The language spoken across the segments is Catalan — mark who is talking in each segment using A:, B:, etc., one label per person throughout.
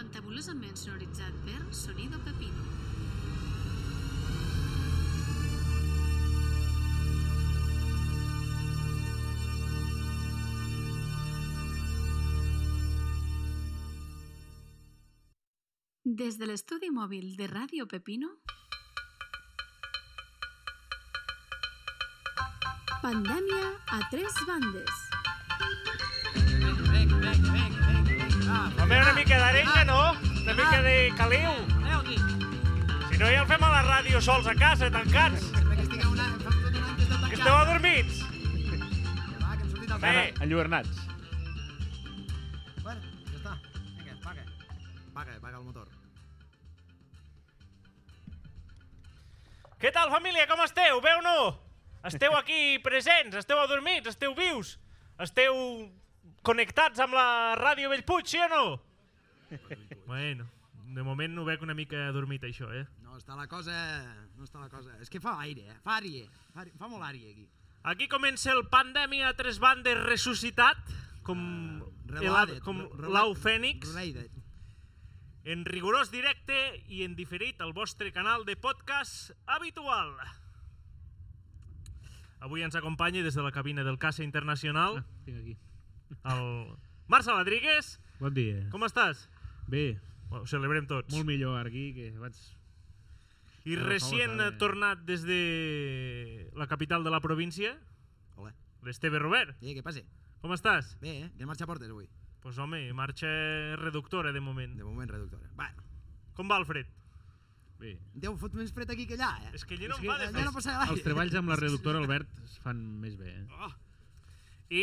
A: amb tabulosament sonoritzat per Sonido Pepino. Des de l'estudi mòbil de Ràdio Pepino, Pandèmia a tres bandes.
B: Home, una mica d'arenya, no? Una mica de caliu.
C: Aneu aquí.
B: Si no, ja el fem a la ràdio sols a casa, tancats.
C: Perquè estigueu una... Fa tot un any que esteu
B: Que
C: tancats.
B: esteu adormits.
C: Ja va, que hem sortit al
B: Bé.
C: carrer.
D: Enlluernats.
C: Bueno, ja està. Vinga, paga. Paga, paga el motor.
B: Què tal, família? Com esteu? Bé o no? Esteu aquí presents? Esteu adormits? Esteu vius? Esteu connectats amb la ràdio Bellpuig, sí o no? bueno, de moment ho veig una mica adormit, això, eh?
C: No està la cosa... No està la cosa... És que fa aire, eh? Fa ària. Fa, ària- fa molt ària, aquí.
B: Aquí comença el Pandèmia a tres bandes ressuscitat, com
C: Related,
B: uh, com
C: re- re-
B: l'au fènix,
C: Related.
B: en rigorós directe i en diferit al vostre canal de podcast habitual. Avui ens acompanya des de la cabina del Casa Internacional
D: Tinc aquí.
B: el Marcel Rodríguez.
D: Bon dia.
B: Com estàs?
D: Bé,
B: Bueno, ho celebrem tots.
D: molt millor ara aquí que vaig...
B: I
D: Però
B: recient
D: com ho
B: ha
D: sabe?
B: tornat des de la capital de la província,
C: Hola.
B: l'Esteve Robert.
C: Eh, què passa?
B: Com estàs?
C: Bé, eh? De marxa portes, avui.
B: Pues home, marxa reductora de moment.
C: De moment, reductora. Bueno,
B: Com va, Alfred?
D: Bé.
C: Déu fot més fred aquí que allà, eh?
B: És que allà no
D: És
B: em
D: que
B: va de
C: allà
B: fred.
C: no passa l'aire.
D: eh? Els treballs amb la reductora Albert es fan més bé. Eh?
B: Oh. I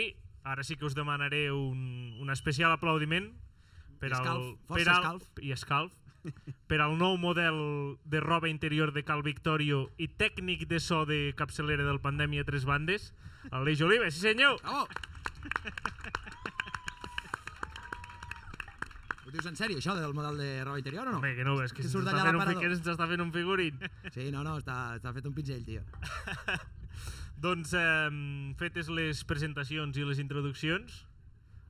B: ara sí que us demanaré un, un especial aplaudiment per
C: I escalf,
B: al,
C: força
B: per al,
C: escalf.
B: i escalf per al nou model de roba interior de Cal Victorio i tècnic de so de capçalera del Pandèmia Tres Bandes, l'Eix Oliva, sí senyor!
C: Bravo! Ho dius en sèrio, això del model de roba interior o no?
B: Home, que no, és que
C: Que
B: ens
C: surt
B: està,
C: allà
B: fent un,
C: l'aparador.
B: fi- que ens està fent un figurín.
C: Sí, no, no, està, està fet un pinzell, tio.
B: doncs, eh, fetes les presentacions i les introduccions,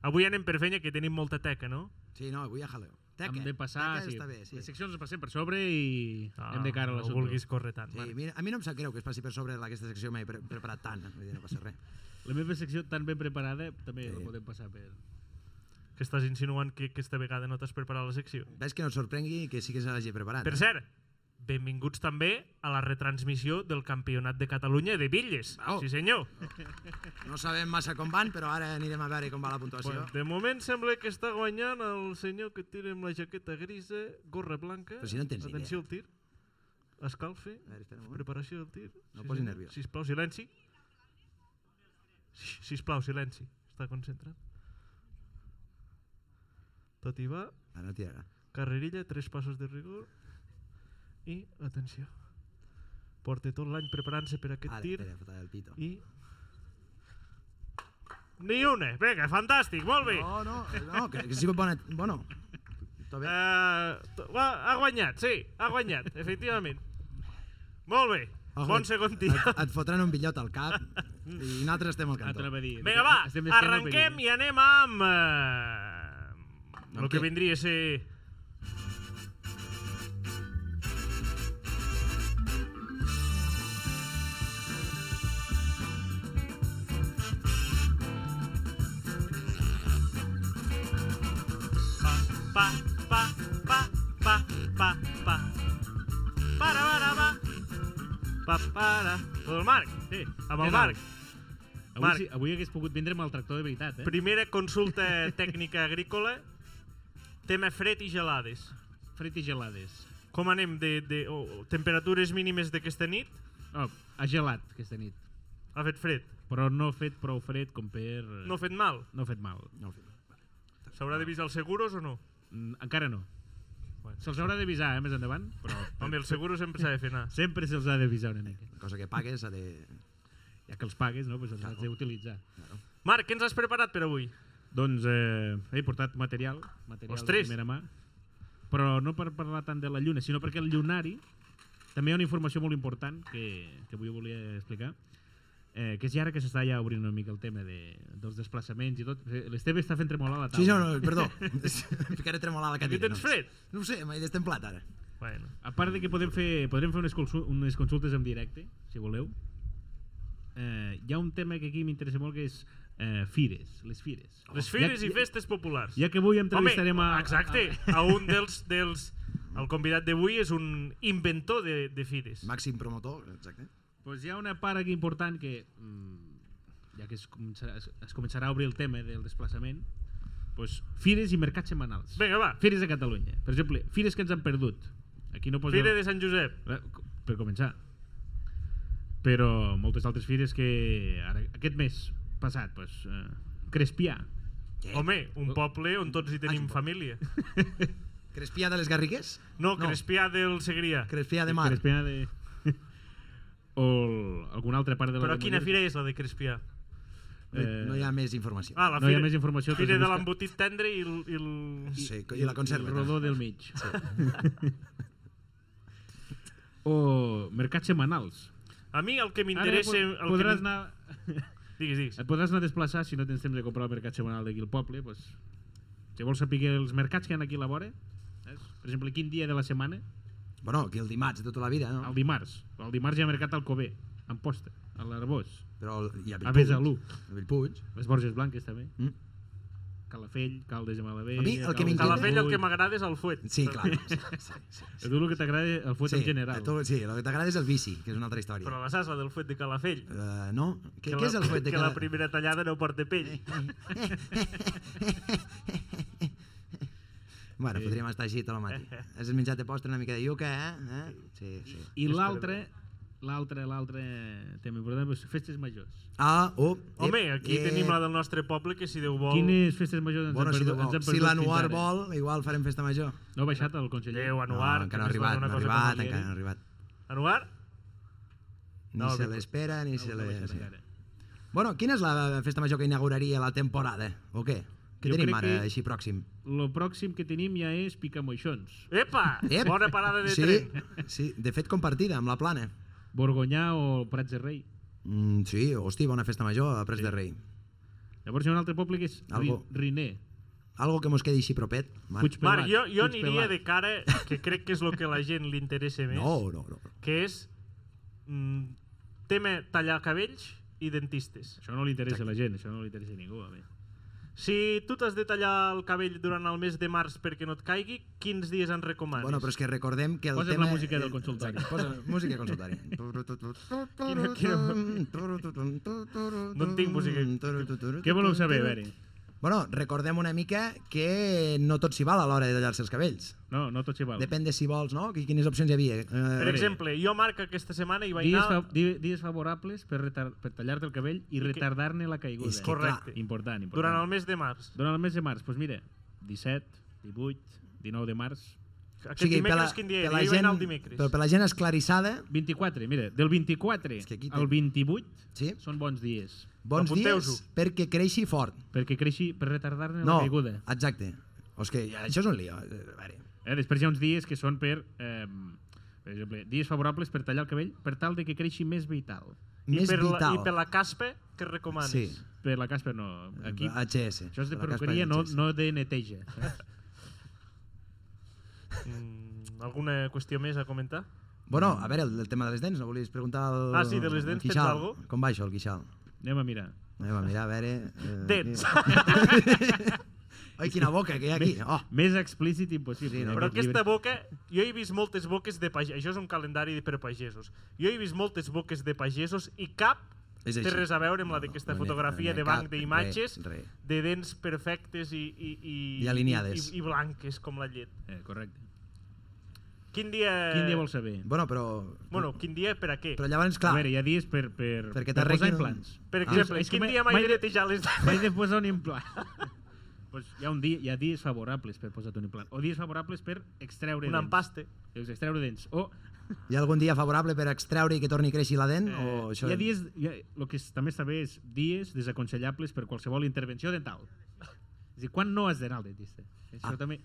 B: avui anem per fenya, que tenim molta teca, no?
C: Sí, no, avui a jaleo. Teca.
D: Hem de passar...
C: Teca
D: sí,
C: està bé, sí.
D: Les seccions les passem per sobre i ah, hem de cara a
B: no
D: la
B: vulguis córrer tant.
C: Sí,
B: mare.
C: mira, a mi no em sap greu que es passi per sobre aquesta secció, m'he pre preparat tant, eh? vull dir, no passa res.
D: La meva secció tan ben preparada també
C: Sí.
D: sí. la podem passar per...
B: Que estàs insinuant que aquesta vegada no t'has preparat la secció.
C: Ves que no et sorprengui que sí que se l'hagi preparat.
B: Per
C: eh?
B: cert, benvinguts també a la retransmissió del Campionat de Catalunya de Bitlles.
C: Bravo.
B: Sí senyor.
C: No sabem massa com van, però ara anirem a veure com va la puntuació.
B: Bueno, de moment sembla que està guanyant el senyor que tira amb la jaqueta grisa, gorra blanca.
C: Però si no en tens ni
B: Atenció al tir. Escalfe.
C: A veure, espera un moment.
B: Preparació del tir.
C: No posis
B: senyor.
C: nerviós.
B: Sisplau, silenci. Si- Sisplau, silenci. Està concentrat. Tot hi va.
C: Ara no tirarà.
B: Carrerilla, tres passos de rigor i atenció. Porta tot l'any preparant-se per aquest
C: Ara,
B: tir
C: espera, fotrà el pito.
B: i... Ni una! Vinga, fantàstic, molt bé! No.
C: No, no, no, que, que ha sigut bona... Bueno, tot bé.
B: Uh, ha guanyat, sí, ha guanyat, efectivament. Molt bé,
C: Ojo,
B: bon segon tir.
C: Et, et fotran un billot al cap i nosaltres estem al cantó.
D: Altra va dir.
B: Vinga, va,
D: Estem desfent el
B: arrenquem
D: perill.
B: i anem amb... Uh, el
C: Amb
B: que
C: què?
B: vindria a ser... Pa, pa, pa, pa, pa, pa, pa. Para, para, pa. Pa, para. Amb el Marc,
D: Sí.
B: amb
D: Què tal?
B: el Marc.
D: Avui,
B: Marc.
D: sí, avui hagués pogut vindre amb el tractor de veritat, eh?
B: Primera consulta tècnica agrícola. Tema fred i gelades.
D: Fred i gelades.
B: Com anem de, de oh, temperatures mínimes d'aquesta nit?
D: Oh, ha gelat aquesta nit.
B: Ha fet fred.
D: Però no ha fet prou fred com per... eh,
B: No ha fet mal.
D: no ha fet mal.
C: No, el fil.
B: S'haurà de visar els seguros o no?
D: Mm, Encara no.
B: Bueno.
D: Se'ls haurà d'avisar, eh, més endavant, però
B: Home, els seguros sempre s'ha de fer anar.
D: sempre se'ls ha d'avisar una mica.
C: cosa que pagues ha de...
D: Ja que els pagues, no? Pues els has d'utilitzar.
B: Marc, què ens has preparat per avui?
D: Doncs eh, he portat material, material
B: Ostres!
D: de primera mà, però no per parlar tant de la Lluna, sinó perquè el llunari també hi ha una informació molt important que, que avui volia explicar. eh, que és ja ara que s'està ja obrint una mica el tema de, dels desplaçaments i tot. Eh, L'Esteve està fent tremolar la taula.
C: Sí, no, no, perdó. Em Ficaré a tremolar la cadira.
B: tens
C: no.
B: fred?
C: No ho sé, m'he destemplat ara. Eh,
B: Bueno.
D: A part de que podem fer, podrem fer unes, consul unes consultes en directe, si voleu, eh, hi ha un tema que aquí m'interessa molt que és eh, fires, les fires.
B: Les fires
D: ja,
B: i festes populars.
D: Ja que avui entrevistarem
B: Home,
D: a...
B: exacte,
D: A,
B: a un dels... dels el convidat d'avui és un inventor de, de fires.
C: Màxim promotor, exacte.
D: a, doncs hi ha una part aquí important que, mm, ja que es començarà, es, es començarà a obrir el tema del desplaçament, doncs fires i mercats setmanals.
B: Vinga, va.
D: Fires a Catalunya. Per exemple, fires que ens han perdut. Aquí no posa...
B: Fira de Sant Josep.
D: Eh, per començar. Però moltes altres fires que ara, aquest mes passat, pues, eh, Crespià.
C: Què?
B: Home, un poble on tots hi tenim
C: Ah, és un poble.
B: família.
C: Crespià de les Garrigues?
B: No, Crespià del Segrià.
C: Crespià de Mar.
D: Crespià de... o el- alguna altra part de la...
B: Però
D: de
B: quina fira
D: Mollet.
B: és la de Crespià?
D: Eh,
C: No hi ha més informació.
B: Ah, la
D: No hi ha
B: fira-
D: més informació, t'has
B: Fira
D: de
B: de
D: buscar.
B: l'embotit tendre i el... I el...
C: Sí, i la conserva.
D: El rodó del mig. o mercats setmanals.
B: A mi el que
D: Ara
B: m'interessa... el
D: pod-
B: que
D: podràs
B: m'in-
D: anar...
B: Digues, digues.
D: Et podràs anar a desplaçar si no tens temps de comprar el mercat setmanal d'aquí al poble. Doncs, si vols saber els mercats que hi ha aquí a la vora, eh, saps? per exemple, quin dia de la setmana,
C: Bueno, aquí el dimarts de tota la vida, no?
D: el dimarts. El dimarts hi ha mercat al Cové, a Amposta, a l'Arbós,
C: Però el- i a
D: a
C: Bellpuig.
D: Besalú,
C: A Bellpuig.
D: les Borges Blanques també,
C: Mm.
D: Calafell, Caldes de Malavell...
C: A mi el que
D: Caldes de
C: m'inquieta-
B: Calafell el que
D: Montbui.
B: m'agrada és el fuet.
C: Sí, clar. Sí, sí, sí.
D: A tu el que t'agrada el fot en general.
C: a Tu, sí, el que t'agrada és el bici, que és una altra història.
B: Però la sasa del fuet de Calafell.
C: Uh, no? Què,
B: la-
C: què és el fuet de
B: que
C: cada...
B: la primera tallada no porta pell.
D: Eh.
C: Bueno, podríem estar així tota tot el matí. Has menjat de postre una mica de iuca, eh? eh? Sí, sí.
D: I l'altre, l'altre, l'altre tema important, doncs, festes majors.
C: Ah, oh,
D: Eh?
B: Home, aquí tenim la del nostre poble que si Déu vol...
D: Quines festes majors ens
C: Bueno,
D: han
C: si,
D: perdut?
C: Déu vol.
D: ens han
C: si
D: perdut
C: l'Anuar
D: fins ara?
C: vol, igual farem festa major.
D: No ha baixat el conseller.
B: Déu, Anuar...
C: no, encara no ha
B: que ens dona
C: arribat,
B: una
C: no ha
B: cosa com
C: arribat,
B: el
C: encara no ha
B: Lieri.
C: arribat.
B: Anuar?
C: Ni
B: No,
C: se
B: bé,
C: l'espera, ni
D: No, no
C: se
D: ha
C: l'espera.
D: baixat
C: Sí.
D: encara.
C: Bueno, quina és la festa major que inauguraria la temporada? O què? Què
D: Jo
C: tenim
D: crec
C: ara,
D: que-
C: així pròxim?
D: Lo pròxim que tenim ja és Picamoixons.
B: Epa!
C: Ep!
B: Bona parada de
C: sí,
B: tren.
C: Sí, de fet compartida, amb la plana.
D: Borgonyà o Prats de Rei.
C: Mm, sí, hosti, bona festa major a Prats sí. de Rei.
D: Llavors hi ha un altre poble que és Ri-
C: Algo.
D: Riner.
C: Algo que mos quedi així propet. Marc?
D: Puigpelat.
B: Marc, jo, jo aniria
D: Puigpelat.
B: de cara, que crec que és el que a la gent li interessa més,
C: No, no, no.
B: que és mm, tema tallar cabells i dentistes.
D: Això no li interessa a la gent, això no li interessa a ningú. A mi.
B: Si tu t'has de tallar el cabell durant el mes de març perquè no et caigui, quins dies en recomanes?
C: Bueno, però és que recordem que el
D: Posa'm
C: tema...
D: la música del consultori.
C: Exacte, posa música del consultori.
B: Quina- No tinc música.
D: Què voleu saber, a veure?
C: Bueno, recordem una mica que no tot s'hi val a l'hora de tallar-se els cabells.
D: No, no tot s'hi val.
C: Depèn de si vols, no? Que- Quines opcions hi havia.
B: Per
C: Eh,
B: exemple, jo, Marc, aquesta setmana hi vaig
D: Dies, fa,
B: anar...
D: di- dies favorables per, retar, per tallar-te el cabell i retardar-ne la caiguda.
C: És que,
B: Correcte.
D: Important, important.
B: Durant el mes de març.
D: Durant el mes de març, doncs mira, 17, 18, 19 de març,
B: Aquest dimecres, quin dia? era?
C: per la
B: Jo hi vaig anar el
C: gent,
B: dimecres.
C: però per la gent esclarissada,
D: 24, mira, del 24
C: És que aquí
D: al
C: té-
D: 28
C: sí,
D: són bons dies
C: bons dies
B: Apunteu-s'ho.
C: perquè creixi fort.
D: perquè creixi per retardar-ne
C: No,
D: la caiguda.
C: exacte. O és que això és un lío. eh, A veure.
D: Eh? Després hi ha uns dies que són per, eh, per exemple, dies favorables per tallar el cabell per tal de que creixi més vital.
B: I,
C: Més
B: per la,
C: vital.
B: I per la caspa, que recomanes?
C: Sí.
D: Per la caspa no, aquí...
C: HS.
D: Això és de
C: per la caspa
D: perruqueria, no,
C: HS.
D: no de neteja.
B: Mm, alguna qüestió més a comentar?
C: Bueno, a veure, el, el tema de les dents, no volies preguntar al...
B: Ah, sí, de les
C: al
B: dents, tens
C: Quixal.
B: algo?
C: Com va això, el Quixal?
D: Anem a mirar.
C: Anem a mirar, a veure... Eh,
B: Dents.
C: Ai, quina boca que hi ha aquí. Oh,
D: Més explícit impossible. eh,
C: Sí, no,
D: en
B: Però
D: aquest
B: aquesta
D: llibre.
B: boca, jo he vist moltes boques de pagesos, això és un calendari per a pagesos, jo he vist moltes boques de pagesos i cap
C: és així.
B: té res a veure amb la d'aquesta
C: No, no,
B: fotografia
C: no,
B: de
C: no,
B: banc
C: cap,
B: d'imatges,
C: res, res.
B: de dents perfectes i, i, i,
C: I alineades.
B: I, i, i blanques com la llet.
D: Eh, correcte.
B: Quin dia...
D: Quin dia vols saber?
C: Bueno, però...
B: Bueno, quin dia per a què?
C: Però llavors,
D: A
C: clar,
D: veure, hi ha dies per, per, per
C: Perquè
D: posar
C: t'arreglin-
D: implants.
B: Per
C: Ah,
B: exemple,
D: és que
B: quin
D: mai-
B: dia m'he
D: mai
B: de
D: de-
B: netejar les dents?
D: Vaig de posar un implant. pues hi, ha un dia, hi ha dies favorables per posar-te un implant. O dies favorables per extreure
B: Un
D: dents.
B: empaste.
D: Dius, extreure dents. O,
C: hi ha algun dia favorable per extreure i que torni a créixer la dent? o això...
D: eh, Hi ha dies, hi ha, el que es- també està bé és dies desaconsellables per qualsevol intervenció dental. És a dir, quan no has d'anar al dentista? Això
C: Ah.
D: també,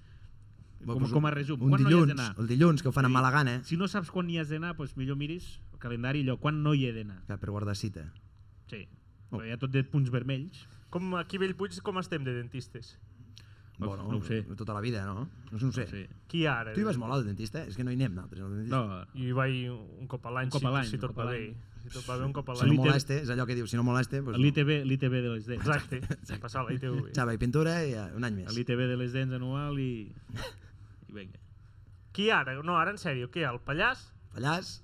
C: Bueno,
D: com,
C: pues,
D: com a resum,
C: Un
D: quan
C: dilluns,
D: no hi has d'anar?
C: el dilluns, que ho fan amb mala gana. eh?
D: Si no saps quan hi has d'anar, doncs millor miris el calendari i allò, quan no hi he d'anar.
C: Clar, per guardar cita.
D: Sí.
C: Oh.
D: Però hi ha tot de punts vermells.
B: Com aquí a Bellpuig com estem de dentistes?
C: Bueno,
D: no ho sé.
C: Tota la vida, no? No, sé, no ho sé.
D: Sí.
B: Qui hi ha ara?
C: Tu hi vas molt al dentista? eh? És que no hi anem nosaltres, al dentista.
D: No,
B: Jo hi vaig un cop a l'any,
D: Un cop
B: si,
D: a l'any,
B: si
D: un
B: tot
D: cop a
B: va bé.
D: l'any.
B: Si tot va bé, un cop a
C: Si no
B: l'any.
D: L'ITV
C: moleste, és allò que diu, si no moleste... Doncs no.
D: l'ITV, l'ITV de les dents.
B: Exacte, passar a l'ITV.
C: Xava i pintura i eh, un any més.
D: L'ITV de les dents anual i... I vinga.
B: Qui hi ha ara? No, ara en sèrio, qui hi ha? El Pallàs?
C: Pallàs,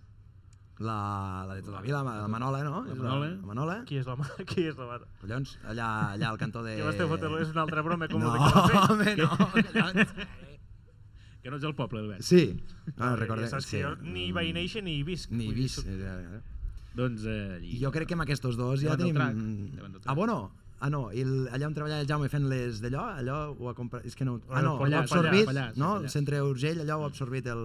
C: la, la de tota la vida, la, la Manola, no?
D: La
C: És
D: Manola.
C: La, la Manola.
B: Qui és la mare? Qui és la mare?
C: Collons, allà, allà al cantó de...
B: Que l'esteu fotent, és una altra broma, com
C: no,
B: la de Calafell.
C: home, no, collons.
D: Que no ets el poble, Albert. Eh,
C: Sí, no, recordem.
B: Saps
C: sí.
B: que jo ni hi vaig néixer ni hi visc.
C: Ni
B: vull dir,
C: vist.
B: soc-
C: eh,
D: Doncs eh, allí...
C: I jo crec que amb aquests dos Doncs ja
D: Davant del
C: tenim...
D: trac, davant del trac.
C: Ah, bueno, Ah, no, i el, allà on treballava el Jaume fent les d'allò, allò ho ha comprat... És que no... Ah, no,
B: Pallars,
C: ho ha absorbit,
D: Pallars,
C: no?
D: Pallars.
C: El centre Urgell, allò ho ha absorbit el...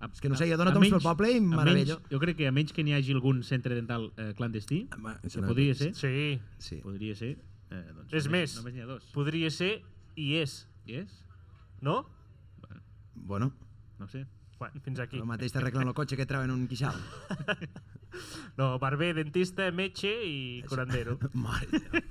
D: A-
C: És que no sé,
D: a-
C: jo dono
D: a
C: toms
D: menys-
C: pel poble i
D: a menys-
C: meravello.
D: Jo crec que a menys que n'hi hagi algun centre dental eh, clandestí,
C: Ah, ma-
D: que podria ser,
B: Sí,
C: Sí.
D: podria ser, eh, doncs
B: És
D: només,
B: més.
D: només n'hi ha dos.
B: podria ser i és,
D: I és?
B: no?
C: Bueno,
D: No ho sé.
B: Bueno, fins aquí.
C: el mateix t'arreglen el cotxe que et treuen un quixal.
B: No, barber, dentista, metge i curandero.
C: Mare de Déu.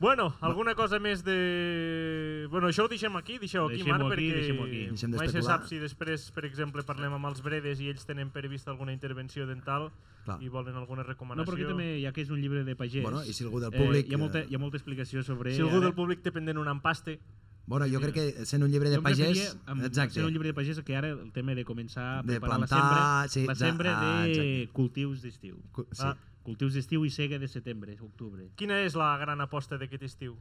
B: Bueno, alguna cosa més de... Bueno, això ho deixem aquí, deixeu aquí,
D: Deixem-ho
B: Marc,
D: aquí, deixem-ho aquí.
B: perquè
C: Deixem
B: mai se
C: d'especular.
B: sap si després, per exemple, parlem amb els bredes i ells tenen prevista alguna intervenció dental
C: Clar.
B: i volen alguna
D: No,
B: recomanació.
D: perquè també, ja que és un llibre de pagès...
C: Bueno, i si algú del públic,
D: Eh, hi, ha molta,
C: eh,
D: hi ha molta explicació sobre... eh,
B: Si algú
D: ara-
B: del públic té pendent un empaste,
C: Bueno, jo crec que sent un llibre
D: Jo
C: de
D: em
C: pagès...
D: referia amb-
C: Exacte.
D: Sent un llibre de pagès que ara el tema de començar a
C: De
D: preparar la
C: plantar,
D: sembra,
C: sí,
D: la
C: exa-
D: sembra
C: ah,
D: de
C: exacte.
D: cultius d'estiu.
C: Cu- Sí.
B: Ah.
D: Cultius d'estiu i sega de setembre, octubre.
B: quina és la gran aposta d'aquest estiu?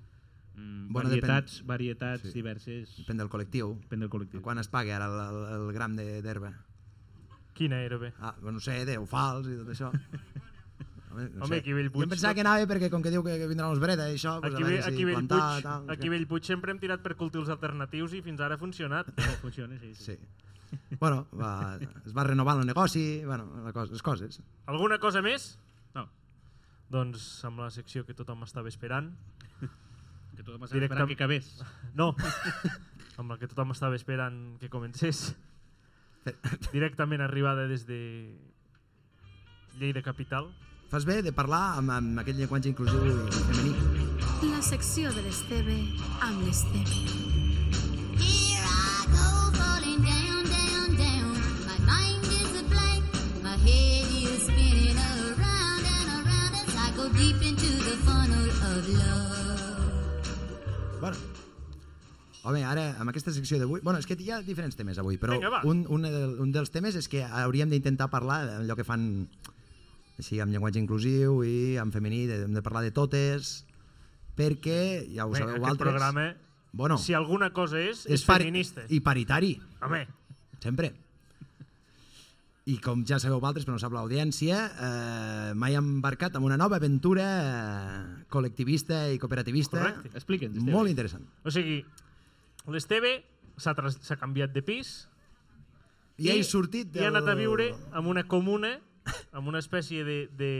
D: Mm,
C: Bueno,
D: varietats, varietats
C: sí.
D: diverses,
C: Depèn del col·lectiu.
D: depèn del col·lectiu.
C: Quan es paga ara el, el, el gram de- d'herba?
B: Quina era bé?
C: Ah, no sé, 10 fals i tot això. Home, no
B: Home,
C: sé.
B: aquí Bellpuig
C: Jo em pensava
B: tot-
C: que anava perquè com que diu que, que vindran els breda i això, pues,
B: Aquí,
C: a veure
B: ve- aquí,
C: si plantar,
B: Bellpuig,
C: tal, no sé
B: aquí
C: què.
B: Bellpuig sempre hem tirat per cultius alternatius i fins ara ha funcionat.
D: Funciona, sí. sí.
C: Sí. bueno, va, es va renovant el negoci, bueno, la cosa, les coses.
B: Alguna cosa més?
D: No,
B: Doncs amb la secció que tothom estava esperant.
D: que tothom estava esperant
B: Directam-
D: que acabés.
B: No, amb la que tothom estava esperant que comencés. Directament arribada des de Lleida Capital.
C: Fas bé de parlar amb, amb aquest llenguatge inclusiu i femení.
E: La secció de l'Esteve amb l'Esteve.
F: Here I go falling down, down, down. My mind is a blank, my head is spinning around and around as I go deep into the funnel of love.
C: Bueno, Home, ara, amb aquesta secció d'avui... Bueno, és que hi ha diferents temes avui, però
B: Vinga, va.
C: un, un, del, un dels temes és que hauríem d'intentar parlar d'allò que fan així, amb llenguatge inclusiu i amb femení, de, hem de parlar de totes, perquè, ja ho
B: Bé,
C: sabeu
B: aquest
C: altres...
B: programa,
C: bueno,
B: si alguna cosa és, és,
C: és
B: és
C: pari-
B: feminista.
C: I paritari,
B: Home,
C: sempre. I com ja sabeu altres, però no sap l'audiència, eh, mai hem embarcat en una nova aventura eh, col·lectivista i cooperativista
B: Correcte.
D: Explica'ns, Esteve.
C: molt interessant.
B: o sigui, l'Esteve s'ha tras- s'ha canviat de pis
C: I, I he sortit del...
B: I ha anat a viure en una comuna, en una espècie de, de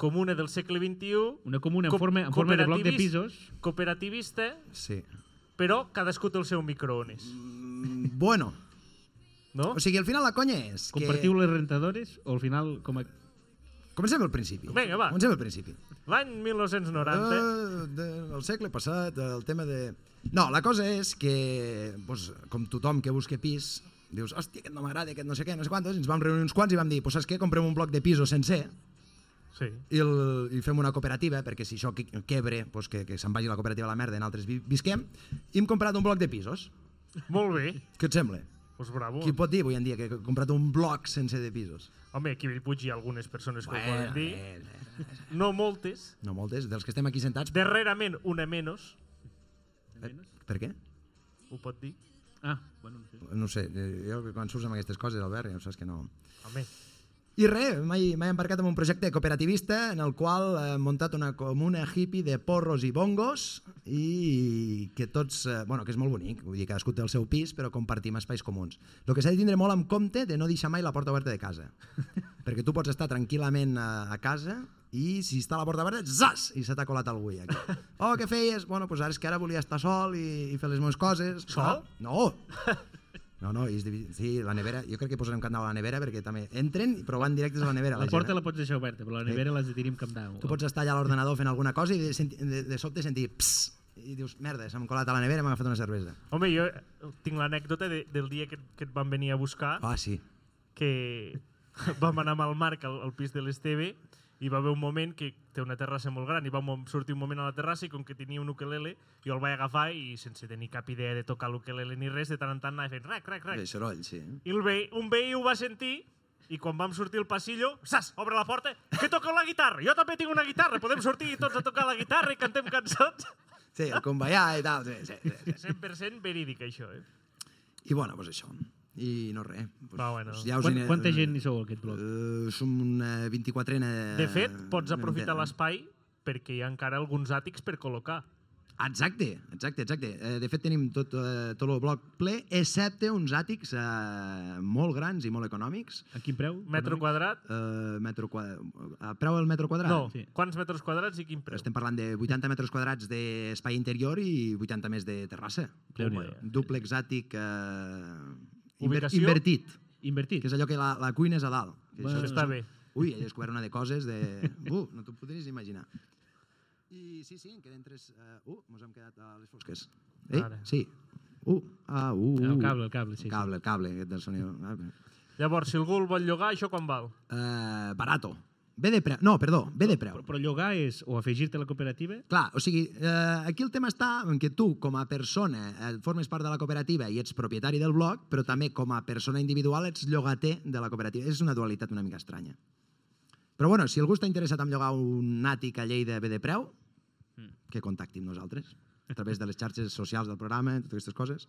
B: comuna del segle XXI.
D: Una comuna en
B: co-
D: forma- en forma de bloc de
B: cooperativis-
D: pisos.
B: Cooperativista,
C: Sí.
B: però cadascú té el seu microones.
C: Mm, Bueno,
B: No?
C: o sigui, al final la conya és que...
D: Compartiu les rentadores o al final com a...
C: Comencem al principi.
B: Vinga, va.
C: Comencem al principi.
B: L'any 1990...
C: Eh, de, del segle passat, el tema de... No, la cosa és que, doncs, com tothom que busca pis, dius, hòstia, aquest no m'agrada, aquest no sé què, no sé quantos, i ens vam reunir uns quants i vam dir, doncs saps què, comprem un bloc de pisos sencer
B: Sí.
C: i, el, i fem una cooperativa, perquè si això qui- quebre, doncs que, que se'n vagi la cooperativa a la merda i nosaltres vi- visquem, i hem comprat un bloc de pisos.
B: Molt bé.
C: Què et sembla?
B: Pues bravo.
C: Qui pot dir avui en dia que he comprat un bloc sencer de pisos?
B: Home, aquí a Bellpuig hi ha algunes persones que ho
C: Bueno,
B: poden dir.
C: eh, eh,
B: No moltes.
C: No moltes, dels que estem aquí sentats.
B: Darrerament una menys, Eh,
C: Per què?
B: ho pot dir.
D: Ah, bueno, no sé.
C: No ho sé, eh, jo quan surts amb aquestes coses, Albert, ja ho saps que no...
B: Home,
C: I res, mai m'he embarcat en un projecte cooperativista en el qual he muntat una comuna hippie de porros i bongos i que tots, eh, bueno, que és molt bonic, vull dir, cadascú té el seu pis però compartim espais comuns. El que s'ha de tindre molt en compte de no deixar mai la porta oberta de casa, perquè tu pots estar tranquil·lament a, a casa i si està a la porta oberta, zas! I se t'ha colat algú aquí. Oh, què feies? Bueno, pues ara és que ara volia estar sol i, i fer les meves coses.
B: Sol?
C: No! Ah, No, no, i és divi- sí, la nevera, jo crec que posarem cap down a la nevera perquè també entren, però van directes a la nevera.
D: La
C: gent,
D: porta
C: eh?
D: la pots deixar oberta, però la nevera l'has de tenir amb cap down.
C: Tu pots estar allà a l'ordenador fent alguna cosa i de, senti- de, de sobte sentir pss, i dius, merda, s'ha colat a la nevera i m'ha agafat una cervesa.
B: Home, jo eh, tinc l'anècdota de, del dia que, que et van venir a buscar,
C: Ah, sí.
B: que vam anar amb el Marc al, al pis de l'Esteve i va haver un moment que té una terrassa molt gran i va mo- sortir un moment a la terrassa i com que tenia un ukelele, jo el vaig agafar i sense tenir cap idea de tocar l'ukelele ni res, de tant en tant anava fent rac, rac, rac.
C: Bé, soroll, sí.
B: I el veí, un veí ho va sentir i quan vam sortir al passillo, saps, obre la porta, que toca la guitarra, jo també tinc una guitarra, podem sortir tots a tocar la guitarra i cantem cançons.
C: Sí, el conveiar i tal. Sí, sí, sí, sí.
B: 100% verídic, això, eh?
C: I bueno, doncs això. I no res. Pues,
B: Va, bueno.
C: ja us
D: Quant,
C: aniré-
D: quanta gent hi sou, a aquest bloc?
C: Eh, som una 24ena...
B: De fet, pots aprofitar
C: de-
B: l'espai perquè hi ha encara alguns àtics per col·locar.
C: Exacte, exacte, exacte. Eh, De fet, tenim tot, eh, tot el bloc ple, excepte uns àtics eh, molt grans i molt econòmics.
D: A quin preu?
B: Metro quadrat?
C: Eh, metro quadra... A preu del metro quadrat?
B: No,
D: sí.
B: quants metres quadrats i quin preu?
C: Estem parlant de 80 metres quadrats d'espai interior i 80 més de terrassa.
D: Déu-n'hi-do.
C: Dúplex àtic eh, inver
B: Ubicació?
C: invertit, que
D: Invertit.
C: és allò que la, la cuina és a dalt. Que
D: Bueno.
C: és-
B: Està bé.
C: Ui, he descobert una de coses de... Uh, no t'ho podries imaginar. I sí, sí, en queden tres... Uh, uh mos hem quedat a les fosques. Ei,
B: Ara.
C: sí. Uh, ah, uh, uh.
D: El cable, el cable, sí.
C: El cable, el cable, aquest del sonido. Ah,
B: Llavors, si algú el vol llogar, això quan val?
C: Uh, barato. Ve de preu. No, perdó, ve de
D: sí.
C: preu.
D: Però, però llogar és o afegir-te a la cooperativa
C: Clar, o sigui, eh, aquí el tema està en que tu, com a persona, eh, formes part de la cooperativa i ets propietari del blog, però també com a persona individual ets llogater de la cooperativa. És una dualitat una mica estranya. Però bueno, si algú està interessat en llogar un àtic a Lleida bé de preu,
D: Hmm.
C: que contacti amb nosaltres a través de les xarxes socials del programa, totes aquestes coses.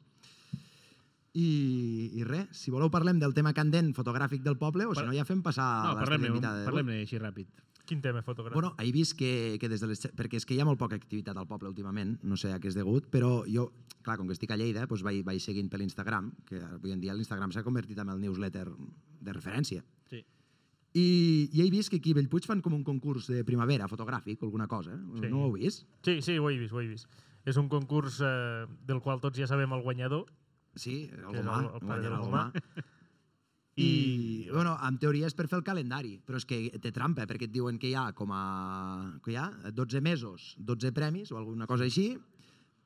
C: I, i res, si voleu parlem del tema candent fotogràfic del poble o si no ja fem passar
D: No,
C: la
D: parlem-ne
C: invitada d'avui.
D: parlem així ràpid.
B: Quin tema fotogràfic?
C: Bueno, he vist que, que des de les... xe- Perquè és que hi ha molt poca activitat al poble últimament, no sé a què és degut, però jo, clar, com que estic a Lleida, doncs vaig, vaig seguint per l'Instagram, que avui en dia l'Instagram s'ha convertit en el newsletter de referència.
D: Sí.
C: I, I he vist que aquí a Bellpuig fan com un concurs de primavera fotogràfic o alguna cosa. Sí. No ho heu vist?
B: Sí, sí, ho he vist, ho he vist. És un concurs eh, del qual tots ja sabem el guanyador.
C: Sí, el
B: és
C: Gomà.
B: el- el pare
C: guanyarà
B: del
C: el
B: Gomà.
C: Gomà.
B: I-
C: I, bueno, en teoria és per fer el calendari, però és que té trampa, perquè et diuen que hi ha com a... Que hi ha 12 mesos, 12 premis o alguna cosa així,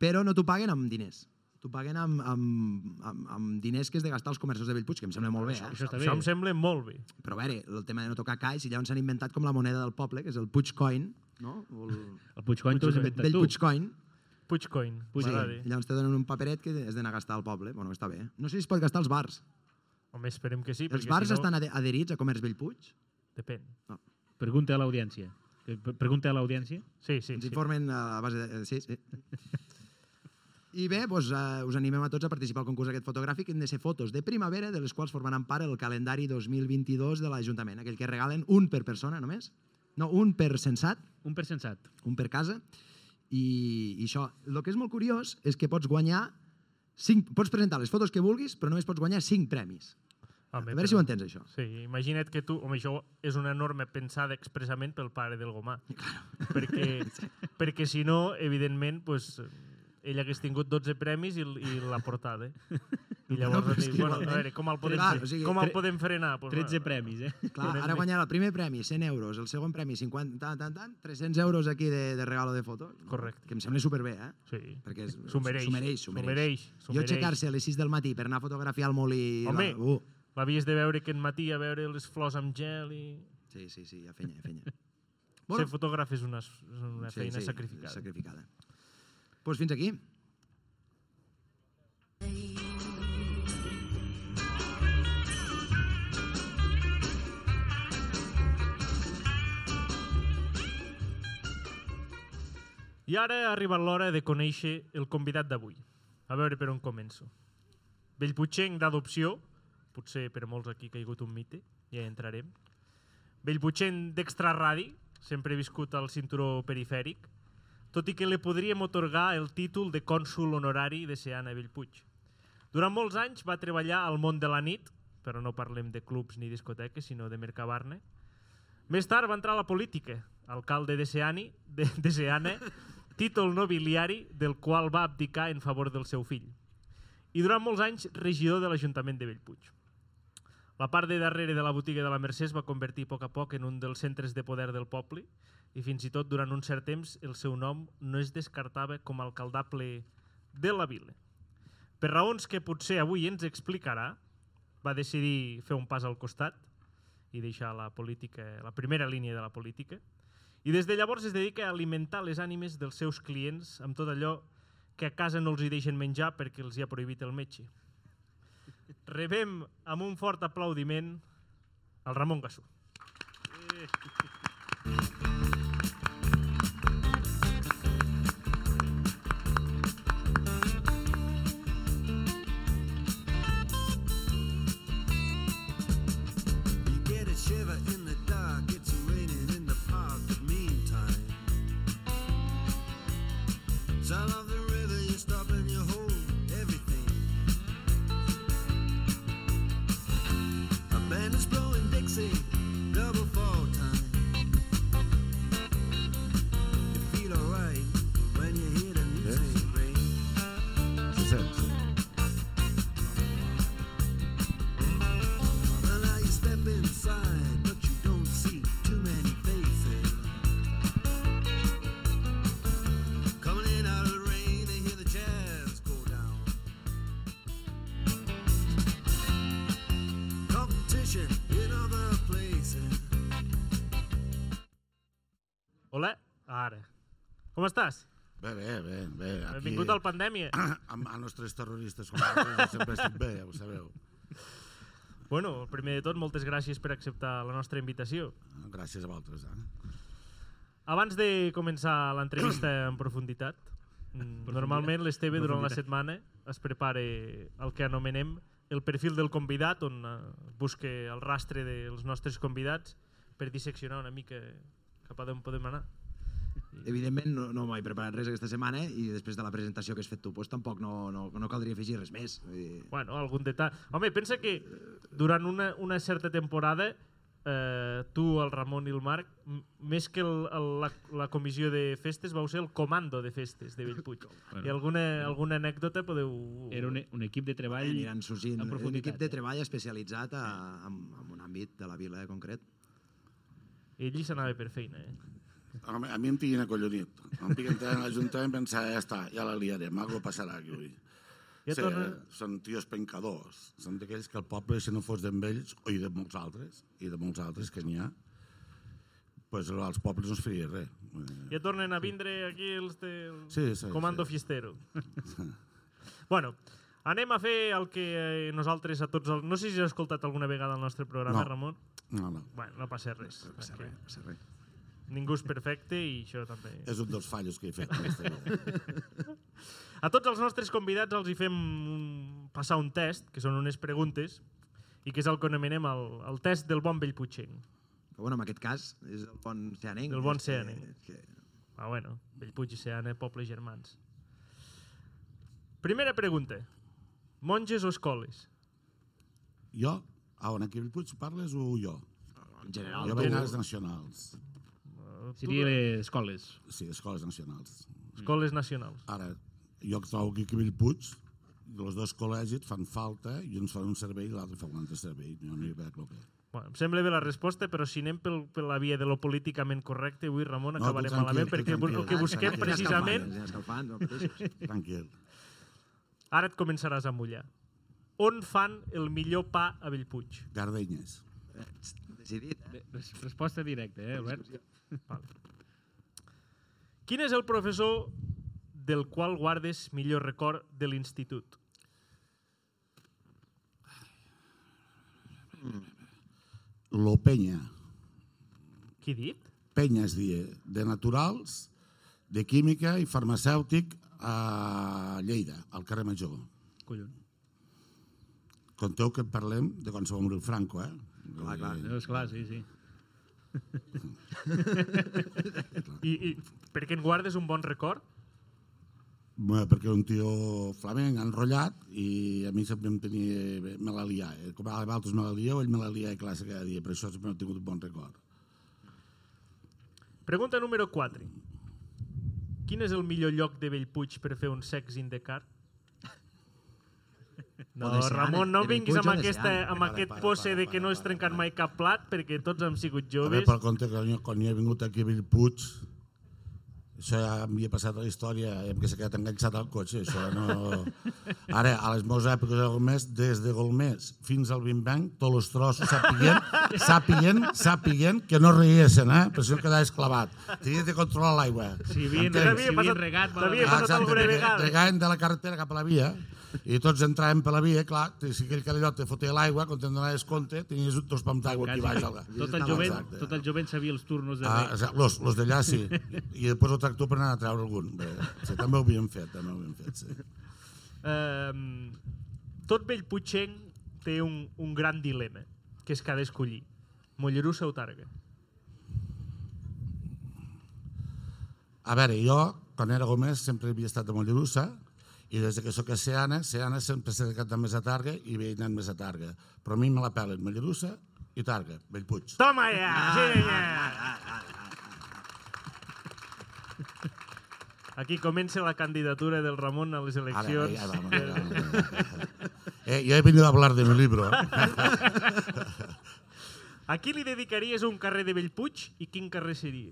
C: però no t'ho paguen amb diners. T'ho paguen amb, amb, amb, amb diners que és de gastar els comerços de Bellpuig, que em sembla molt bé, eh?
D: Això està bé.
B: Això em sembla molt bé.
C: Però a veure, el tema de no tocar caix, i llavors s'han inventat com la moneda del poble, que és el Puigcoin, no? O el
D: El Puigcony t'ho has inventat
C: vell
D: tu.
C: Puigcoin.
B: Puigcoin.
C: Sí,
B: m'agrada.
C: llavors te donen un paperet que has d'anar a gastar al poble. Bueno, està bé. No sé si es pot gastar als bars.
B: Home, esperem que sí.
C: Els
B: perquè
C: bars
B: si no,
C: estan ade- adherits a Comerç Bellpuig? Ah.
B: Depèn.
D: Pregunta a l'audiència. Que pre- Pregunta a l'audiència.
B: Sí, sí,
C: Ens
B: sí.
C: informen a base de... eh, Sí, sí. I bé, doncs, eh, us animem a tots a participar al concurs aquest fotogràfic. Han de ser fotos de primavera, de les quals formaran part el calendari 2022 de l'Ajuntament, aquell que regalen un per persona només, no, un per sensat,
D: Un per sensat.
C: un per casa, i, i això. El que és molt curiós és que pots guanyar cinc, pots presentar les fotos que vulguis, però només pots guanyar cinc premis. A
B: Home,
C: veure si ho entens, això.
B: Sí, imagina't que tu... Home, això és una norma pensada expressament pel pare del Gomà. Perquè, perquè si no, evidentment, pues, ell hagués tingut 12 premis i, l- i la portada. eh? I llavors,
C: però
B: no,
C: és que
B: bueno, a
C: igualment-
B: veure, com el podem,
C: Eh, Clar,
B: fer?
C: o sigui,
B: com el
D: tre-
B: podem frenar? Doncs Pues,
D: 13
B: va,
D: premis, eh?
C: Clar, ara guanyarà el primer premi 100 euros, el segon premi 50, tant, tant, tant, 300 euros aquí de, de regalo de fotos.
B: Correcte.
C: Que em sembla superbé, eh?
B: Sí.
C: Perquè és-
B: S'ho mereix.
C: S'ho mereix, s'ho
B: S'ho
C: mereix.
B: mereix, s'ho
C: Jo
B: mereix.
C: aixecar-se a les 6 del matí per anar a fotografiar el molí...
B: Home.
C: La... Uh,
B: L'havies de veure aquest matí a veure les flors amb gel i...
C: sí, sí, sí, a fenya, a fenya.
B: Bueno. Ser fotògraf és una, és una sí, feina sí, sacrificada.
C: Sacrificada. Doncs pues fins aquí.
B: I ara ha arribat l'hora de conèixer el convidat d'avui. A veure per on començo. Bellputxenc d'adopció, potser per molts aquí ha caigut un mite, ja hi entrarem. Bellputxenc d'extraradi, sempre he viscut al cinturó perifèric, tot i que li podríem otorgar el títol de cònsul honorari de Seana Bellpuig. Durant molts anys va treballar al món de la nit, però no parlem de clubs ni discoteques, sinó de Mercabarne. Més tard va entrar a la política, alcalde de Seani, de, de Seana, títol nobiliari del qual va abdicar en favor del seu fill. i durant molts anys regidor de l'Ajuntament de Bellpuig. La part de darrere de la botiga de la Mercè es va convertir a poc a poc en un dels centres de poder del poble i fins i tot durant un cert temps el seu nom no es descartava com a alcaldable de la vila. Per raons que potser avui ens explicarà, va decidir fer un pas al costat i deixar la política, la primera línia de la política, i des de llavors es dedica a alimentar les ànimes dels seus clients amb tot allò que a casa no els hi deixen menjar perquè els hi ha prohibit el metge. Rebem amb un fort aplaudiment el Ramon Gassú.
G: You get a shiver in the dark, it's raining in the park, but meantime. Sound of the river, you stop and you hold everything. A band is blowing Dixie, double fall time. You feel alright when you hear the music ring.
C: Sí, sí, sí.
G: Well, now you step inside, but you don't see too many faces. Coming in out of the rain, they hear the jazz go down. Competition in other places.
B: Hola, ara. Com estàs?
H: Bé, bé, bé. bé. Aquí,
B: Benvingut al Pandèmia.
H: Amb els nostres terroristes com nosaltres, jo sempre estic bé, ja ho sabeu.
B: Bueno, primer de tot, moltes gràcies per acceptar la nostra invitació.
H: Gràcies a vosaltres. Eh?
B: Abans de començar l'entrevista en profunditat, mm, normalment l'Esteve durant la setmana es prepara el que anomenem el perfil del convidat, on eh, busca el rastre dels nostres convidats per disseccionar una mica cap a on podem anar.
C: Evidentment, no, no m'he preparat res aquesta setmana eh? i després de la presentació que has fet tu, doncs, tampoc no, no, no caldria afegir res més. Vull dir,
B: Bueno, algun detall. Home, pensa que durant una, una certa temporada eh, tu, el Ramon i el Marc, m- més que el, el, la, la comissió de festes, vau ser el comando de festes de Bellpuig. I alguna, alguna anècdota podeu...
D: Era un, un equip de treball...
C: Aniran sorgint
D: en
C: un
D: profunditat,
C: equip de
D: eh?
C: treball especialitzat a, en, en un àmbit de la vila eh, concret.
B: Ell hi s'anava per feina, eh?
H: Home, a mi em tinguin acollonit. Em tinguin entrar a l'Ajuntament i pensar, ja està, ja la liarem, algo passarà aquí avui.
B: Ja
H: sí,
B: torna...
H: Són tios pencadors. Són d'aquells que el poble, si no fos d'en ells, o i de molts altres, i de molts altres que n'hi ha, pues, als pobles no es faria res. Eh,
B: Ja tornen a vindre aquí els del
H: Sí, sí,
B: Comando
H: sí.
B: Fiestero. bueno, anem a fer el que eh, nosaltres a tots... El... No sé si has escoltat alguna vegada el nostre programa,
H: No.
B: Ramon.
H: No, no.
B: Bueno, no passa res. No
C: Passa res, passa res.
B: Ningú és perfecte i això també...
H: És un dels fallos que he fet. aquesta vida.
B: A tots els nostres convidats els hi fem un- passar un test, que són unes preguntes, i que és el que anomenem el, el test del bon vell Puigcent.
C: Però bueno, en aquest cas és el bon Seanenc.
B: El bon
C: és que-
B: Seanenc.
C: Que,
B: Ah, bueno, Bellpuig i Seana, pobles germans. Primera pregunta. Monges o escoles?
H: jo? Ah, on aquí a Bellpuig parles o jo?
C: en general,
H: Jo
C: tu-
H: vaig anar a les nacionals.
D: Seria les escoles.
H: Sí, escoles nacionals.
B: Escoles nacionals.
H: Ara, jo que trobo que aquí a Bellpuig, els dos col·legis fan falta i uns fan un servei i l'altre fa un altre servei. Jo no hi veig el que.
B: Bueno, em sembla bé la resposta, però si anem pel, per la via de lo políticament correcte, avui, Ramon,
H: No,
B: acabarem
H: tu
B: no,
H: tranquil,
B: malament,
H: tu
B: perquè bu- el
H: tranquil.
B: que busquem
H: Tranquil,
B: precisament...
C: Els escalfants, els mateixos.
H: Tranquil.
B: Ara et començaràs a mullar. On fan el millor pa a Bellpuig?
H: Gardenyes.
C: Decidit, eh?
D: Res- Resposta directa, eh, Albert?
B: Quin és el professor del qual guardes millor record de l'institut?
H: Lo penya.
B: Qui dit?
H: Penya es dia de naturals, de química i farmacèutic a Lleida, al carrer Major.
D: Collons.
H: Conteu que parlem de quan se va morir el Franco, eh? Clar, clar.
D: No, esclar, sí, sí.
B: I, i per què en guardes un bon record?
H: Bé, perquè era un tio flamenc, enrotllat, i a mi sempre em tenia... me la lià. Eh? Com a altres me la lieu, ell me la lià a classe cada dia, per això sempre he tingut un bon record.
B: Pregunta número 4. Quin és el millor lloc de Bellpuig per fer un sex in the car? No,
C: O de Seane,
B: Ramon, no
C: de
B: vinguis amb,
C: Bellpuig o de
B: aquesta,
C: Seane.
B: amb
H: Vale,
B: aquest
H: vale,
B: pose
H: vale,
B: de que no
H: vale,
B: has trencat
H: vale,
B: mai cap plat perquè tots hem
H: A
B: sigut
H: veure,
B: joves.
H: per compte que jo, quan jo he vingut aquí a Bellpuig, això ja m'havia passat a la història, em que s'ha quedat enganxat al cotxe, això no... Ara, a les meves èpoques de Golmés, des de Golmés fins al Vinbanc, tots els trossos sapiguen, sapiguen, sapiguen que no reguessin, eh? Per això em quedaves clavat. Tenies de controlar l'aigua.
D: Si havien,
H: Entens?
D: si havien regat...
B: t'havia
D: malament.
B: passat alguna
H: perquè
B: vegada.
H: Regàvem de la carretera cap a la via i tots entràvem per la via, clar, si aquell carillot te fotia l'aigua, quan te'n donaves compte, tenies dos pams d'aigua aquí baix. al-
D: Tot el
H: al-
D: jovent,
H: Exacte.
D: tot el jovent sabia els turnos de
H: Ah,
D: reg.
H: exacte, los, los d'allà sí. I després el tractor per anar a treure algun. Bé, sí, també ho havíem fet, també ho havíem fet, sí.
B: Eh, tot vell Puigcent té un, un gran dilema, que és que ha d'escollir. Mollerussa o Targa?
H: A veure, jo, quan era Gomés, sempre havia estat a Mollerussa, i des que sóc a Seana, Seana sempre s'ha dedicat més a Targa i he anat més a Targa. Però a mi me la pelen Mollerussa i Targa, Bellpuig. Ah.
B: Toma ja! sí, ja. Aquí comença la candidatura del Ramon a les
H: Ara,
B: eleccions.
H: ja vamos, ja vamos. Eh, yo he venido a hablar de mi libro. eh?
B: A qui li dedicaries un carrer de Bellpuig i quin carrer seria?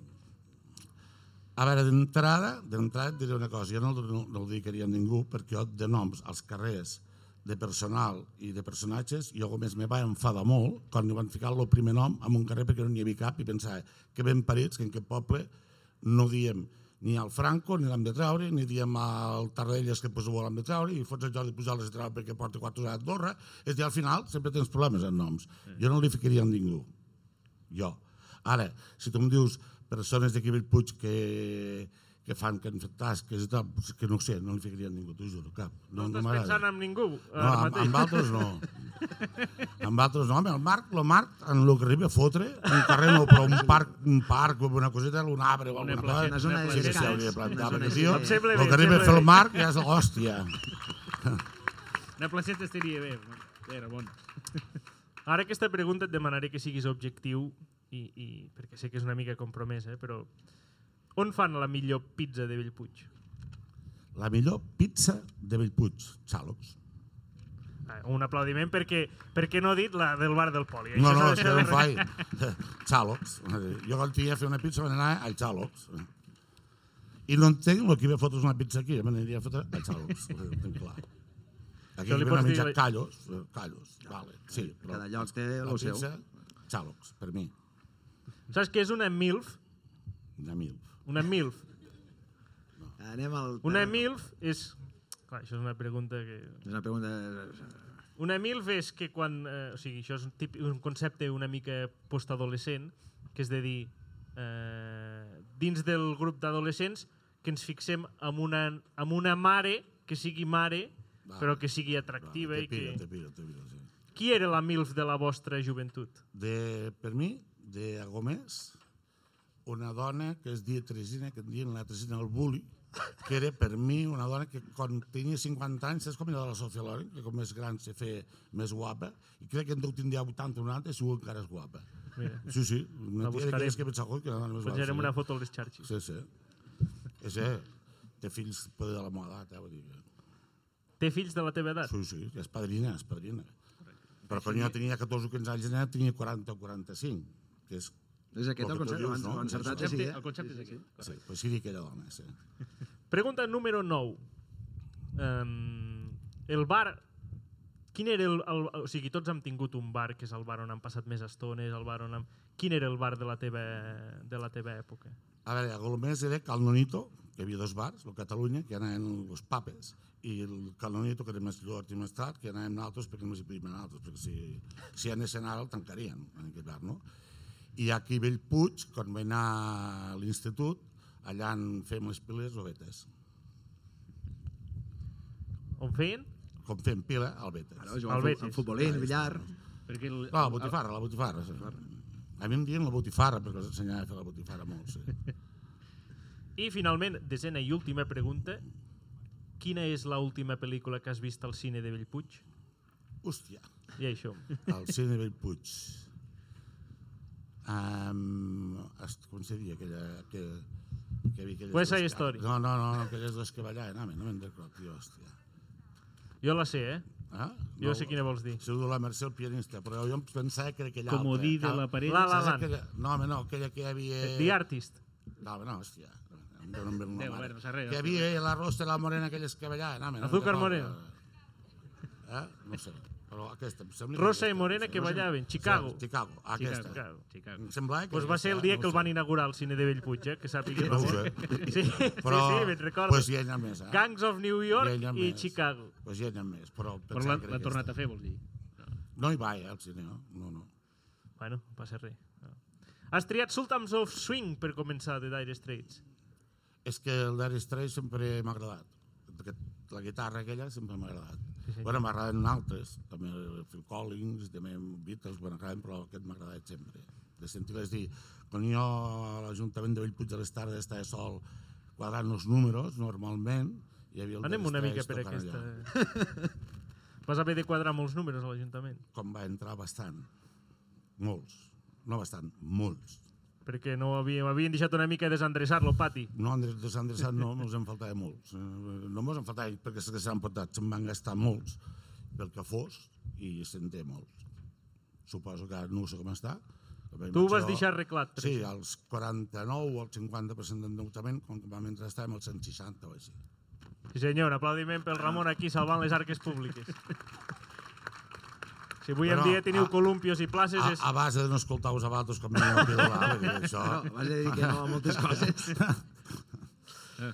H: A veure, d'entrada, d'entrada et diré una cosa, jo no, no, no ho dedicaria a ningú perquè jo de noms als carrers de personal i de personatges, jo com més me va enfadar molt quan li van ficar el primer nom en un carrer perquè no n'hi havia cap i pensava que ben parits, que en aquest poble no diem ni al Franco, ni l'hem de treure, ni diem al Tardellas que poseu l'hem de treure, i fots el Jordi Pujol a treure perquè porta quatre hores a Andorra. És a dir, al final sempre tens problemes en noms. Jo no li ficaria en ningú jo. Ara, si tu em dius persones d'aquí a Bellpuig que, que fan que han fet tasques i tal, doncs que no ho sé, no li ficaria a ningú, t'ho juro, cap.
B: No,
H: No, no
B: estàs pensant
H: m'agrada.
B: en ningú.
H: No, amb, amb altres no. amb altres no. Home, el Marc, el Marc, en el que arriba a fotre, un carrer no, però un parc, un parc, o una coseta, un arbre o alguna cosa.
C: Una zona de
H: Sí, sí, sí,
C: descans.
H: hauria de
C: Una
H: plantar,
C: zona
H: perquè,
C: així
H: tio,
C: de-
B: Sembla
H: el
B: bé,
H: que arriba a
B: sembla
H: fer el
B: bé.
H: Marc ja és l'hòstia.
D: Una placeta estaria bé. Era bon.
B: Ara aquesta pregunta et demanaré que siguis objectiu i, i perquè sé que és una mica compromesa, eh, però on fan la millor pizza de Bellpuig?
H: La millor pizza de Bellpuig, Xalops.
B: Ah, Un aplaudiment perquè, perquè no ha dit la del bar del Poli.
H: No,
B: Això
H: no,
B: s'ha
H: és
B: de
H: que
B: fer
H: no
B: de
H: em faig. Xalops. Jo quan tenia a fer una pizza van anar al Xalops. I no entenc el que ve a fotre's una pizza aquí, jo me n'aniria a fotre al Xalops. Ho tinc clar. Aquí
B: Això li
H: ve a
B: pots dir-
H: menjar callos, eh, callos, vale, sí, però
C: Cada lloc té
H: la
C: el seu.
H: pizza, Xalops, per mi,
B: res. Saps què és una MILF?
H: una mil.
B: Una MILF.
C: Anem al...
B: Una MILF és... Clar, això és una pregunta que...
C: És una pregunta...
B: Una MILF és que quan... Eh, o sigui, això és un, típic, un concepte una mica postadolescent, que és de dir, eh, dins del grup d'adolescents, que ens fixem en una, en una mare que sigui mare,
H: Vale.
B: però que sigui
H: Vale,
B: atractiva
H: te pillo,
B: i
H: te
B: que...
H: pillo, te pillo, sí.
B: Qui era la MILF de la vostra joventut?
H: de, per mi, de Gomés, una dona que es deia Teresina, que en diuen la Teresina el Bulli, que era per mi una dona que quan tenia 50 anys, saps com era la Sofia Loren, que com més gran se fe més guapa, i crec que en deu tindria 80 o 90 i segur que encara és guapa.
B: Mira,
H: Sí, sí, una tia
B: buscarem.
H: d'aquelles que pensa que era la més guapa.
B: penjarem una foto a les xarxes.
H: Sí, sí. Sí, sí. Té fills poder de la meva edat, eh? Vull dir que...
B: Té fills de la teva edat?
H: Sí, sí, és padrina, és padrina. Però quan jo tenia 14 o 15 anys, ja tenia 40 o 45, que és...
C: És aquest
H: Lo que
C: el
H: tu
C: concepte,
H: dius,
C: abans
H: no?
C: no? encertat.
H: El
C: Sí, eh?
D: El concepte és aquest.
H: Sí, pues sí, aquella dona, sí.
B: Pregunta número 9. Um, el bar... Quin era el, el, o sigui, tots hem tingut un bar, que és el bar on han passat més estones, el bar on hem... Quin era el bar de la teva, de la teva època?
H: A veure, a Golmés era Cal Nonito, que hi havia dos bars, el Catalunya, que anaven els papes, i el Cal Nonito, que era més lluort i més tard, que anàvem nosaltres perquè només hi podíem anar nosaltres, perquè si, si anessin ara el tancarien, en aquest bar, no? I aquí a Bellpuig, quan vaig anar a l'institut, allà en fem les piles o vetes.
B: On feien?
H: Com fem pila, al vetes.
C: Ara,
B: El
C: jugar al fu-
B: Betis.
C: al futbolín, billar...
D: Perquè el,
H: No, la Ah, botifarra, la botifarra, sí. A mi em diuen la botifarra, perquè els ensenyava a fer la botifarra molt, sí.
B: I finalment, desena i última pregunta. Quina és l'última pel·lícula que has vist al cine de Bellpuig?
H: Hòstia.
B: I això.
H: al cine Bellpuig. Um, com se diu aquella... Que, que vi aquelles
B: West Side
H: dues que-
B: Story.
H: No, no, no, aquelles dos que ballaven, home, no me'n recordo, tio, hòstia.
B: Jo la sé, eh?
H: Eh?
B: Jo sé quina vols dir.
H: Saludo la Mercè, el pianista, però jo em pensava que era aquella altra.
D: Comodí de
H: Cal-
D: la parella.
B: La La
H: Saps
B: Land.
H: aquella- No, home, no, aquella que hi havia...
B: The Artist.
H: No, home, no, hòstia. Em dono amb la
D: Déu,
H: mare.
D: bueno, no sé res,
H: que hi
D: no sé
H: havia la rosta, la morena, aquella escabellada. No, home, no,
B: Azúcar
H: no,
B: Moreno.
H: Eh? No sé. Però aquesta, em sembla... que
B: Rosa i
H: aquesta,
B: Morena
H: no sé.
B: que
H: Rosa i-
B: ballaven, Chicago.
H: Sí, Chicago, ah, aquesta.
B: Chicago.
D: Chicago.
H: Em sembla eh, que...
B: Pues va ser el dia que el van inaugurar al cine de Bellpuig, eh? que sàpiga.
H: No ho
B: Ramon.
H: sé.
B: Sí,
H: Però,
B: sí, sí, me'n recordo.
H: Pues hi ha anat més, eh?
B: Gangs of New York
H: Hi ha anat
B: i
H: més.
B: Chicago.
H: Pues hi ha anat més, però...
D: Però
H: pensava
D: l'ha
H: que era
D: l'ha tornat
H: aquesta.
D: a fer, vols dir?
H: No hi va, eh, al cine, no? No, no.
B: Bueno, no passa res. No. Has triat Sultans of Swing per començar de Dire Straits.
H: És que el Dire Straits sempre m'ha agradat. Aquest, la guitarra aquella sempre m'ha agradat. Sí, sí. Bueno, m'agraden altres, també Phil Collins, també Beatles, bueno, acaben, però aquest m'ha agradat sempre. De sentir-les dir, quan jo a l'Ajuntament de Bellpuig de les Tardes estava sol quadrant els números, normalment, hi havia el
B: Anem
H: Dire
B: una mica
H: Straits tocant
B: per aquesta...
H: Allà,
B: Vas haver de quadrar molts números a l'Ajuntament,
H: com va entrar bastant, molts, no bastant, molts.
B: perquè no havia, havien deixat una mica desendreçar-lo, pati.
H: No, Andrés de Sant Andrés no, mos en faltava molts. Eh, No mos en faltava perquè se que s'han portat, se'n van gastar molts pel que fos i se'n té molts. Suposo que ara no sé com està.
B: Tu ho vas deixar arreglat. per
H: Sí,
B: això.
H: als 49 o al 50% d'endeutament, com que vam entrar estàvem als 160 o així.
B: sí senyor, aplaudiment pel Ramon aquí salvant les arques públiques. Si avui en
H: Però,
B: dia teniu
H: a-
B: columpios i places,
H: A,
B: és...
H: a base de no escoltar-vos a vosaltres com venia a pidolar, vull dir, això...
I: No, vas a dir que no a moltes coses.
B: Eh,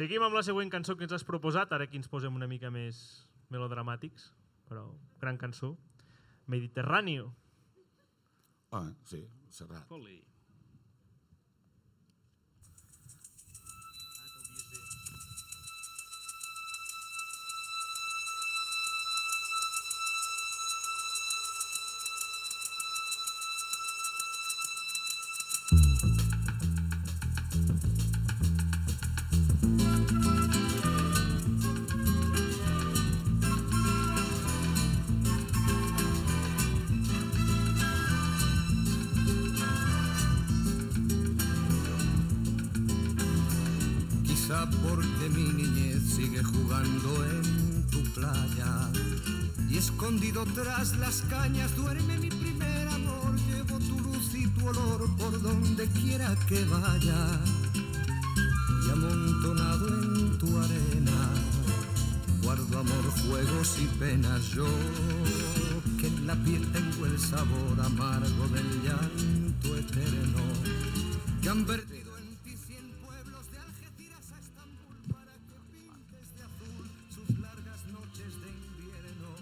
B: Seguim amb la següent cançó que ens has proposat, ara aquí ens posem una mica més melodramàtics, però gran cançó. Mediterráneo.
H: Ah, sí, serrat.
J: Quizá porque mi niñez sigue jugando en tu playa y escondido tras las cañas duerme mi primer amor. Llevo tu luz y tu olor por donde quiera que vaya y amontonado en tu arena guardo amor, juegos y penas. Yo que en la piel tengo el sabor amargo del llanto eterno que han perdido en ti cien pueblos de Algeciras a Estambul para que pintes de azul sus largas noches de invierno.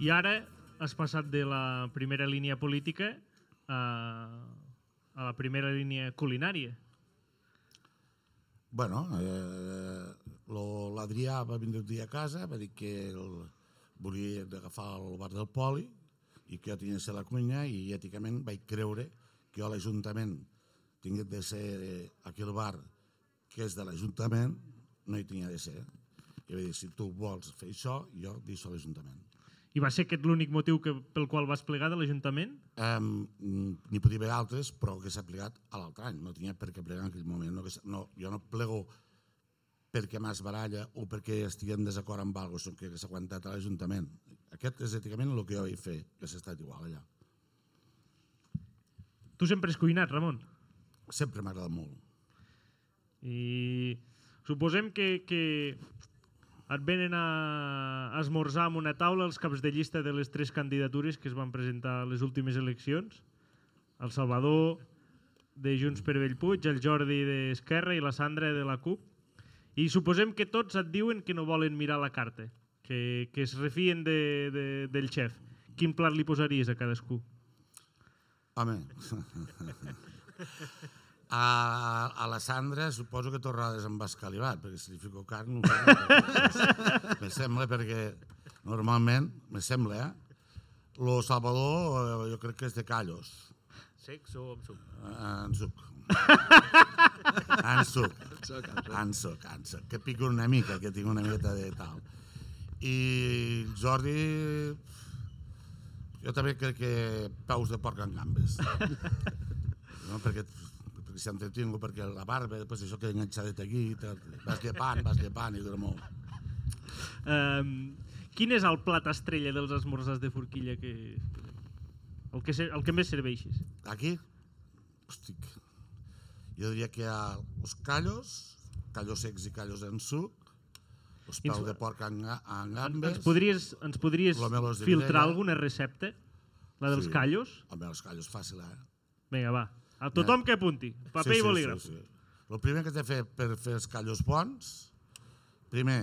B: I ara has passat de la primera línia política a, a la primera línia culinària.
H: Bueno, eh, lo- l'Adrià va vindre un dia a casa, va dir que el, volia agafar el bar del Poli i que jo tenia de ser la cuina i èticament vaig creure que jo a l'Ajuntament tingués de ser aquell bar que és de l'Ajuntament, no hi tenia de ser. I vaig dir, si tu vols fer això, jo deixo a l'Ajuntament.
B: I va ser aquest l'únic motiu que, pel qual vas plegar de l'Ajuntament?
H: Um, N'hi podia haver altres, però que s'ha plegat a l'altre any. No tenia per què plegar en aquell moment. No, hagués- no, jo no plego perquè m'has baralla o perquè estigui en desacord amb alguna cosa que s'ha aguantat a l'Ajuntament. Aquest és èticament el que jo vaig fer, que s'ha estat igual allà.
B: Tu sempre has cuinat, Ramon.
H: Sempre m'ha agradat molt.
B: I suposem que, que et venen a esmorzar amb una taula els caps de llista de les tres candidatures que es van presentar a les últimes eleccions. El Salvador de Junts per Bellpuig, el Jordi d'Esquerra i la Sandra de la CUP. I suposem que tots et diuen que no volen mirar la carta, que, que es refien de, de, del xef. Quin plat li posaries a cadascú?
H: Home. A, a la Sandra suposo que torrades amb escalivat, perquè si li fico carn... No ho farà. me sembla, perquè normalment, me sembla, eh? Lo Salvador eh, jo crec que és de callos,
K: Sex o amb suc?
H: eh, en suc. en suc. En suc, en suc. Que pico una mica, que tinc una miqueta de tal. I Jordi... Jo també crec que peus de porc en gambes. no? perquè, perquè s'hi entretingo, perquè la barba, després això queda enganxadet aquí, te- vas llepant, vas llepant i dura molt.
B: Um,
L: Quin és el plat estrella dels esmorzars de forquilla que... El que, ser- el que més serveixis?
H: Aquí, hosti, jo diria que hi ha els callos, callos secs i callos en suc, els
L: Ens-
H: peus de porc en, ga- en gambes...
L: Ens podries, ens podries
H: Lomelos de
L: filtrar
H: Vilella.
L: alguna recepta? La dels
H: Sí.
L: sí. callos?
H: Home, els callos fàcil, eh?
L: Vinga, va. A tothom que apunti. Paper sí, i bolígraf.
H: Sí, sí, sí. El primer que has de fer per fer els callos bons, primer,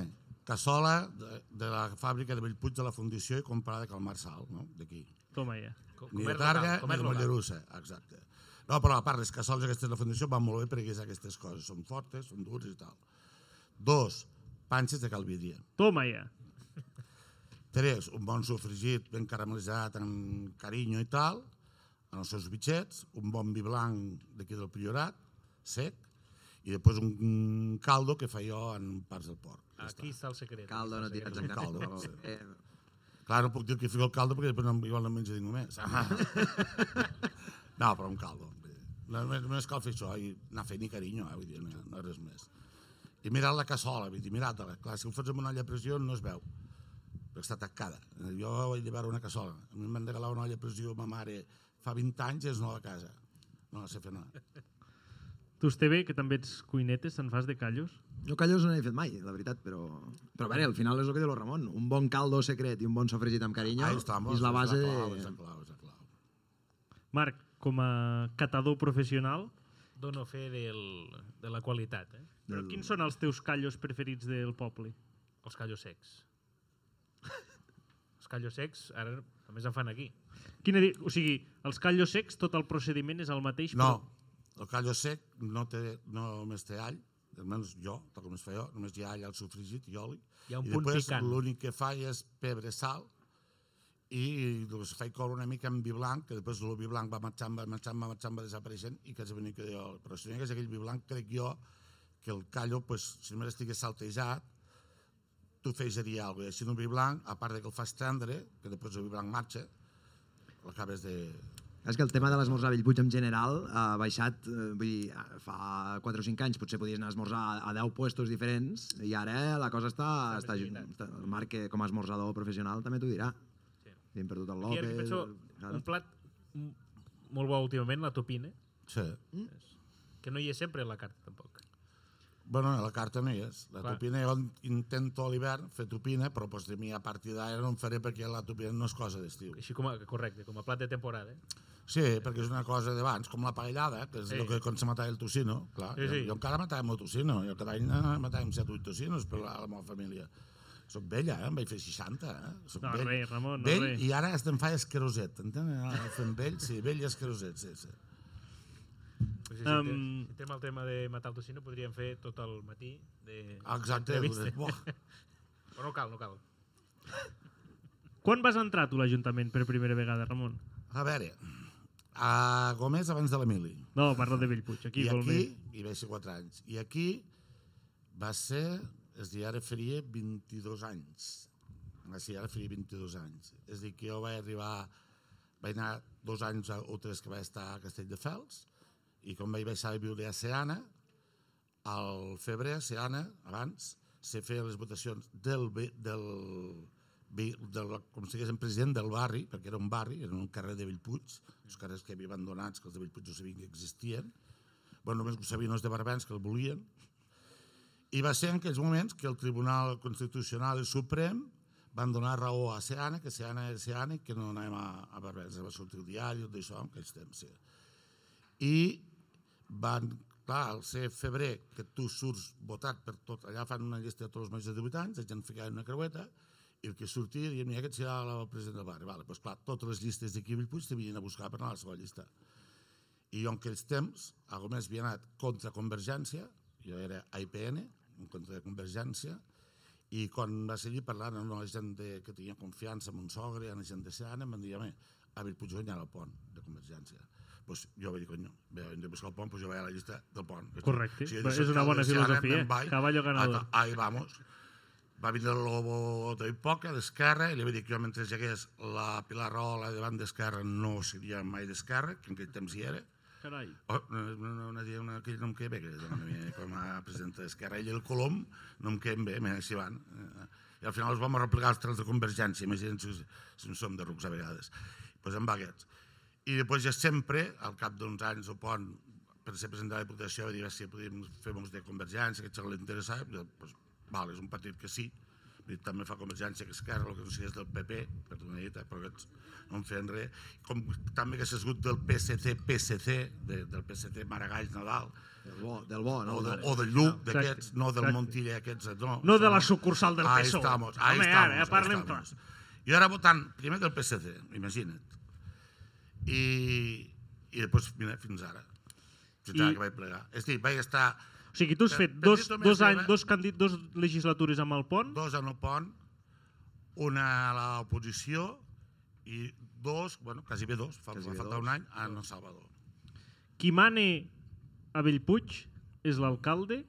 H: cassola de, de la fàbrica de Bellpuig de la Fundició i comprada de Calmar Sal, no? d'aquí.
L: Toma ja.
H: Ni de
B: Comer
H: Targa ni
B: local, comer
H: de
B: local.
H: Mollerussa, exacte. No, però a part, les cassoles aquestes de la Fundició van molt bé perquè és aquestes coses són fortes, són dures i tal. Dos, panxes de calvídria.
L: Toma ja.
H: Tres, un bon sofregit ben caramelitzat amb carinyo i tal, en els seus bitxets, un bon vi blanc d'aquí del Priorat, sec, i després un caldo que fa jo en parts del porc. Ja
B: Aquí està el secret.
C: Caldo,
B: aquí
C: no
B: està el
C: tires
H: un
C: en
H: caldo,
C: caldo.
H: sí.
C: Eh,
H: està. Clar, no puc dir que fico el caldo perquè després no, igual no menja ningú més.
C: Ah.
H: no, però un caldo. vull dir. Només, només cal fer això i anar fent i carinyo, eh? vull dir, no, no res més. I mirar la cassola, vull dir, mirar-te-la. Clar, si ho fots amb una olla a pressió no es veu, perquè està tancada. Jo vaig llevar una cassola. A mi em van regalar una olla a pressió ma mare fa 20 anys i és nova a casa. No la sé fer nada.
L: Tu, Esteve, que també ets cuinetes, te'n fas de callos?
C: Jo callos no n'he fet mai, la veritat, però... Però bé, al final és el que diu el Ramon. Un bon caldo secret i un bon sofregit amb carinyo
H: Ahí estamos,
C: és la base...
H: És la clau, és
C: de-
H: la clau, és la clau.
L: Marc, com a catador professional,
B: Dono fe del, de la qualitat, eh?
L: però quins són els teus callos preferits del poble?
B: Els callos secs. Els callos secs, ara només en fan aquí.
L: Quina, di- o sigui, els callos secs, tot el procediment és el mateix?
H: No, el callo sec no, té, no només té all, almenys jo, tal com es fa jo, només hi ha all al sofregit i oli.
B: Hi ha un
H: I
B: punt
H: després
B: picant.
H: l'únic que fa és pebre sal i es fa coure una mica amb vi blanc, que després el vi blanc va marxant, va marxant, va marxant, va desapareixent i que és venido que jo... Però si no hi hagués aquell vi blanc, crec jo que el callo, pues, si només estigués saltejat, tu feiseria alguna cosa. I així un vi blanc, a part de que el fas tendre, que després el vi blanc marxa, l'acabes de,
C: És que el tema de l'esmorzar a Bellpuig en general ha baixat, eh, vull dir, ah, fa 4 o 5 anys potser podies anar a esmorzar a 10 puestos diferents i ara eh, la cosa està... està, està el Marc, que com a esmorzador professional, també t'ho dirà. Sí. Hem perdut el
B: Aquí,
C: López...
B: aquí penso,
C: claro.
B: un plat m- molt bo últimament, la topina,
H: Sí.
B: que no hi és sempre a la carta, tampoc.
H: Bueno, a la carta no hi és. La
B: Clar.
H: tupina, jo intento a l'hivern fer tupina, però pues, de mi a partir d'ara no en faré perquè la tupina no és cosa d'estiu.
B: Així com a, correcte, com a plat de temporada. eh?
H: Sí, perquè és una cosa d'abans, com la paellada, que és
B: Sí.
H: sí. el que quan se matava el tocino. Clar,
B: Sí,
H: sí,
B: sí.
H: sí. Jo, jo encara matava molt tocino. Jo cada any eh, matàvem 7 o 8 tocinos per la, la meva família. Soc vella, eh? em vaig fer 60. Eh? Soc
L: No,
H: vell.
L: res, Ramon, no,
H: vell,
L: res.
H: I ara es em fa esqueroset, entenen? Ara Fem vell, sí, vell i esqueroset, sí, sí.
B: O sigui,
L: Em-
B: si, um... si entrem al tema de matar el tocino, podríem fer tot el matí. De...
H: Exacte.
B: Entrevista.
H: Buah,
B: Però no cal, no cal.
L: Quan vas entrar tu a l'Ajuntament per primera vegada, Ramon?
H: a veure, a Gomés abans de l'Emili.
L: No, parlo de Bellpuig, aquí,
H: Ah. I
L: vol
H: aquí,
L: més.
H: i vaig ser 4 anys. I aquí va ser, és a dir, ara faria 22 anys. Ah, sí, ara faria 22 anys. És a dir, que jo vaig arribar, vaig anar dos anys o tres que vaig estar a Castelldefels i com vaig baixar a viure a Seana, al febrer, a Seana, abans, se feien les votacions del, ve- del, vi- del, com si diguéssim, president del barri, perquè era un barri, era un carrer de Bellpuig, els carrers que havia abandonats, que els de Bellpuig no sabien que existien, bueno, només ho sabien els de Barbens, que el volien, i va ser en aquells moments que el Tribunal Constitucional i Suprem van donar raó a Seana, que Seana era Seana i que no anàvem a, a Barbens. Va sortir el diari, tot això, en aquells temps. Sí. I van, clar, al ser febrer, que tu surts votat per tot, allà fan una llista de tots els majors de 18 anys, la gent ficava en una creueta, i el que sortia dient, mira, aquest serà el president del barri. Vale, doncs clar, totes les llistes d'aquí a Bellpuig t'havien a buscar per anar a la seva llista. I jo en aquells temps, a Gomés havia anat contra Convergència, jo era IPN, en contra de Convergència, i quan va seguir parlant amb la gent de, que tenia confiança en un sogre, amb la gent de Seana, em van dir, home, a Bellpuig guanyarà el pont de Convergència. Pues jo vaig dir, conyo, bé, hem de buscar el pont, pues jo vaig a la llista del pont.
L: Correcte.
H: jo
L: Però
H: soc
L: és una bona
H: alcalde de Seana,
L: filosofia,
H: me'n vaig,
L: caballo ganador.
H: a- Ahí vamos. Va vindre el Lobo de Poca, d'Esquerra, i li vaig dir que jo mentre hi hagués la Pilar Rahola davant d'Esquerra no seria mai d'Esquerra, que en aquell temps hi era.
L: Carai.
H: Oh, no, no, no, no, no, aquell no em queda bé, que és, dona, a mi, com a presidenta d'Esquerra. Ell i el Colom no em queden bé, mira, així van. Eh, I al final els vam arreplegar els trets de convergència, imagina't si, si en som de rucs a vegades. Pues doncs, amb aquests. I després ja sempre, al cap d'uns anys o pont, per ser presentat a la Diputació, va dir "Va, si podíem fer uns de Convergència, que això li interessava, jo, pues, val, és un partit que sí, Vull dir, també fa Convergència que Esquerra, el que no sigui és del PP, perdona, Ita, però aquests no en feien res, com també que s'ha esgut del PSC, PSC, de, del PSC Maragall Nadal,
G: Del bo, del bo, no?
H: o, de,
G: del-
H: o del Lluc,
B: exacte,
H: d'aquests, no del
B: exacte.
H: Montilla, aquests, no.
B: No de la
H: Som-
B: sucursal del
H: Ahí
B: PSOE.
H: estamos, ahí
B: Home,
H: estamos.
B: ara, eh,
H: ahí
B: parlem
H: estamos. I ara votant primer del PSC, imagina't. I, i després, mira, fins ara. Fins
B: I-
H: ara que vaig plegar. És a dir, vaig estar
B: O sigui, tu has fet
H: Petito
B: dos, dos,
H: Mestre,
B: anys,
H: va.
B: dos, candid, dos legislatures amb el pont.
H: dos en el pont, una a l'oposició i dos, bueno, quasi bé dos, fa,
G: Quasi
H: va
G: bé
H: faltar
G: dos.
H: un any, a El Salvador.
B: Qui mane a Bellpuig és l'alcalde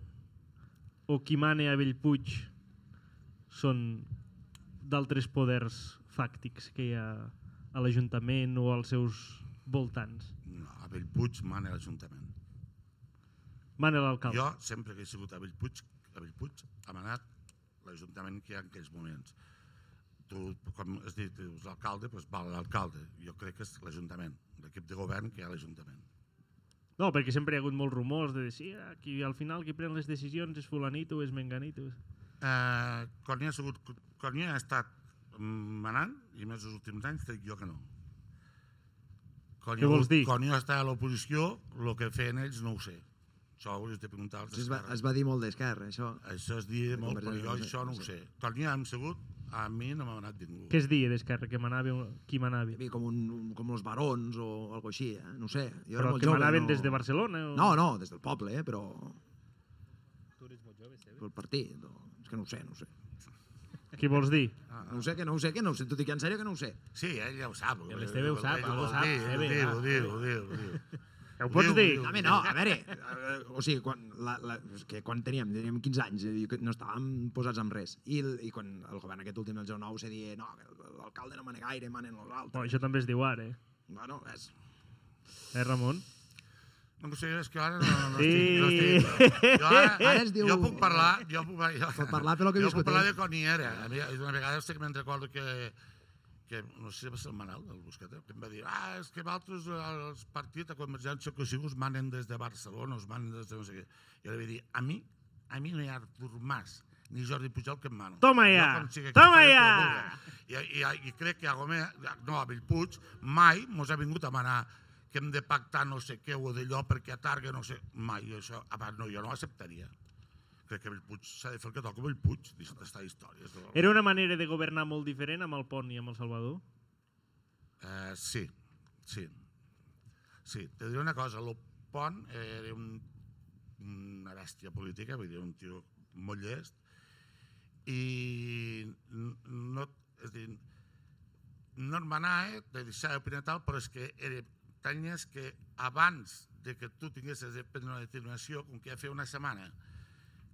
B: o qui mane a Bellpuig són d'altres poders fàctics que hi ha a l'Ajuntament o als seus voltants.
H: No, a Bellpuig mana l'Ajuntament.
B: Mana l'alcalde.
H: Jo, sempre que he sigut a Bellpuig, a Bellpuig ha manat l'Ajuntament que hi ha en aquells moments. Tu, com has dit, dius l'alcalde, doncs val l'alcalde. Jo crec que és l'Ajuntament, l'equip de govern que hi ha a l'Ajuntament.
B: No, perquè sempre hi ha hagut molts rumors de dir, sí, ah, qui, al final qui pren les decisions és fulanito, és menganito.
H: Eh, quan hi ha, sigut, quan hi ha estat manant, i més els últims anys, dic jo que no. Quan
B: Què vols dir?
H: Quan jo estava a l'oposició, el que feien ells no ho sé. Això ho hauries de preguntar als
G: Es va, es va dir molt d'esquerra, això.
H: Això és dir
G: De
H: molt, però
G: Convergència no sé,
H: jo això no
G: no
H: ho
G: sé.
H: sé. Quan hi ha hem sigut, a mi no m'ha manat ningú.
B: Què es deia d'Esquerra? Que manava, qui manava?
G: Hi havia com, un, un- com els barons o alguna així, eh? no ho sé. Jo era
B: Però
G: molt
B: que
G: jove,
B: manaven
G: no...
B: des de Barcelona? O...
G: No, no, des del poble, eh? però... Pel partit, o... és que no ho sé, no ho sé.
B: Què vols dir?
G: No ho sé, que no ho sé, que no ho sé. T'ho dic en sèrio que no ho sé.
H: Sí, ell ja ho sap.
D: L'Esteve ho sap, ho sap,
H: Ho
D: Esteve,
H: diu,
D: va,
H: ho diu, ho diu, ho diu. Ho
B: Ho pots
H: diu,
B: dir?
H: ho diu.
G: Home, no, a veure, eh, o sigui, quan, la, la, és que quan teníem, teníem 15 anys, eh, que no estàvem posats amb res. I, el- i quan el govern aquest últim del 09 se deia, no, que l'alcalde no mana gaire, manen els
B: Bueno,
G: altres.
B: això també es diu ara, eh?
G: Bueno, és...
B: Eh, Ramon?
H: No sé, és que ara no, no,
B: Sí.
H: estic, no estic. Jo, ara,
G: Ara es diu-
H: jo puc parlar, jo puc, jo,
G: Pot parlar pel que
H: jo
G: discutim.
H: puc parlar de quan hi era. A mi, una vegada sé que me'n recordo que, que no sé si va ser el Manel, el Busqueta, que em va dir, ah, és que vosaltres, eh, els partits a Convergència que us manen des de Barcelona, us manen des de no sé què. Jo li vaig dir, a mi, a mi no hi ha Artur Mas, ni Jordi Pujol que em manen.
B: Toma
H: Jo
B: ja,
H: com sigui que
B: toma
H: faré el que
B: ja.
H: vulgui. I, i, I crec que a Gomè, no, a Bellpuig, mai mos ha vingut a manar que hem de pactar no sé què o d'allò perquè a Targa no sé... Mai, jo això, a part, no, jo no ho acceptaria. Crec que Bellpuig s'ha de fer el que toca Bellpuig, deixa d'estar històries. No?
B: Era una manera de governar molt diferent amb el Pont i amb el Salvador?
H: Eh, sí, sí. Sí, te diré una cosa, el Pont eh, era un, una bèstia política, vull dir, un tio molt llest, i n- no, és a dir, no et manava de deixar d'opinar tal, però és que era, tenies que abans de que tu tinguessis de prendre una determinació, com que ja feia una setmana,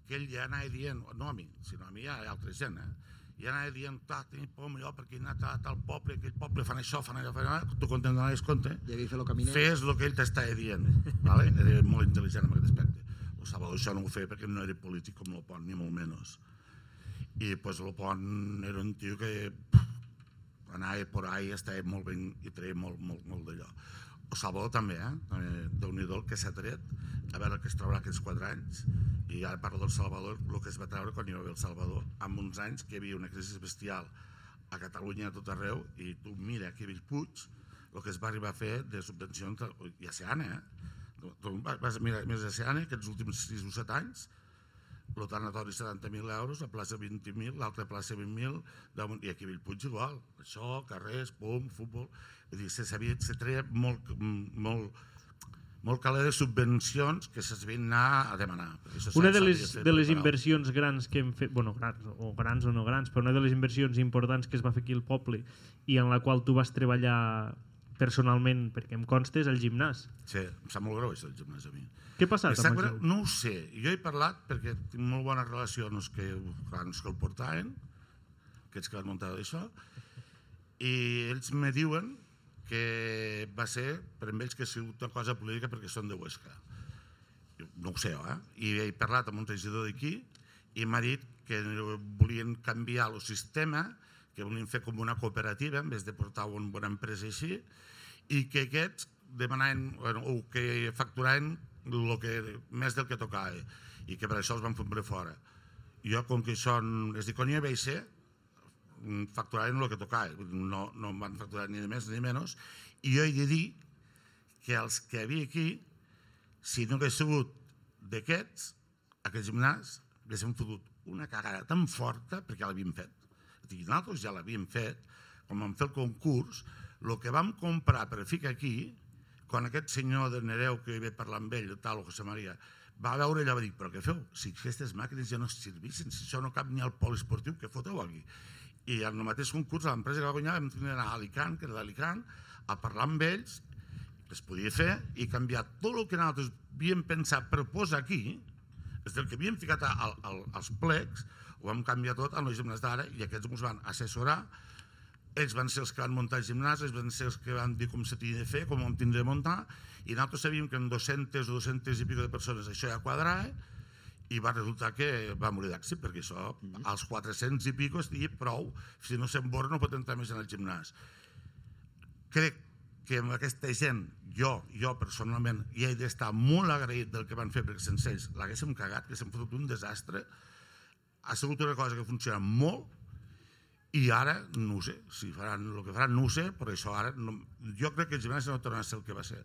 H: que ell ja anava dient, no a mi, sinó a mi hi ha altra gent, eh? i anava dient, ah, tinc por millor perquè he anat a tal poble, aquell poble fan això, fan allò, fan allò, tu quan te'n donaves compte,
G: I havia fet el caminer.
H: fes el que ell t'estava dient. Vale? Era molt intel·ligent en aquest aspecte. El Salvador això no ho feia perquè no era polític com el Pont, ni molt menys. I pues, el Pont era un tio que pff, anava por ahí, estava molt ben i treia molt, molt, molt d'allò. El Salvador també, eh? eh Déu-n'hi-do el que s'ha tret, a veure el que es traurà aquests quatre anys. I ara parlo del Salvador, el que es va treure quan hi va haver el Salvador, amb uns anys que hi havia una crisi bestial a Catalunya a tot arreu, i tu mira aquí a Bellpuig, el que es va arribar a fer de subvencions de- i a Seana, eh? Tu- Tu vas- vas a mirar més a Seana, aquests últims 6 o 7 anys, el tanatori 70.000 euros, la plaça 20.000, l'altra plaça 20.000, damunt- i aquí a Bellpuig igual. Això, carrers, pum, futbol... Vull dir, se sabia, se treia molt, mm, molt, molt caler de subvencions que se'ls havien anar a demanar. perquè això
B: Una de
H: s'havia
B: les,
H: fet
B: de les
H: preparar.
B: inversions grans que hem fet, bueno, grans, o grans o no grans, però una de les inversions importants que es va fer aquí al poble i en la qual tu vas treballar personalment, perquè em consta, és el gimnàs.
H: Sí, em sap molt greu això del gimnàs a mi.
B: Què ha passat
H: Em sap
B: amb
H: greu?
B: això?
H: No ho sé. Jo he parlat perquè tinc molt bones relacions que, clar, els que el portaven, aquests que van muntar això, i ells me diuen que va ser per a ells que ha sigut una cosa política perquè són de Huesca. Jo No ho sé, eh? I he parlat amb un regidor d'aquí i m'ha dit que volien canviar el sistema, que volien fer com una cooperativa en vez de portar un bona empresa així, i que aquests demanaven, bueno, o que facturaven lo que, més del que tocava i que per això els van fer fora. Jo, com que són, es dic, on hi ser, facturaven el que tocava, vull dir, no, no em van facturar ni de més ni de menys, i jo he de dir que els que havia aquí, si no hagués sigut d'aquests, aquest gimnàs, haguéssim fotut una cagada tan forta perquè ja l'havíem fet. És a dir, nosaltres ja l'havíem fet, quan vam fer el concurs, el que vam comprar per ficar aquí, quan aquest senyor de Nereu, que ve parlar amb ell, tal, o José Maria, va veure allò i va dir, però què feu? Si aquestes màquines ja no servissin, si això no cap ni al poliesportiu, què foteu aquí? I en el mateix concurs, l'empresa que va guanyar, vam tenir a Alicant, que era d'Alicant, a parlar amb ells, que es podia fer, i canviar tot el que nosaltres havíem pensat per posar aquí, és del que havíem ficat al, al, als plecs, ho vam canviar tot en el gimnàs d'ara, i aquests ens van assessorar, ells van ser els que van muntar el gimnàs, ells van ser els que van dir com s'havia de fer, com ho tindria de muntar, i nosaltres sabíem que amb 200 o 200 i pico de persones això ja quadrava, i va resultar que va morir d'èxit, perquè això, als 400 i pico, es digui prou, si no s'emborra no pot entrar més en el gimnàs. Crec que amb aquesta gent, jo, jo personalment, ja he d'estar molt agraït del que van fer, perquè sense ells l'haguéssim cagat, que s'han fotut un desastre, ha sigut una cosa que funciona molt, i ara, no ho sé, si faran el que faran, no ho sé, però això ara, no, jo crec que el gimnàs no tornarà a ser el que va ser,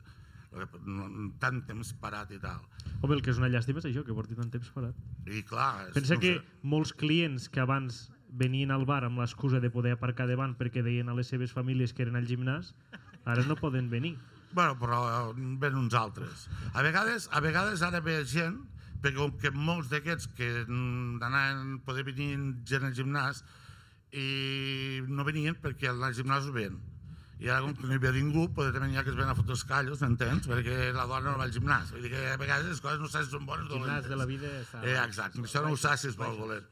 H: el que- no- tant temps parat i tal.
L: Home, el que és una llàstima és això, que porti tant temps parat.
H: I clar, és-
L: Pensa
H: no ho
L: que
H: sé.
L: molts clients que abans venien al bar amb l'excusa de poder aparcar davant perquè deien a les seves famílies que eren al gimnàs, ara no poden venir.
H: Bueno, però eh, ven uns altres. A vegades, a vegades ara ve gent, perquè com que molts d'aquests que mm, anaven, poder venir gent al gimnàs, i no venien perquè al gimnàs ho ven. I ara com que no hi ve ningú, poder també hi ha que es ven a fotre els callos, m'entens? Perquè la dona no va al gimnàs. Vull dir que a vegades les coses no saps si són bones o
M: gimnàs
H: dolentes.
M: de la vida està...
H: Eh, exacte, això no ho saps si es vol voler.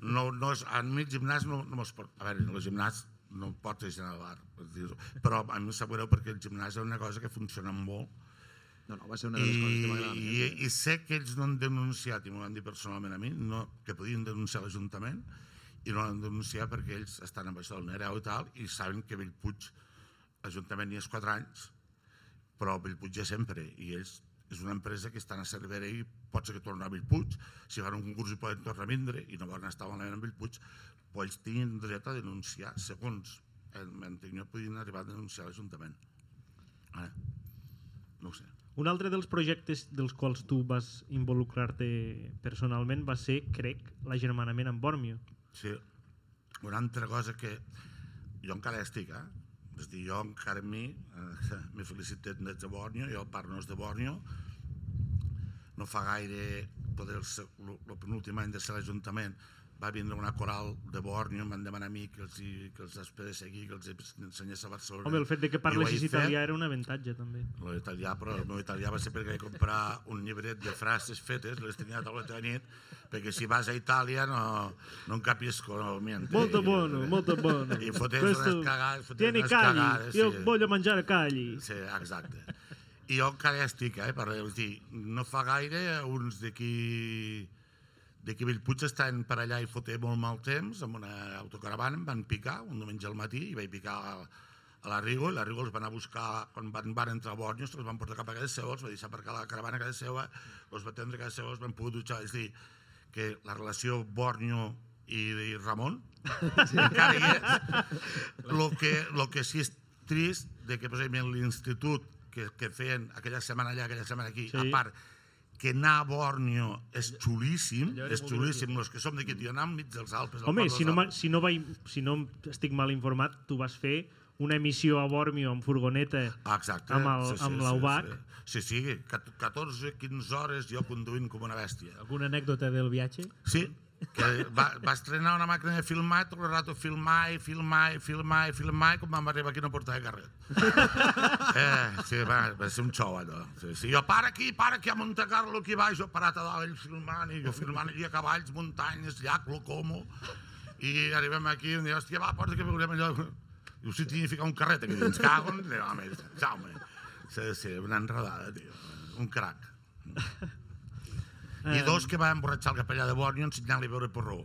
H: No, no és, en mig gimnàs no, no es pot... A veure, el gimnàs no em porta gent al bar, per dir-ho. però a mi em sap greu perquè el gimnàs és una cosa que funciona molt.
G: No, no, va ser una de les coses que m'agraden. eh?
H: I, i, I sé que ells no han denunciat, i m'ho van dir personalment a mi, no, que podien denunciar a l'Ajuntament, i no l'han denunciat perquè ells estan amb això del Nereu i tal, i saben que Bellpuig, l'Ajuntament hi és 4 anys, però Bellpuig és sempre, i ells és una empresa que estan a Cervera i pot ser que torni a Bellpuig, si fan un concurs i poden tornar a vindre i no van estar malament en Bellpuig, però ells tinguin dret a denunciar, segons entenc jo, podien arribar a denunciar a l'Ajuntament. Ara, no ho sé.
L: Un altre dels projectes dels quals tu vas involucrar-te personalment va ser, crec, l'agermanament amb Bormio.
H: Sí. Una altra cosa que jo encara estic, eh? És a dir, jo encara a mi, eh, m'he felicitat des de Borneo, jo parlo no és de Borneo, no fa gaire, poder el, se- lo- lo penúltim any de ser a l'Ajuntament, va vindre una coral de Borneo, em van demanar a mi que els, hi- que els després de seguir, que els hi ensenyés a Barcelona.
L: Home, el fet de
H: I
L: que
H: ho
L: parlessis
H: he fet.
L: italià era un avantatge, també.
H: Lo italià, però el meu italià va ser perquè vaig comprar un llibret de frases fetes, les tenia a taula de nit, perquè si vas a Itàlia no, no capisco, no miente.
L: Molto buono, molto buono.
H: I fotés
L: Questo
H: unes cagades, fotés
L: tiene
H: unes
L: calli,
H: cagades,
L: io
H: sí.
L: voglio mangiare calli.
H: Sí, exacte. I jo encara hi estic, eh? Per dir, no fa gaire, uns d'aquí d'aquí a Bellpuig estaven per allà i foté molt mal temps, amb una autocaravana, em van picar un diumenge al matí i vaig picar a, a la Rigo, i la Rigo els van a buscar, quan van, van entrar a Borneo, els van portar cap a casa seva, els va deixar aparcar la caravana a casa seva, els va atendre a casa seva, els van poder dutxar, és a dir, que la relació Borneo i, i Ramon encara hi és. Lo que, lo que sí és trist de que, per exemple, l'institut que, que feien aquella setmana allà, aquella setmana aquí, sí. a part, que anar a Borneo és xulíssim,
L: allò era
H: és
L: molt
H: xulíssim, els que som d'aquí, tio, anar enmig dels Alpes. al
L: Home,
H: Parc
L: si
H: dels
L: no, ma- si, no vaig, si no estic mal informat, tu vas fer una emissió a Bormio amb furgoneta
H: Ah, Exacte.
L: amb, el, amb l'Aubac.
H: Sí, sí, sí, cat- 14, 15 hores jo conduint com una bèstia.
M: Alguna anècdota del viatge?
H: Sí, que va, va estrenar una màquina de filmar, i tot el rato filmar i filmar i filmar i filmar i quan vam arribar aquí no portava carret. eh, sí, va, va ser un xou, allò. Sí, sí, jo, para aquí, para aquí, a Monte Carlo, aquí baix, jo parat a dalt, ell filmant, i jo filmant allí a cavalls, muntanyes, llac, lo como, i arribem aquí i em diu, hòstia, va, porta que veurem allò. Diu, si t'hi ficar un carret aquí dins, cago en... Diu, home, xau-me. Sí, sí, una enredada, tio. Un crac. I
B: Eh.
H: dos que va emborratxar el capellà de Borneo ensenyant-li a veure porró.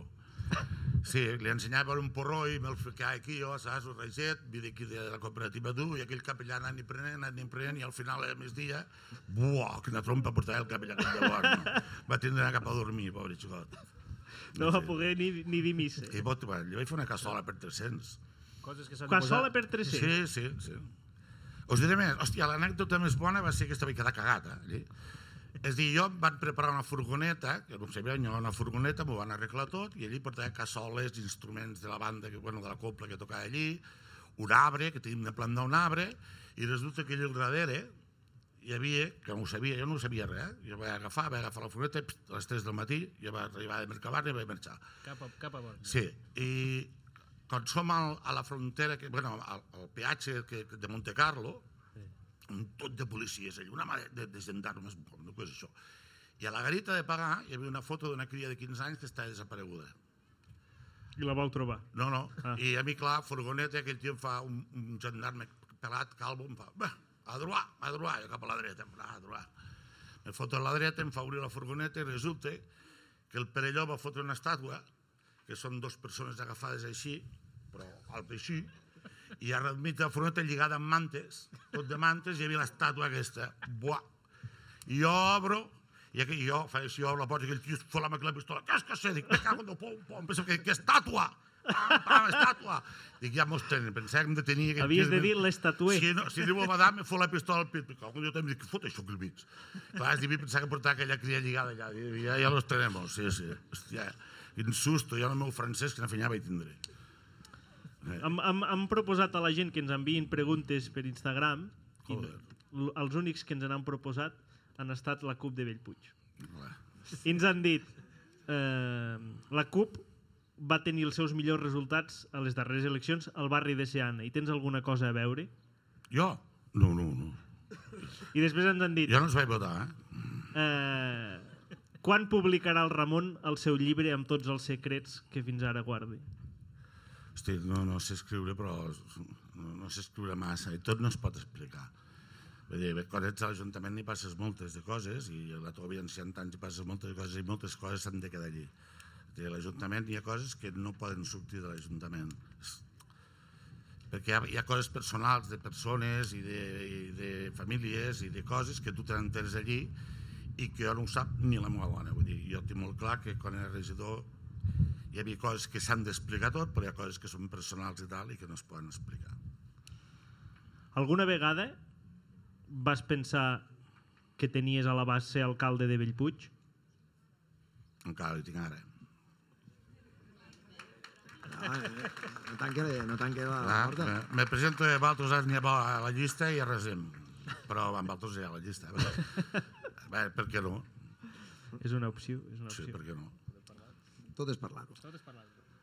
H: Sí, li ensenyava a veure un porró i me'l ficava aquí, jo, saps, un reixet, vinc aquí de la cooperativa dur, i aquell capellà anant i prenent, anant i prenent, i al final, eh, a migdia, buah, quina trompa portava el capellà aquest de Borneo. Va tindre d'anar cap a dormir, pobre xicot.
B: No va poder ni, ni dir missa.
H: I vot, va, li vaig fer una cassola per 300.
B: Coses que s'han de Cassola posar- per 300.
H: Sí, sí, sí. Us diré més, hòstia, l'anècdota més bona va ser que estava quedar cagat, eh? allí. És a dir, jo em van preparar una furgoneta, que com sabia, jo una furgoneta, m'ho van arreglar tot, i allí portava cassoles, instruments de la banda, que, bueno, de la copla que tocava allí, un arbre, que tenim de plantar un arbre, i resulta que allà al darrere hi havia, que no ho sabia, jo no ho sabia res, eh? jo vaig agafar, vaig agafar la furgoneta, pst, a les 3 del matí, jo vaig arribar de Mercabarna i vaig marxar.
B: Cap a, cap a Born.
H: Sí, i quan som al, a la frontera, que, bueno, al, al peatge que, que de Monte Carlo, un tot de policies allà, una mà de, de, de gendarmes, com no és això. I a la garita de pagar hi havia una foto d'una cria de 15 anys que estava desapareguda.
B: I la vau trobar.
H: No, no. Ah. I a mi, clar, furgoneta, aquell tio em fa un, un gendarme pelat, calvo, em fa, "Bah, a droar, a droar, jo cap a la dreta, em fa, "Ah, a droar. Me foto a la dreta, em fa obrir la furgoneta i resulta que el Perelló va fotre una estàtua, que són dues persones agafades així, però alta així, i ara al mig de la furgoneta lligada amb mantes, tot de mantes, hi havia l'estàtua aquesta. Buah! I jo obro, i aquí, jo faig així, obro la porta, i aquell tio es fola amb la pistola, què és que sé? Dic, me cago en el pom, pom, pensava que, que estàtua! Pam, pam, estàtua! Dic, ja mos tenen, pensava que hem de tenir... aquell
B: Havies
H: tio
B: de
H: que-
B: dir l'estatuer.
H: Sí, no, si diu el madame, me fot la pistola al pit. Algun dia també dic, què fot això aquí al mig? Clar, és dir, pensar que portava aquella cria lligada allà. Dic, Ja, ja los tenemos, sí, sí. Hòstia, quin susto, jo en el meu francès que n'afanyava vaig tindré.
B: Hem, hem, hem proposat a la gent que ens enviïn preguntes per Instagram i l- els únics que ens n'han proposat han estat la CUP de Bellpuig. I ens han dit eh, la CUP va tenir els seus millors resultats a les darreres eleccions al barri de Seana. Hi tens alguna cosa a veure?
H: Jo? No, no, no.
B: I després ens han dit...
H: Jo no els vaig votar, eh?
B: Eh, quan publicarà el Ramon el seu llibre amb tots els secrets que fins ara guardi?
H: Hosti, no, no sé escriure, però no, no sé escriure massa i tot no es pot explicar. Vull dir, bé, quan ets a l'Ajuntament n'hi passes moltes de coses i a la teva vida en 100 anys hi passes moltes de coses i moltes coses s'han de quedar allí. Vull dir, A l'Ajuntament hi ha coses que no poden sortir de l'Ajuntament. És- Perquè hi ha, hi ha coses personals de persones i de, i de famílies i de coses que tu te n'entens allí i que jo no ho sap ni la meva dona. Vull dir, jo tinc molt clar que quan era regidor hi havia coses que s'han d'explicar tot, però hi ha coses que són personals i tal i que no es poden explicar.
B: Alguna vegada vas pensar que tenies a la base alcalde de Bellpuig?
H: Encara hi tinc ara. eh?
G: Ah, eh, no tanque, no tanque la, la
H: Ah,
G: porta.
H: eh, me presento a Baltos ni a Ba- a la llista i arrasem. Però amb Baltos ja a la llista. eh? Bé, bé, per què no?
B: És una opció. És una
H: opció. Sí, per què no?
G: Tot és parlar.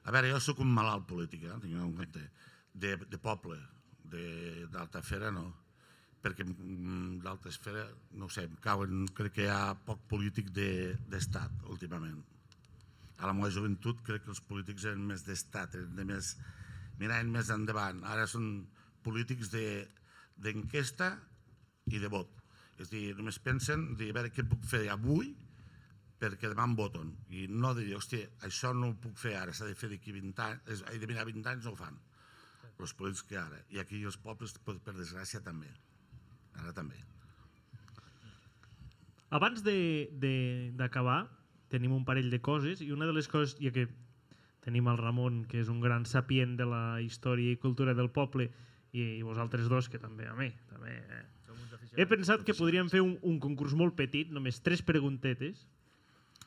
H: A veure, jo sóc un malalt polític, eh? tinc un compte. De, de poble, de- d'alta esfera no. Perquè mm, d'alta esfera, no ho sé, em cauen, crec que hi ha poc polític de- d'estat de, últimament. A la meva joventut crec que els polítics eren més d'estat, eren de més, miraven més endavant. Ara són polítics de- d'enquesta de, i de vot. És a dir, només pensen, dir, a veure què puc fer avui perquè demà em voten. I no de dir, hòstia, això no ho puc fer ara, s'ha de fer d'aquí 20 anys, és- he de mirar 20 anys no ho fan. Els polítics que ara. I aquí els pobles, per per desgràcia, també. Ara també.
B: Abans de- de- d'acabar, tenim un parell de coses, i una de les coses, ja que tenim el Ramon, que és un gran sapient de la història i cultura del poble, i, i vosaltres dos, que també, a mi, també... Eh. He pensat que podríem fer un, un concurs molt petit, només tres preguntetes.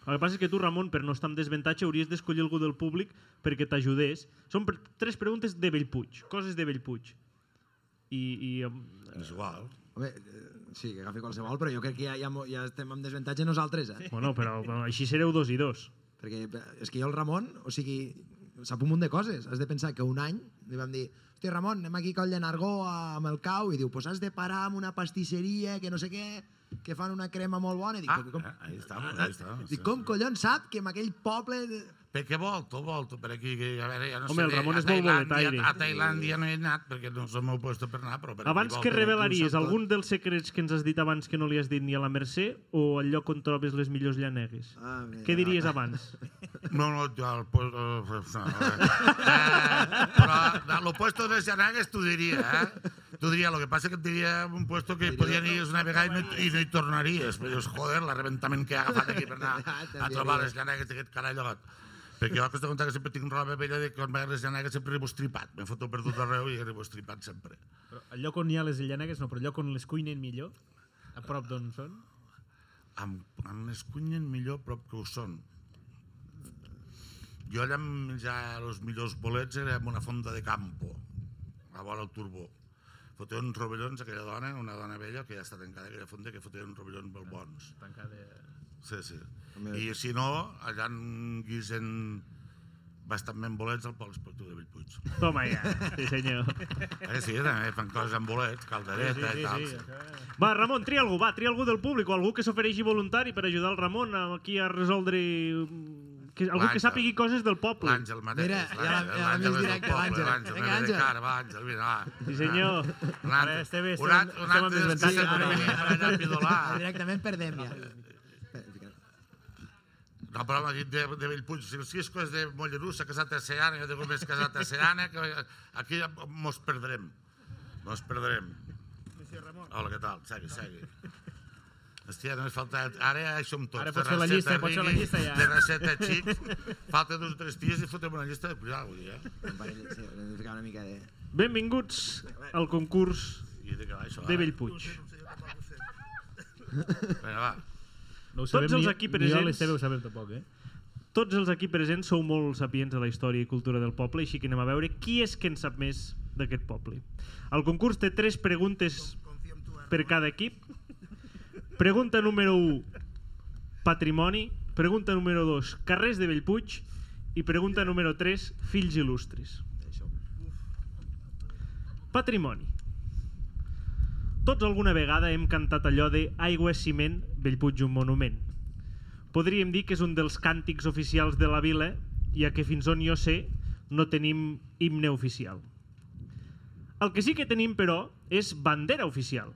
B: El que passa és que tu, Ramon, per no estar en desavantatge, hauries d'escollir algú del públic perquè t'ajudés. Són per, tres preguntes de Bellpuig, coses de Bellpuig. I, i
H: és igual.
G: Home, eh, sí, que agafi qualsevol, però jo crec que ja, ja, mo- ja estem amb desavantatge nosaltres, eh?
B: Bueno, però bueno, així sereu dos i dos.
G: Perquè eh, és que jo el Ramon, o sigui, sap un munt de coses. Has de pensar que un any li vam dir hòstia, Ramon, anem aquí a Coll de Nargó a- amb el cau, i diu, pues has de parar amb una pastisseria que no sé què, que fan una crema molt bona. I dic,
H: Ah,
G: "Però com,
H: eh, ahí està, ahí està.
G: dic, com collons sap que en aquell poble... de-"
H: Perquè volto, volto per aquí, que a veure, ja no
B: Home, el
H: sé,
B: Ramon
H: a
B: és molt eh?
H: Tailàndia-
B: boletaire.
H: A Tailàndia no he anat, perquè no és el meu lloc per anar, però... Per aquí
B: Abans
H: volto,
B: que
H: aquí ho
B: revelaries
H: sento.
B: algun dels secrets que ens has dit abans que no li has dit ni a la Mercè o al lloc on trobes les millors llanegues?
H: Ah, mira.
B: Què diries abans?
H: No, no, jo al puesto... eh, eh, però a lo puesto de Xanagues t'ho diria, eh? T'ho diria, lo que passa que et diria un puesto que podien ir una vegada i no, i no hi tornaries. Però dius, joder, l'arrebentament que he agafat aquí per anar a trobar les llanegues d'aquest carallot. Perquè jo, que de compte que sempre tinc roba vella de quan m'agraden les llanegues sempre arribo estripat. M'he fotut per tot arreu i arribo estripat sempre.
M: Però el lloc on hi ha les llanegues no, però el lloc on les cuinen millor, a prop d'on són.
H: Em, em les cunyen millor a prop que ho són. Jo allà em menjava els millors bolets era en una fonda de campo, a vora el turbó. Fotia uns rovellons a aquella dona, una dona vella, que ja està tancada aquella fonda, que fotia uns rovellons molt bons.
B: Tancada...
H: Sí, sí. I si no, allà en guisen bastantment bolets al Pol Esportiu de Bellpuig.
B: Toma ja, sí senyor.
H: Eh, sí, també fan coses amb bolets, caldereta
B: Sí, sí,
H: i tal.
B: sí, sí. Va, Ramon, tria algú, va, tria algú del públic o algú que s'ofereixi voluntari per ajudar el Ramon a- aquí a resoldre... mm, Que, algú que
H: L'Àngel.
B: sàpigui coses del poble.
H: L'Àngel mateix.
B: Mira, ja la- ja la
H: L'Àngel
B: més
H: és del
B: directa,
H: poble,
B: l'Àngel.
H: L'Àngel,
B: Vinga,
H: mira, de
B: Àngel.
H: cara, va, Àngel, vina, va.
B: Sí, senyor.
H: Un
B: Ara,
H: altre,
B: este bé,
H: un
B: estem-
H: altre, un
B: estem en
H: altre
B: desventaja.
H: desventaja per venir a venir a pidolar.
G: Directament perdem ja.
H: No, però home, dit de, de Bellpuig, si els cisco és de Mollerús, s'ha casat a Seana, jo dic com és casat a Seana, que aquí ja mos perdrem. Mos perdrem. Hola, què tal? Segui, segui. Hòstia, només falta... Ara ja som tots.
M: Ara
H: de
M: pots fer la
H: receta
M: llista, pots fer la
H: Rigui,
M: llista ja.
H: De receta xic. Falta dos o tres dies i fotem una llista de pujar, vull dir, eh?
G: Un parell, sí, haurem de ficar una mica de...
B: Benvinguts al concurs
H: I de què va, això, eh?"
B: de
H: ara?
B: Bellpuig.
H: Vinga, va.
B: No ho sabem Tots els ni- aquí ni jo presents- l'Esteve ho
M: sabem tampoc, eh?
B: Tots els aquí presents sou molt sapients de la història i cultura del poble, així que anem a veure qui és que en sap més d'aquest poble. El concurs té tres preguntes per cada equip. Pregunta número 1, patrimoni. Pregunta número 2, carrers de Bellpuig. I pregunta número 3, fills il·lustres. Patrimoni. Tots alguna vegada hem cantat allò de Aigua és ciment, Bellpuig un monument. Podríem dir que és un dels càntics oficials de la vila, ja que fins on jo sé no tenim himne oficial. El que sí que tenim, però, és bandera oficial.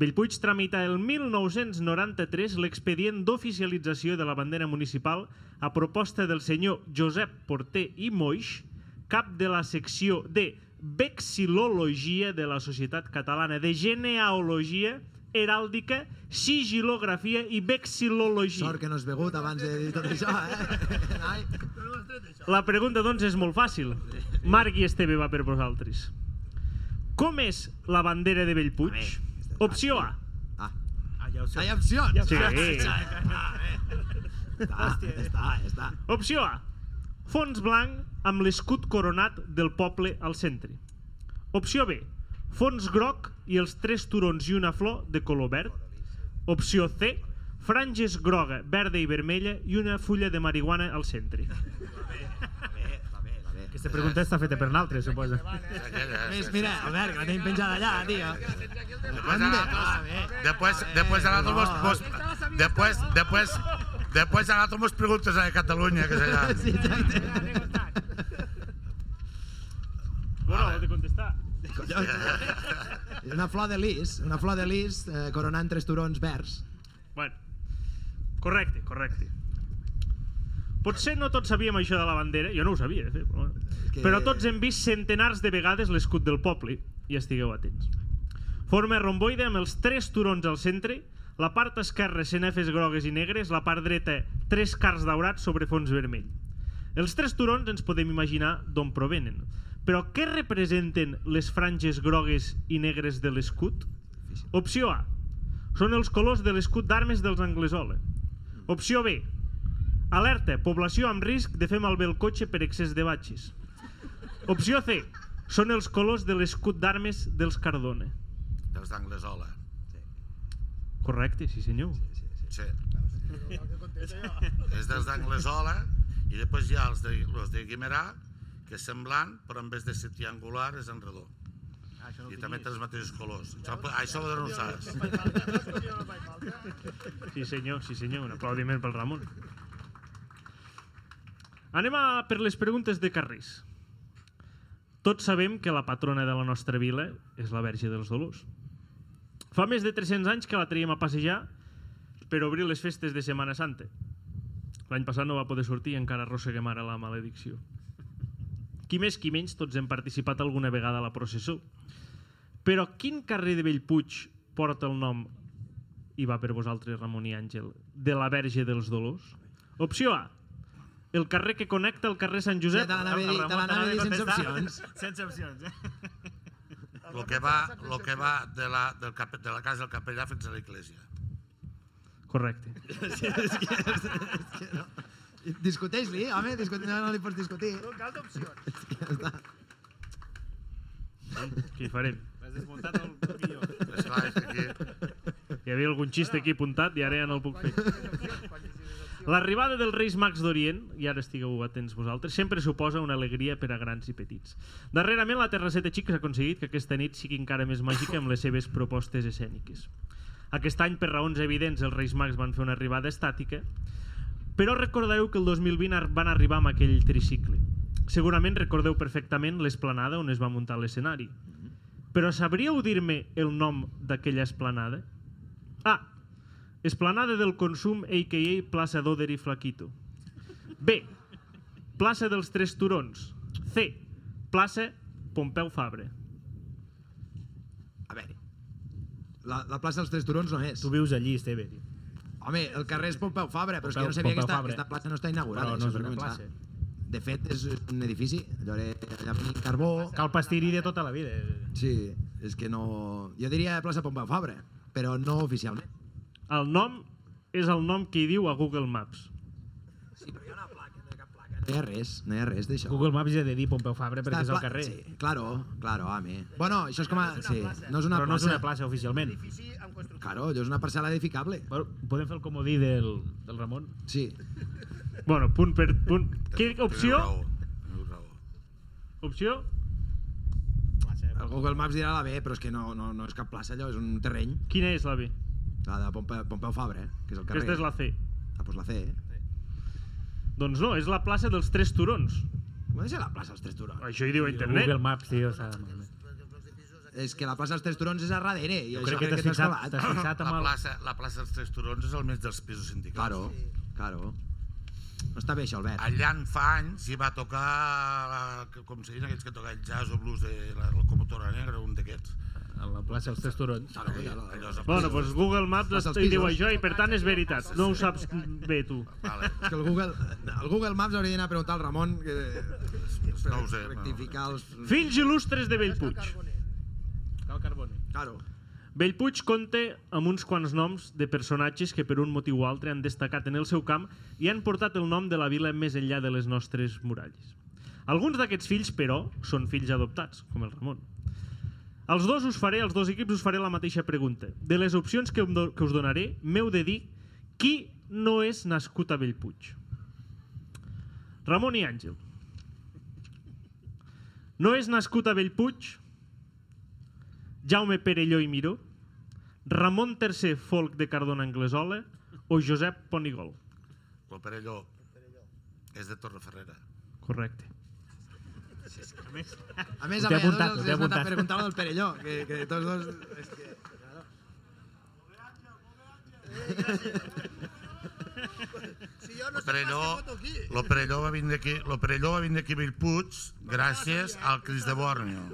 B: Bellpuig tramita el 1993 l'expedient d'oficialització de la bandera municipal a proposta del senyor Josep Porter i Moix, cap de la secció de vexil·lologia de la Societat Catalana de Genealogia, Heràldica, Sigilografia i Vexil·lologia.
G: Sort que no has begut abans de dir tot això, eh? Noi.
B: La pregunta, doncs, és molt fàcil. Marc i Esteve va per vosaltres. Com és la bandera de Bellpuig? Opció A.
M: Ah, ja ho sé.
G: Hi ha opcions.
B: Sí.
G: Hòstia, ja està, Ah, ja està.
B: eh. Opció A. Fons blanc amb l'escut coronat del poble al centre. Opció B. Fons groc i els tres turons i una flor de color verd. Opció C. Franges groga, verda i vermella i una fulla de marihuana al centre.
M: Aquesta pregunta està feta per l'altre, suposa.
G: Més, mira, Albert, que la tenim penjada allà, tio.
H: Després a nosaltres, després, després a nosaltres vos, vos, després, després, després a nosaltres vos preguntes a Catalunya, que és allà.
G: Sí, exacte.
B: Bueno, heu de contestar.
G: És una flor de lis, una flor de lis eh, coronant tres turons verds.
B: Bueno, correcte, correcte. Potser no tots sabíem això de la bandera, jo no ho sabia, eh? però, bueno.
G: que-
B: però tots hem vist centenars de vegades l'escut del poble, i estigueu atents. Forma romboide amb els tres turons al centre, la part esquerra cenefes grogues i negres, la part dreta tres cars daurats sobre fons vermell. Els tres turons ens podem imaginar d'on provenen, però què representen les franges grogues i negres de l'escut? Opció A. Són els colors de l'escut d'armes dels Anglesola. Opció B. Alerta, població amb risc de fer malbé el cotxe per excés de batxes. Opció C. Són els colors de l'escut d'armes dels Cardona.
H: Dels d'Anglesola.
B: Correcte, sí senyor.
H: Sí. És dels d'Anglesola i després hi ha els de, los de Guimerà, que és semblant, però en vez de ser triangular és en redó. I també té els mateixos colors. Això, això ho no ho saps.
B: Sí senyor, sí senyor. Un aplaudiment pel Ramon. Anem a per les preguntes de carrers. Tots sabem que la patrona de la nostra vila és la Verge dels Dolors. Fa més de 300 anys que la traiem a passejar per obrir les festes de Setmana Santa. L'any passat no va poder sortir i encara arrosseguem ara la maledicció. Qui més, qui menys, tots hem participat alguna vegada a la processó. Però quin carrer de Bellpuig porta el nom, i va per vosaltres, Ramon i Àngel, de la Verge dels Dolors? Opció A, el carrer que connecta el carrer Sant Josep...
C: Ja te l'anava a dir- te l'anava a dir sense opcions.
D: Sense opcions, eh?
H: Lo que va, lo que va de, la, del cap, de la casa del capellà fins a l'església.
B: Correcte.
C: Sí, és que, és, és que no. Discuteix-li, home, discuteix, no, no li pots discutir. No cal d'opcions. És que ja està.
B: Què hi farem?
D: Has desmuntat el guió.
H: És clar, és que aquí-
B: Hi havia algun xiste aquí apuntat i ara ja no el puc fer. L'arribada dels Reis Mags d'Orient, i ara estigueu atents vosaltres, sempre suposa una alegria per a grans i petits. Darrerament, la Terrasseta Xic ha aconseguit que aquesta nit sigui encara més màgica amb les seves propostes escèniques. Aquest any, per raons evidents, els Reis Mags van fer una arribada estàtica, però recordareu que el 2020 ar- van arribar amb aquell tricicle. Segurament recordeu perfectament l'esplanada on es va muntar l'escenari. Però sabríeu dir-me el nom d'aquella esplanada? A. Esplanada del Consum, a.k.a. plaça d'Oder i Flaquito. B. Plaça dels Tres Turons. C. Plaça Pompeu Fabra.
C: A veure, la, la plaça dels Tres Turons no és. Tu
D: vius allí, Esteve.
C: Home, el carrer és Pompeu Fabra, però és que jo no
D: Pompeu-
C: sabia que
D: Pompeu
C: aquesta,
D: Fabra.
C: aquesta plaça no està inaugurada.
D: Però no
C: això
D: és
C: per
D: una
C: començar.
D: plaça.
C: De fet, és un edifici, allò era allà venia carbó... Cal
D: pastiri de tota la vida.
C: Sí, és que no... Jo diria plaça Pompeu Fabra, però no oficialment.
B: El nom és el nom que hi diu a Google Maps.
C: No hi ha res, no hi ha res d'això.
D: Google Maps ja ha de dir Pompeu Fabra perquè
C: Està
D: és al
C: pla-
D: carrer.
C: Sí, claro, claro, home. Bueno, això és com a... Sí, no és una
D: Però
C: plaça.
D: no és una plaça oficialment.
C: Claro, allò és una parcel·la edificable.
D: Bueno, podem fer el comodí del, del Ramon?
C: Sí.
B: Bueno, punt per punt. Què opció? Opció?
C: El Google Maps dirà la B, però és que no, no, no és cap plaça allò, és un terreny.
B: Quina és la B?
C: La de Pompeu, Pompeu Fabra, eh, que és el carrer.
B: Aquesta és la C.
C: Ah, doncs la C.
B: Doncs no, és la plaça dels Tres Turons.
C: Com ha de ser la plaça dels Tres Turons?
B: Això hi diu a internet.
D: Google Maps, tio. O sigui,
C: És que la plaça dels Tres Turons és a darrere. I
H: Jo
C: això
H: crec que t'has
C: t'has
H: fixat-
C: colat.
H: t'has fixat amb La el- plaça- la plaça dels Tres Turons és el més dels pisos sindicals.
C: Claro, claro. No està bé això, Albert.
H: Allà en fa anys hi va tocar, la, com se diuen aquells que toquen jazz o blues de la locomotora negra, un d'aquests.
D: A la plaça dels Tres Turons.
B: Bueno, doncs Google Maps
H: Plaça als
B: hi diu
H: pisos.
B: això i per tant és veritat. No ho saps bé tu.
C: És que el Google, el Google Maps hauria d'anar a preguntar al Ramon que, per
B: no ho sé,
C: rectificar els...
B: Fills il·lustres de Bellpuig.
D: Cal Carbone.
C: Claro.
B: Bellpuig compta amb uns quants noms de personatges que per un motiu o altre han destacat en el seu camp i han portat el nom de la vila més enllà de les nostres muralles. Alguns d'aquests fills, però, són fills adoptats, com el Ramon. Els dos us faré, els dos equips us faré la mateixa pregunta. De les opcions que, em do- que us donaré, m'heu de dir qui no és nascut a Bellpuig. Ramon i Àngel. No és nascut a Bellpuig Jaume Perelló i Miró, Ramon III Folk de Cardona Anglesola o Josep Ponigol.
H: Lo Perelló és de Torreferrera.
B: Correcte.
H: A més,
C: A més,
H: Ho té
C: a veure,
H: apuntat,
C: doncs,
H: ho
C: els
H: té
C: he anat a
H: apuntat.
C: preguntar del Perelló, que, que tots
H: eh,
C: dos... És que, claro.
E: Si jo no
H: Lo
E: sé pas què
H: Perelló,
E: voto aquí.
H: lo Perelló va vindre aquí, lo Perelló va vindre aquí a Bellpuig gràcies al Cris de Borneo.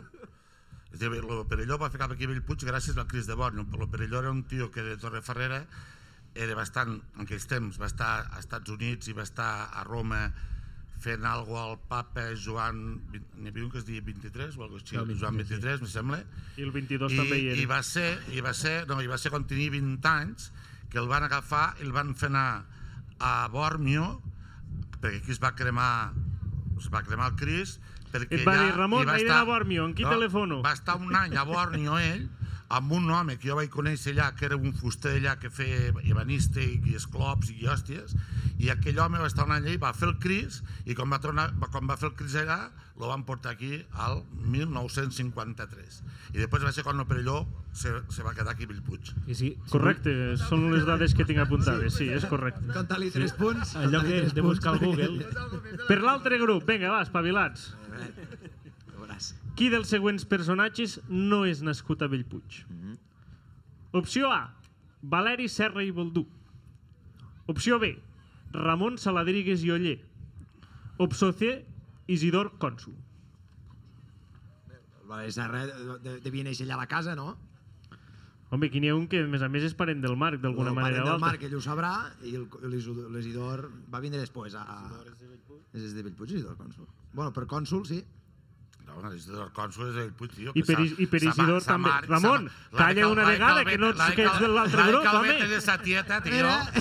H: És a dir, lo Perelló va fer cap aquí a Bellpuig gràcies al Cris de Borneo. Lo Perelló era un tio que de Torreferrera era bastant, en aquells temps, va estar als Estats Units i va estar a Roma fent alguna al papa Joan... vint- N'hi havia un que es deia 23 o alguna cosa
B: El
H: així,
B: 23,
H: Joan 23, em sembla.
B: I el 22 també hi era.
H: I va ser, i va ser, no, i va ser quan tenia 20 anys que el van agafar i el van fer anar a Bormio perquè aquí es va cremar es va cremar el Cris perquè
B: Et va
H: allà
B: dir, Ramon,
H: hi va
B: he
H: estar-
B: d'anar a Bormio, en qui telefono?
H: Va estar un any a Bormio ell amb un home que jo vaig conèixer allà, que era un fuster allà que feia ebanista i esclops i hòsties, i aquell home va estar un any allà i va fer el cris, i quan va, tornar, va- quan va fer el cris allà, lo van portar aquí al 1953. I després va ser quan l'Operelló se, se va quedar aquí a Bellpuig.
B: I sí, correcte, són les dades que tinc apuntades, sí, és correcte.
G: Compta-li tres punts,
B: En lloc de,
G: compta-li tres
B: de buscar al
G: punts.
B: Google. Per l'altre grup, vinga, va, espavilats. Qui dels següents personatges no és nascut a Bellpuig? Opció A, Valeri Serra i Boldú. Opció B, Ramon Saladrigues i Oller. Opció C, Isidor Cònsul.
G: Vale, Serra de- de- devia néixer allà a la casa, no?
B: Home, aquí n'hi ha un que, a més a més, és parent del Marc, d'alguna
G: El pare
B: manera o
G: Oh, del
B: altra.
G: Marc, ell ho sabrà, i el- l'Isid- l'Isidor va vindre després a... És de Bellpuig, Isidor Cònsul. Bueno, per Cònsul, sí.
H: No, bueno, Isidor Cònsul és el Puig, tio.
B: I
H: que
B: per,
H: sa-
B: Is- i per
H: sa ma-
B: Isidor
H: sa
B: també.
H: mare- sa ma-
B: Ramon,
H: la de
B: calla
H: Cal-
B: una
H: la de
B: vegada,
H: Calvet-
B: que no ets,
H: la de
B: que ets de
H: Calvet-
B: l'altre
H: la de
B: grup,
H: Calvet és
B: home.
H: esa tieta, tio.
G: Mira.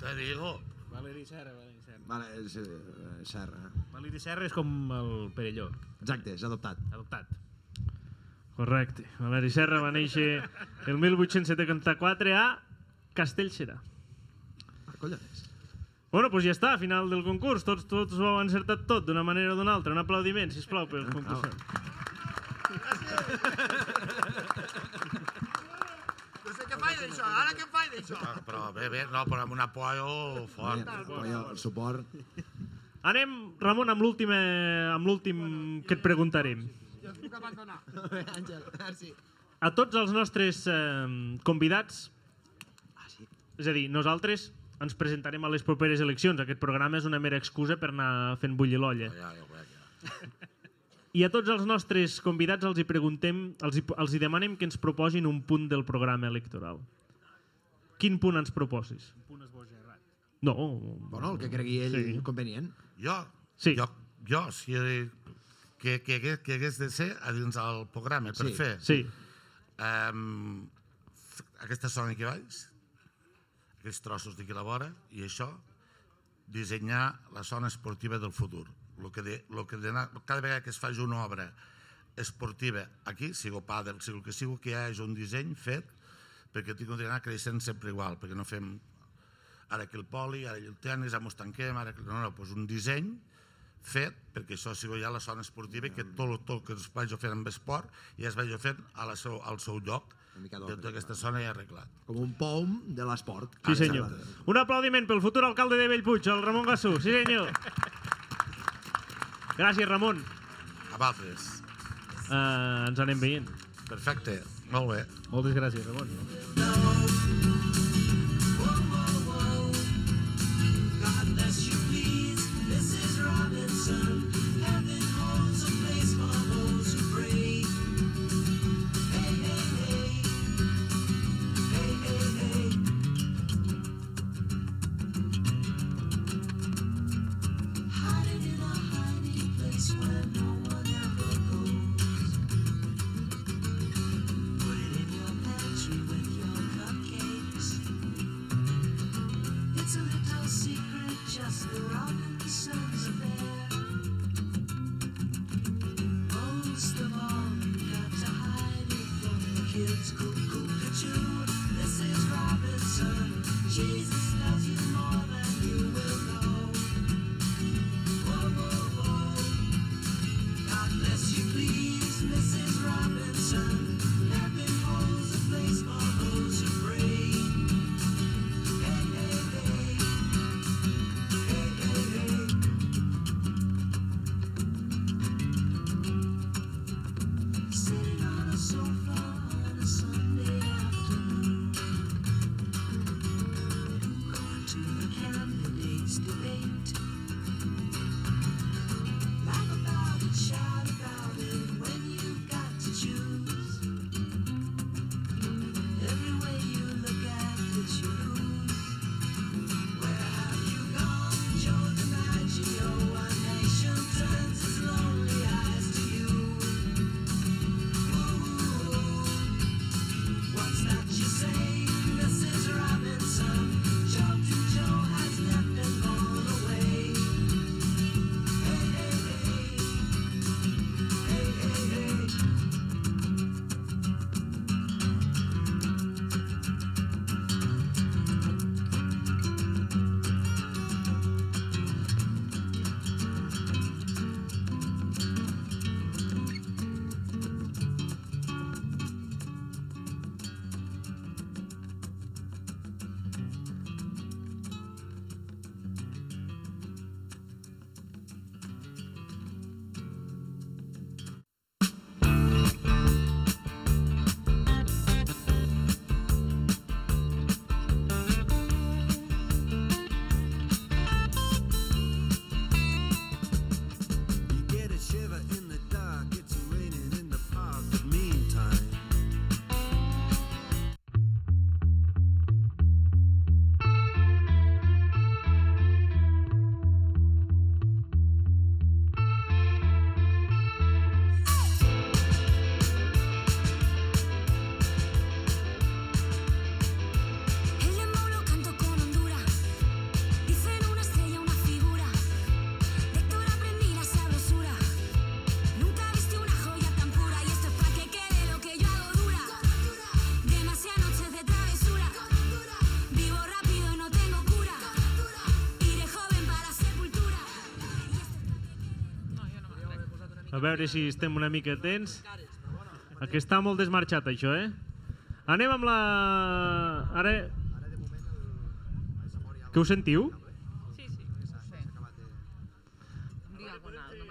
H: Te digo.
M: Valeri Serra, Valeri Serra.
G: Vale, és, eh, Serra.
M: Valeri Serra és com el Perelló,
G: Exacte, és adoptat.
M: adoptat.
G: eh.
B: Correcte. Valeri Serra va néixer el 1874 a Castellserà.
G: Ah, collons.
B: Bueno, doncs ja està, final del concurs. Tots, tots ho heu encertat tot, d'una manera o d'una altra. Un aplaudiment, sisplau, pel
G: Ah,
B: concursant.
N: No sé què faig d'això, ara què faig d'això?
H: Ah, però bé, bé, no, però amb un apoio
G: ah,
H: fort.
G: Apoyo, el suport.
B: Anem, Ramon, amb l'última amb l'últim que et preguntarem.
N: Jo et puc abandonar.
G: Àngel, merci.
B: A tots els nostres eh, convidats, és a dir, nosaltres ens presentarem a les properes eleccions. Aquest programa és una mera excusa per anar fent bullir l'olla.
H: Ja, ja ho
E: pues
H: veig, ja.
B: I a tots els nostres convidats els hi preguntem, els hi, els hi demanem que ens proposin un punt del programa electoral. Quin punt ens proposis? Un punt esbojarrat. No.
G: Bueno, el que cregui ell
B: Sí.
G: convenient.
H: Jo,
B: Sí.
H: jo, jo si que, que, hagués- que hagués de ser a dins del programa per
G: Sí.
H: fer
B: Sí.
H: em, f- aquesta zona aquí baix, aquests trossos d'aquí a la vora, i això, dissenyar la zona esportiva del futur. Lo que de, lo que de, cada vegada que es faci una obra esportiva aquí, sigo pàdel, sigo el que sigo, que hi hagi un disseny fet perquè tinc que anar creixent sempre igual, perquè no fem ara aquí el poli, ara aquí el tenis, ara mos tanquem, ara... aquí- No, no, doncs un disseny fet, perquè això sigui ja la zona esportiva, que tot, el- tot el que es vagi fent amb esport ja es vagi fent a la seu, al seu lloc,
G: Una mica
H: de
G: d'ordre,
H: tota aquesta zona ja arreglat.
G: Com un pom de l'esport.
B: Sí, senyor.
G: Exacte.
B: Un aplaudiment pel futur alcalde de Bellpuig, el Ramon Gassú. Sí, senyor. Gràcies, Ramon.
H: A Valtres.
D: Eh,
B: Uh, ens anem veient.
H: Perfecte, molt bé.
M: Moltes gràcies, Ramon.
E: It's a little secret, just the Robinsons are there. Most of all, you got to hide it from the kids. Cuckoo, cuckoo, this is Robinson. Jesus loves you more than you will know. Whoa, whoa, whoa. God bless you, please, Mrs. Robinson. Heaven holds a place for those who pray. Sitting on a sofa on a Sunday afternoon. Going to the candidates
B: A veure si estem una mica atents. Aquí està molt desmarxat, això, eh? Anem amb la... Ara... Que ho sentiu?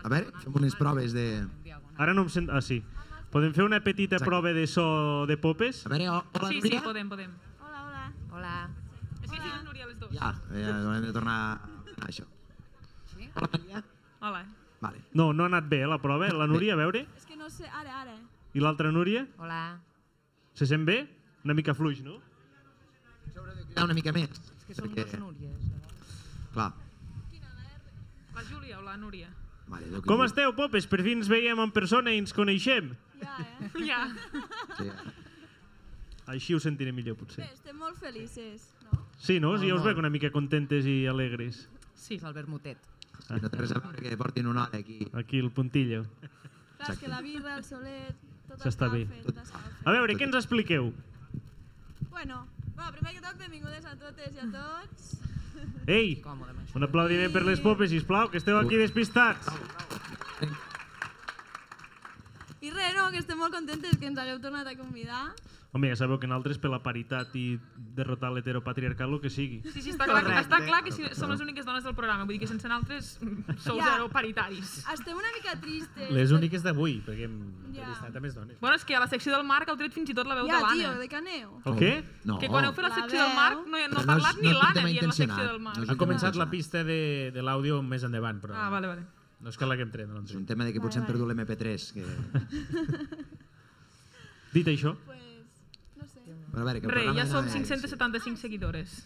C: A veure, fem unes proves de...
B: Ara no em sent... Ah, sí. Podem fer una petita Exacte. prova de so de popes?
C: A veure, ho- hola,
O: sí, sí,
C: Núria.
O: podem, podem. Hola, hola. Hola. És que diuen Núria les dues.
C: Ja, ja no hem de tornar a això.
O: Hola.
C: Vale.
B: No, no ha anat bé, eh, la prova. La Núria, a veure.
A: És que no sé, ara, ara.
B: I l'altra Núria?
A: Hola.
B: Se sent bé? Una mica fluix, no?
C: Cridar una mica més.
O: És que som
C: perquè-
O: dues Núries.
C: Clar.
O: La Júlia o la Núria?
C: Mare, Déu, que
B: Com
C: dur.
B: esteu, popes? Per fi ens veiem en persona i ens coneixem.
O: Ja.
C: Sí.
B: Així ho sentiré millor, potser.
A: Bé, estem Este, molt felices.
B: Sí, no? Sí, ja us
A: Molt.
B: veig una mica contentes i alegres.
O: Sí, l'Albert Motet.
C: Sí, no té res a veure que portin una hora aquí.
B: Aquí, el puntillo.
A: Clar, és que la birra, el solet, tot
B: S'està bé. A veure, què ens expliqueu?
A: Bueno, va, primer que tot, benvingudes a totes i a tots.
B: Ei, un aplaudiment per les popes, sisplau, que esteu aquí despistats.
A: I res, no, que estem molt contentes que ens hagueu tornat a convidar.
B: Home, ja sabeu que nosaltres per la paritat i derrotar l'heteropatriarcal, el que sigui.
O: Sí, sí, està clar, que,
B: Correcte.
O: està clar que si som les úniques dones del programa, vull dir que sense naltres mm, sou
A: Ja.
O: zero paritaris.
A: Estem una mica tristes.
D: Les úniques d'avui, perquè hem
A: Ja.
D: entrevistat a més dones.
O: Bueno, és que a la secció del Marc heu tret fins i tot la veu
A: Ja,
O: de l'Anna.
A: tio, de Caneu.
D: El què? No.
O: Que quan heu fet la
A: La
O: secció
A: veu.
O: del Marc no, no
D: Però
O: ha
D: no és-
O: parlat
D: no
O: ni
D: és un
O: l'Anna
D: tema
O: dient la secció
D: intencionat,
O: del Marc.
D: Ha començat la pista de, de l'àudio més endavant, però
O: Ah, vale, vale.
D: no és que doncs. la que hem tret. No és
C: un tema de que potser hem perdut l'MP3. Que...
B: Dit això...
C: Però a veure, que el
O: Re,
C: programa
O: ja
C: de-
O: som 575 seguidores.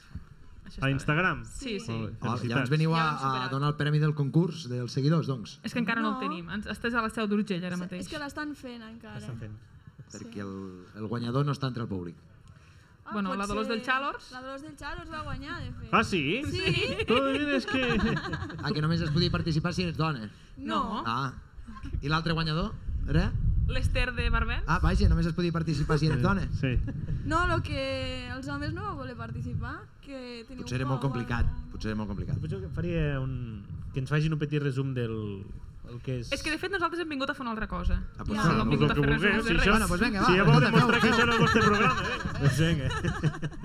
B: A Instagram?
O: Sí, sí.
B: Molt bé,
C: Oh,
B: felicitats.
C: llavors veniu a,
O: Ja ho hem
C: a donar el premi del concurs dels seguidors, doncs.
O: És que encara no,
A: No.
O: el tenim. Ens- Estàs a la seu d'Urgell ara mateix.
A: És que l'estan fent encara.
C: Perquè el, el guanyador no està entre el públic.
A: Ah,
O: Bueno,
A: pot
O: la Dolors
A: ser.
O: del Chalors.
A: La Dolors del Chalors va guanyar, de fet.
B: Ah, sí?
A: Sí.
B: Tu dius que...
C: Ah, que només es podia participar si eres dona.
O: No.
C: Ah. I l'altre guanyador? Era?
O: L'Ester de Barbel.
C: Ah, vaja, només es podia participar si eres dona.
B: Sí.
A: No, lo que els homes no vau voler participar, que teniu
C: Potser era molt complicat. Potser era molt complicat.
D: Potser que faria un... que ens facin un petit resum del el que és...
O: És que de fet nosaltres hem vingut a fer una altra cosa.
D: Ah,
O: no,
D: pues
O: no
D: sí,
O: hem
D: el
O: vingut a
D: que
O: fer res.
D: vulgueu,
O: no
D: si
O: res.
D: això- Bueno, pues venga, si va, ja vau demostrar que això no és el vostre programa, eh? Doncs vinga.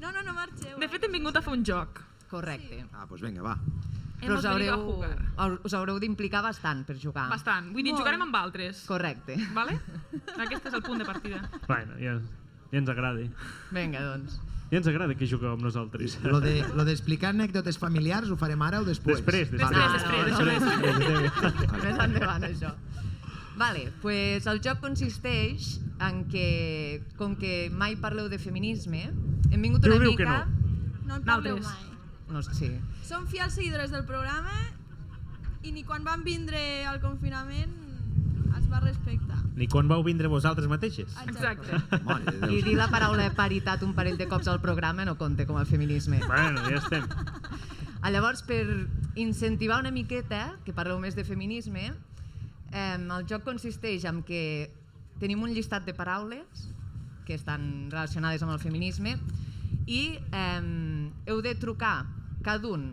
A: No, no, no marxeu.
O: De fet, hem vingut a fer un joc.
P: Correcte.
C: Ah, doncs vinga, va.
P: Però us
O: Hemos venido
P: haureu,
O: a
P: us haureu d'implicar bastant per jugar.
O: Bastant. Vull dir,
P: Molt.
O: jugarem amb altres.
P: Correcte.
O: Vale? Aquest és el punt de partida.
B: Bueno, ja, ja ens agrada.
P: Vinga, doncs.
B: Ja ens agrada que jugueu amb nosaltres.
C: Lo de- lo d'explicar de, anècdotes familiars ho farem ara o després?
B: Després, després. Després, després,
C: després.
P: Més endavant, això. Vale, pues el joc consisteix en que, com que mai parleu de feminisme, hem vingut
B: Déu
P: una
B: diu
P: mica...
B: que
A: No en parleu
P: Naltres.
A: mai.
P: No, sí.
A: Som fiels seguidores del programa i ni quan van vindre al confinament es va respectar.
D: Ni quan vau vindre vosaltres mateixes.
A: Exacte.
P: I dir la paraula paritat un parell de cops al programa no compta com a feminisme.
B: Bueno, ja estem.
P: Ah, Llavors, per incentivar una miqueta, que parleu més de feminisme, eh, el joc consisteix en que tenim un llistat de paraules que estan relacionades amb el feminisme i eh, heu de trucar cada un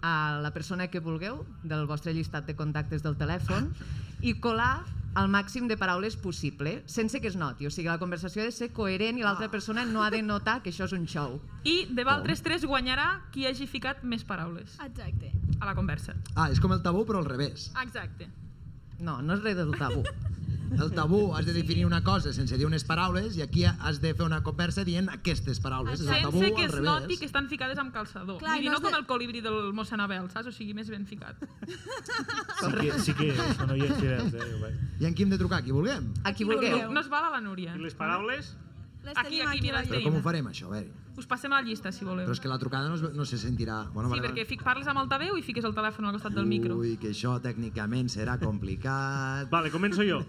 P: a la persona que vulgueu del vostre llistat de contactes del telèfon i colar el màxim de paraules possible, sense que es noti. O sigui, la conversació ha de ser coherent i
O: Ah.
P: l'altra persona no ha de notar que això és un xou.
O: I de val 3-3 guanyarà qui hagi ficat més paraules.
A: Exacte.
O: A la conversa.
C: Ah, és com el tabú, però al revés.
O: Exacte.
P: No, no és res del tabú.
C: El tabú has de definir una cosa sense dir unes paraules i aquí has de fer una conversa dient aquestes paraules. És el tabú
O: Sense que
C: al
O: es
C: revés.
O: noti que estan ficades amb calçador. Clar,
A: Clar,
O: Vull
A: i
O: dir,
A: no
O: no,
A: has
O: com
A: de-
O: el colibri del mossèn Abel, saps? O sigui, més ben ficat.
D: Sí que, sí que això no hi ha xireus, eh?
C: I en qui hem de trucar? A qui vulguem?
P: A qui
O: No es val a la Núria. I
B: les paraules?
O: Les aquí, aquí, mira, les
C: Però com ho
O: tenim.
C: farem, això? A veure.
O: Us passem la llista, si voleu.
C: Però és que la trucada no, es, no Uh. se sentirà... Bueno,
O: Sí, perquè fic, parles amb altaveu i fiques el telèfon al costat del micro.
C: Ui, que això tècnicament serà complicat...
B: Vale, començo jo.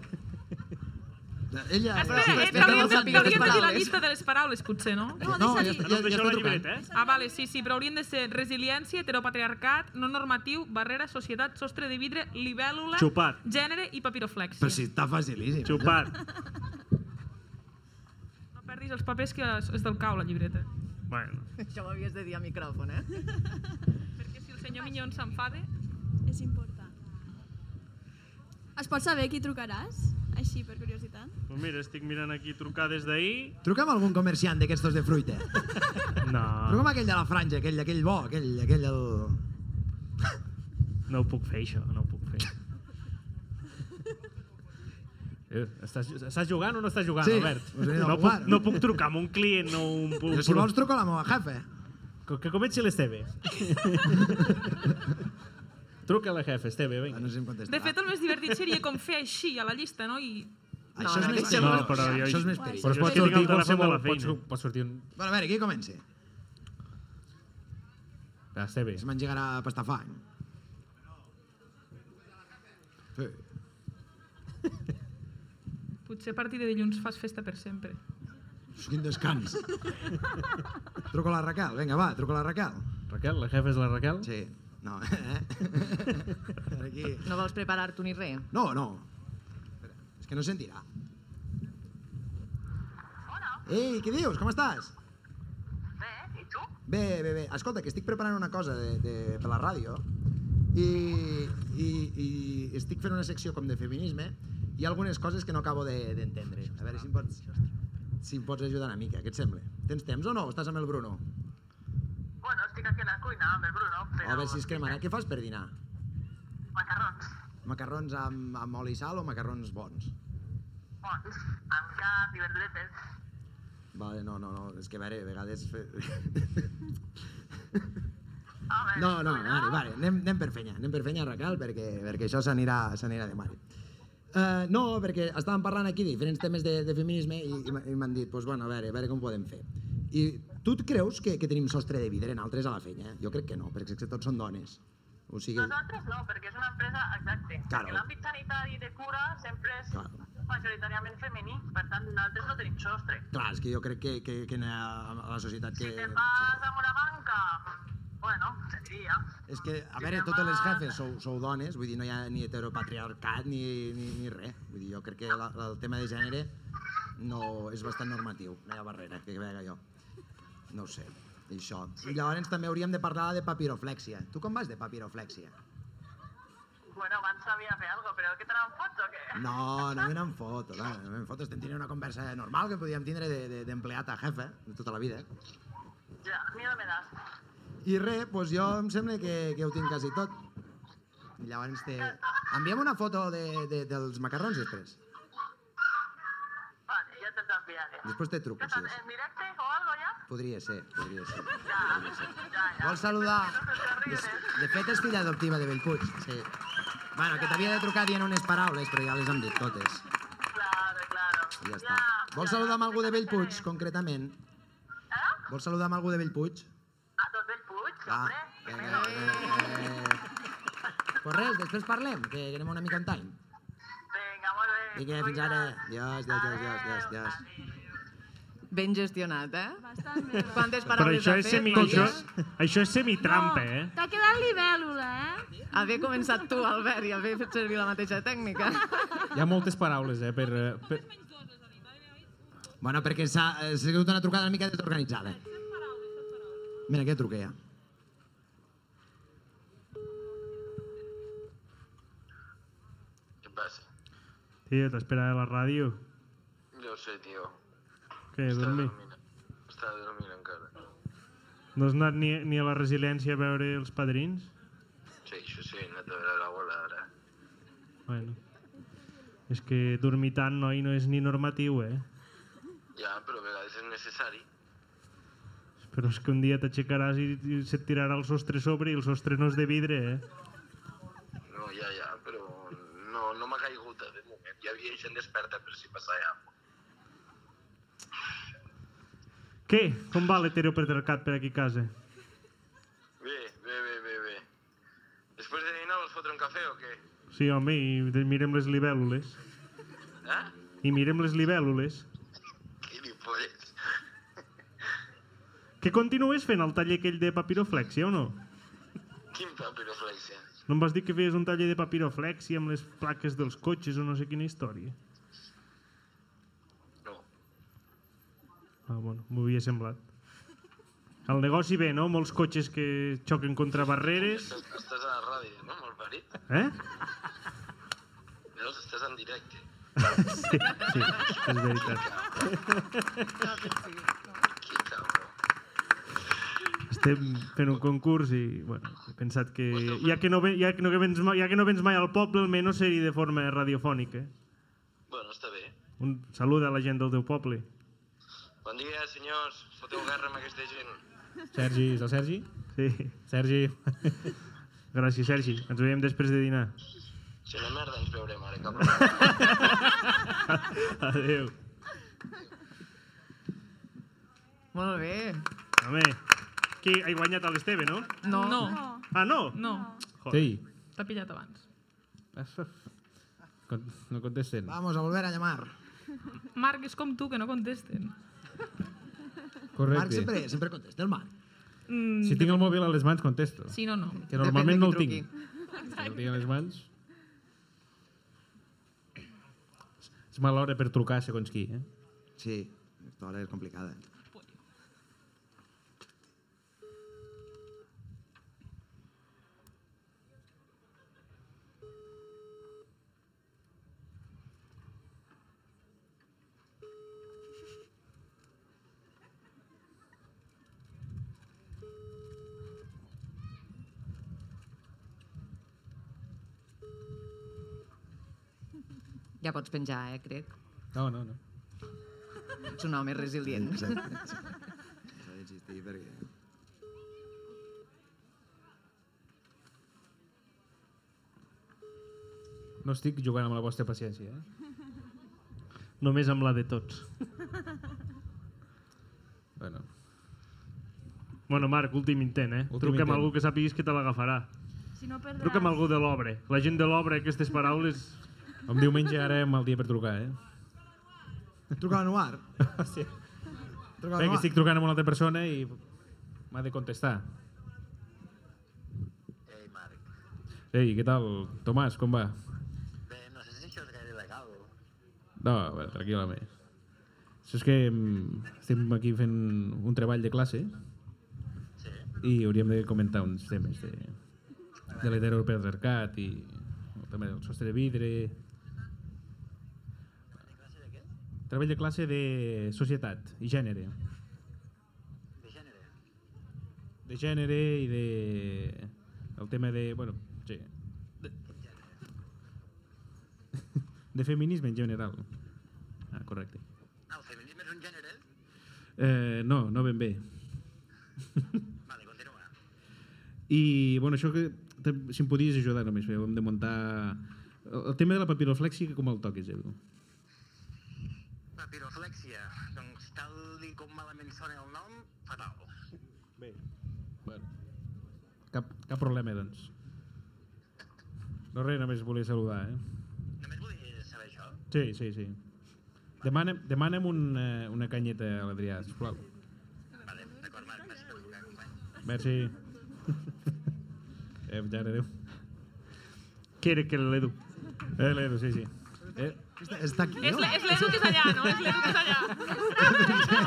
C: Ella...
O: Espera,
C: Sí,
O: eh,
C: respecta
O: t'hauríem
C: les
O: de,
C: amigues
O: t'hauríem de dir la
C: paraules.
O: llista de les paraules, potser, no?
C: No, No, deixa-li. ja està- ja- ja està trucant.
O: Ah, vale, sí, sí, però haurien de ser resiliència, heteropatriarcat, no normatiu, barrera, societat, sostre de vidre, libèl·lula,
C: Xupat.
O: gènere i papiroflexia.
C: Però si està facilíssim.
B: Xupat.
O: No perdis els papers que és, és del cau, la llibreta.
B: Bueno.
P: Això ho havies de dir a micròfon, eh?
O: Perquè si el senyor Minyón s'enfada...
A: És important. Es pot saber qui trucaràs? Així, per curiositat.
Q: Pues mira, estic mirant aquí trucades d'ahir.
C: Truca'm algun comerciant d'aquestos de fruita.
Q: No.
C: Truca'm aquell de la franja, aquell, aquell bo, aquell, aquell el...
Q: No ho puc fer, això, no ho puc fer.
B: Eh, estàs, estàs jugant o no estàs jugant,
C: Sí,
B: Albert?
C: us he dit al
B: no,
C: guard.
B: puc, no puc trucar amb un client o un...
C: Però si vols truca a la meva jefe.
B: Que, que comenci l'Esteve. Truca a la jefe, Esteve, vinga.
C: Ah, No sé si em
O: De fet, el més divertit seria com fer així a la llista, no? I...
C: Això és més
B: No, però, jo,
C: Això és més perill.
B: Però es pot
C: Jo tinc el
B: sortir
C: telèfon de
B: qualsevol...
C: la
B: Pot,
C: feina.
B: pot sortir un...
C: Bueno, a veure, qui comença?
B: Ah, Esteve.
C: Se m'engegarà a pastar fang. Sí.
O: Potser a partir de dilluns fas festa per sempre.
C: Ux, Quin descans. truco a la Raquel, vinga, va, truco a la Raquel.
B: Raquel, la jefa és la Raquel?
C: Sí. No, eh? Aquí.
P: No vols preparar-tu ni res?
C: No, no. Espera, És que no sentirà. Hola. Ei, què dius? Com estàs? Bé, bé, bé. Escolta, que estic preparant una cosa de, de, per la ràdio i, i, i estic fent una secció com de feminisme i hi ha algunes coses que no acabo de- d'entendre. De, a veure si em, pots, si em pots ajudar una mica, què et sembla? Tens temps o no? Estàs amb el Bruno?
R: Bueno, estic aquí a la cuina amb el Bruno, però...
C: A veure si es cremarà. Què fas per dinar?
R: Macarrons,
C: Macarrons amb, amb oli i sal o macarrons bons?
R: bons, amb cap i verduretes.
C: Vale, no, no, no, és que a veure, a vegades... fe-
R: Home,
C: No, no, vale, vale, anem, anem per fenya, anem per fenya, Raquel, perquè, perquè això s'anirà s'anirà de mare. Uh, no, perquè estàvem parlant aquí de diferents temes de, de feminisme i, i m'ha- i m'han dit, pues, bueno, a veure, a veure com podem fer. I tu et creus que, que tenim sostre de vidre en altres a la fenya? Jo crec que no, perquè és que tots són dones. O sigui,
R: Nosaltres no, perquè és una empresa, exacte,
C: Claro.
R: perquè l'àmbit sanitari de cura sempre és
C: Claro.
R: majoritàriament femení, per tant, nosaltres no tenim sostre.
C: clar, és que jo crec que, que, que en la, a la societat que...
R: Te'n vas amb una banca, bueno, se diria.
C: És que, a veure, totes les jefes sou, sou dones, vull dir, no hi ha ni heteropatriarcat ni, ni, ni res. Vull dir, jo crec que la, el tema de gènere no, és bastant normatiu, no hi ha barrera, que vega jo. No ho sé, i això. I llavors també hauríem de parlar de papiroflexia. Tu com vas de papiroflexia?
R: Bueno, abans sabia fer alguna cosa, però què te n'en fots o què?
C: No, no me n'en foto, no, no me'n foto. Estem tenint una conversa normal que podíem tindre de- de- d'empleat a jefe de tota la vida.
R: Ja, miedo me das.
C: I res, doncs jo em sembla que, que ho tinc quasi tot. I llavors te... Envia'm una foto de, de, dels macarrons després.
R: Vale, ja te'ls enviaré.
C: Després te truco,
R: Què
C: si
R: tal,
C: és.
R: en directe o algo ja?
C: Podria ser, podria ser.
R: Ja, ja, ja.
C: Vols saludar?
R: De,
C: de fet, és filla adoptiva de Bellpuig, sí. Bueno, que t'havia de trucar dient unes paraules, però ja les hem dit totes. I ja està. Vols saludar amb algú de Bellpuig, concretament? Eh? Vols saludar amb algú de Bellpuig?
R: A tot Bellpuig,
C: Va,
R: hombre.
C: vinga. Eh... Pues res, després parlem, que anem una mica en time.
R: Vinga, molt bé.
C: Vinga, fins ara. Adiós, adiós, adiós, adiós, adiós.
P: Ben gestionat, eh?
A: Bastant
P: bé. Quantes
Q: Però
P: paraules
Q: això
P: ha
Q: és,
P: fet?
Q: semi,
P: Maria?
Q: això, això és semitrampa, eh?
A: T'ha quedat libèl·lula, eh?
P: Haver començat tu, Albert, i haver fet servir la mateixa tècnica.
B: Hi ha moltes paraules, eh, per... eh, per...
C: Bueno, perquè s'ha eh, s'ha sigut una trucada una mica desorganitzada. Mira, que truqué ja.
E: ¿Qué pasa?
B: Tio, t'espera a la ràdio.
E: Yo sé, tío.
B: Què, a dormir?
E: Està dormint encara.
B: No has anat ni, ni a la residència a veure els padrins?
E: Sí, això sí, he anat a veure l'abuela ara.
B: Bueno. És que dormir tant, noi, no és ni normatiu, eh?
E: Ja, però a vegades és necessari.
B: Però és que un dia t'aixecaràs i, i se't tirarà el sostre sobre i el sostre no és de vidre, eh?
E: No, ja, ja, però no, no m'ha caigut eh, de moment. Hi havia gent desperta per si passava alguna
B: Què? Com va l'heteropatriarcat per aquí a casa?
E: Bé, bé, bé, bé, bé. Després de dinar vols fotre un cafè o què?
B: Sí, home, i de- mirem les libèl·lules.
E: Eh?
B: I mirem les libèl·lules.
E: Gilipolles.
B: Que continues fent el taller aquell de papiroflexia o no?
E: Quin papiroflexia.
B: No em vas dir que feies un taller de papiroflexia amb les plaques dels cotxes o no sé quina història?
E: No.
B: Ah, bueno, m'ho havia semblat. El negoci bé, no? Molts cotxes que xoquen contra barreres.
E: Estàs, estàs a la ràdio, no? Molt parit.
B: Eh?
E: No estàs en directe.
S: Sí, sí, és veritat.
B: Estem fent un concurs i bueno, he pensat que ja que no, ve- ja que no, que vens, mai- ja que no vens mai al poble, almenys ser-hi de forma radiofònica.
E: Bueno, està bé.
B: Un salut a la gent del teu poble.
E: Bon dia, senyors. Foteu guerra amb aquesta gent.
B: Sergi, és el Sergi? Sí. Sergi. Gràcies, Sergi. Ens veiem després de dinar.
E: Si la merda ens veurem ara, cap
B: Adéu.
P: Molt bé.
B: Home, qui ha guanyat a l'Esteve, no?
P: No.
O: No.
B: Ah, no?
O: No.
B: Joder.
D: Sí.
O: T'ha pillat abans.
D: Con- No contesten.
C: Vamos a volver a llamar.
O: Marc, és com tu, que no contesten.
D: Correcte.
C: Marc sempre, sempre contesta, el Marc.
O: Mm,
D: Si tinc el mòbil a les mans, contesto.
O: Sí, no, no.
D: Que normalment no el tinc. Si el
O: Exacte.
D: tinc a les mans... És mala hora per trucar segons qui, eh?
C: Sí, aquesta hora és complicada.
P: Ja pots penjar, eh, crec.
D: No, no, no.
P: Ets un home resilient.
C: Exacte. S'ha d'insistir perquè...
D: No estic jugant amb la vostra paciència, eh?
B: Només amb la de tots.
D: Bueno.
B: Bueno, Marc, últim intent, eh?
D: Últim
B: Últim Truca'm
D: intent.
B: a algú que sàpiguis que te l'agafarà.
A: Si no perdràs...
B: Truca'm a algú de l'obra. La gent de l'obra, aquestes paraules...
D: Em diumenge ara mal dia per trucar, eh?
C: Truca a Noir.
D: sí.
C: Truca a
D: Bé, que
C: Noir.
D: estic trucant amb una altra persona i m'ha de contestar.
T: Ei, Marc.
D: Ei, què tal? Tomàs, com va?
T: Bé, no sé si això és gaire legal.
D: No, bueno, tranquil, home. Saps que mm, estem aquí fent un treball de classe
T: Sí.
D: i hauríem de comentar uns temes de, de l'heteropatriarcat i el tema del sostre de vidre... Treball de classe de societat i gènere.
T: De gènere.
D: De gènere i de... El tema de... Bueno, sí. De, de feminisme en general. Ah, correcte.
T: Ah, el feminisme és un gènere?
D: Eh, no, no ben bé.
T: Vale, continua.
D: I, bueno, això que te- si em podies ajudar només, bé, hem de muntar... El el tema de la papiroflexia, com el toques, Edu?
T: La piroflexia. Doncs tal i com malament sona el nom, fatal. Bé.
D: Bueno. Cap, cap problema, doncs. No res, només volia saludar, eh?
T: Només volia saber això.
D: Sí, sí, sí. Demana'm, demana'm un, eh, una canyeta a l'Adrià, sisplau.
T: Vale, d'acord, Marc, merci per trucar, company.
D: Merci. eh, ja, adéu.
B: Qui era que l'Edu?
D: Eh, l'Edu, sí, sí. Eh,
C: Està, està aquí,
O: És l'E- és l'Edu que és allà, no? És l'Edu que és allà.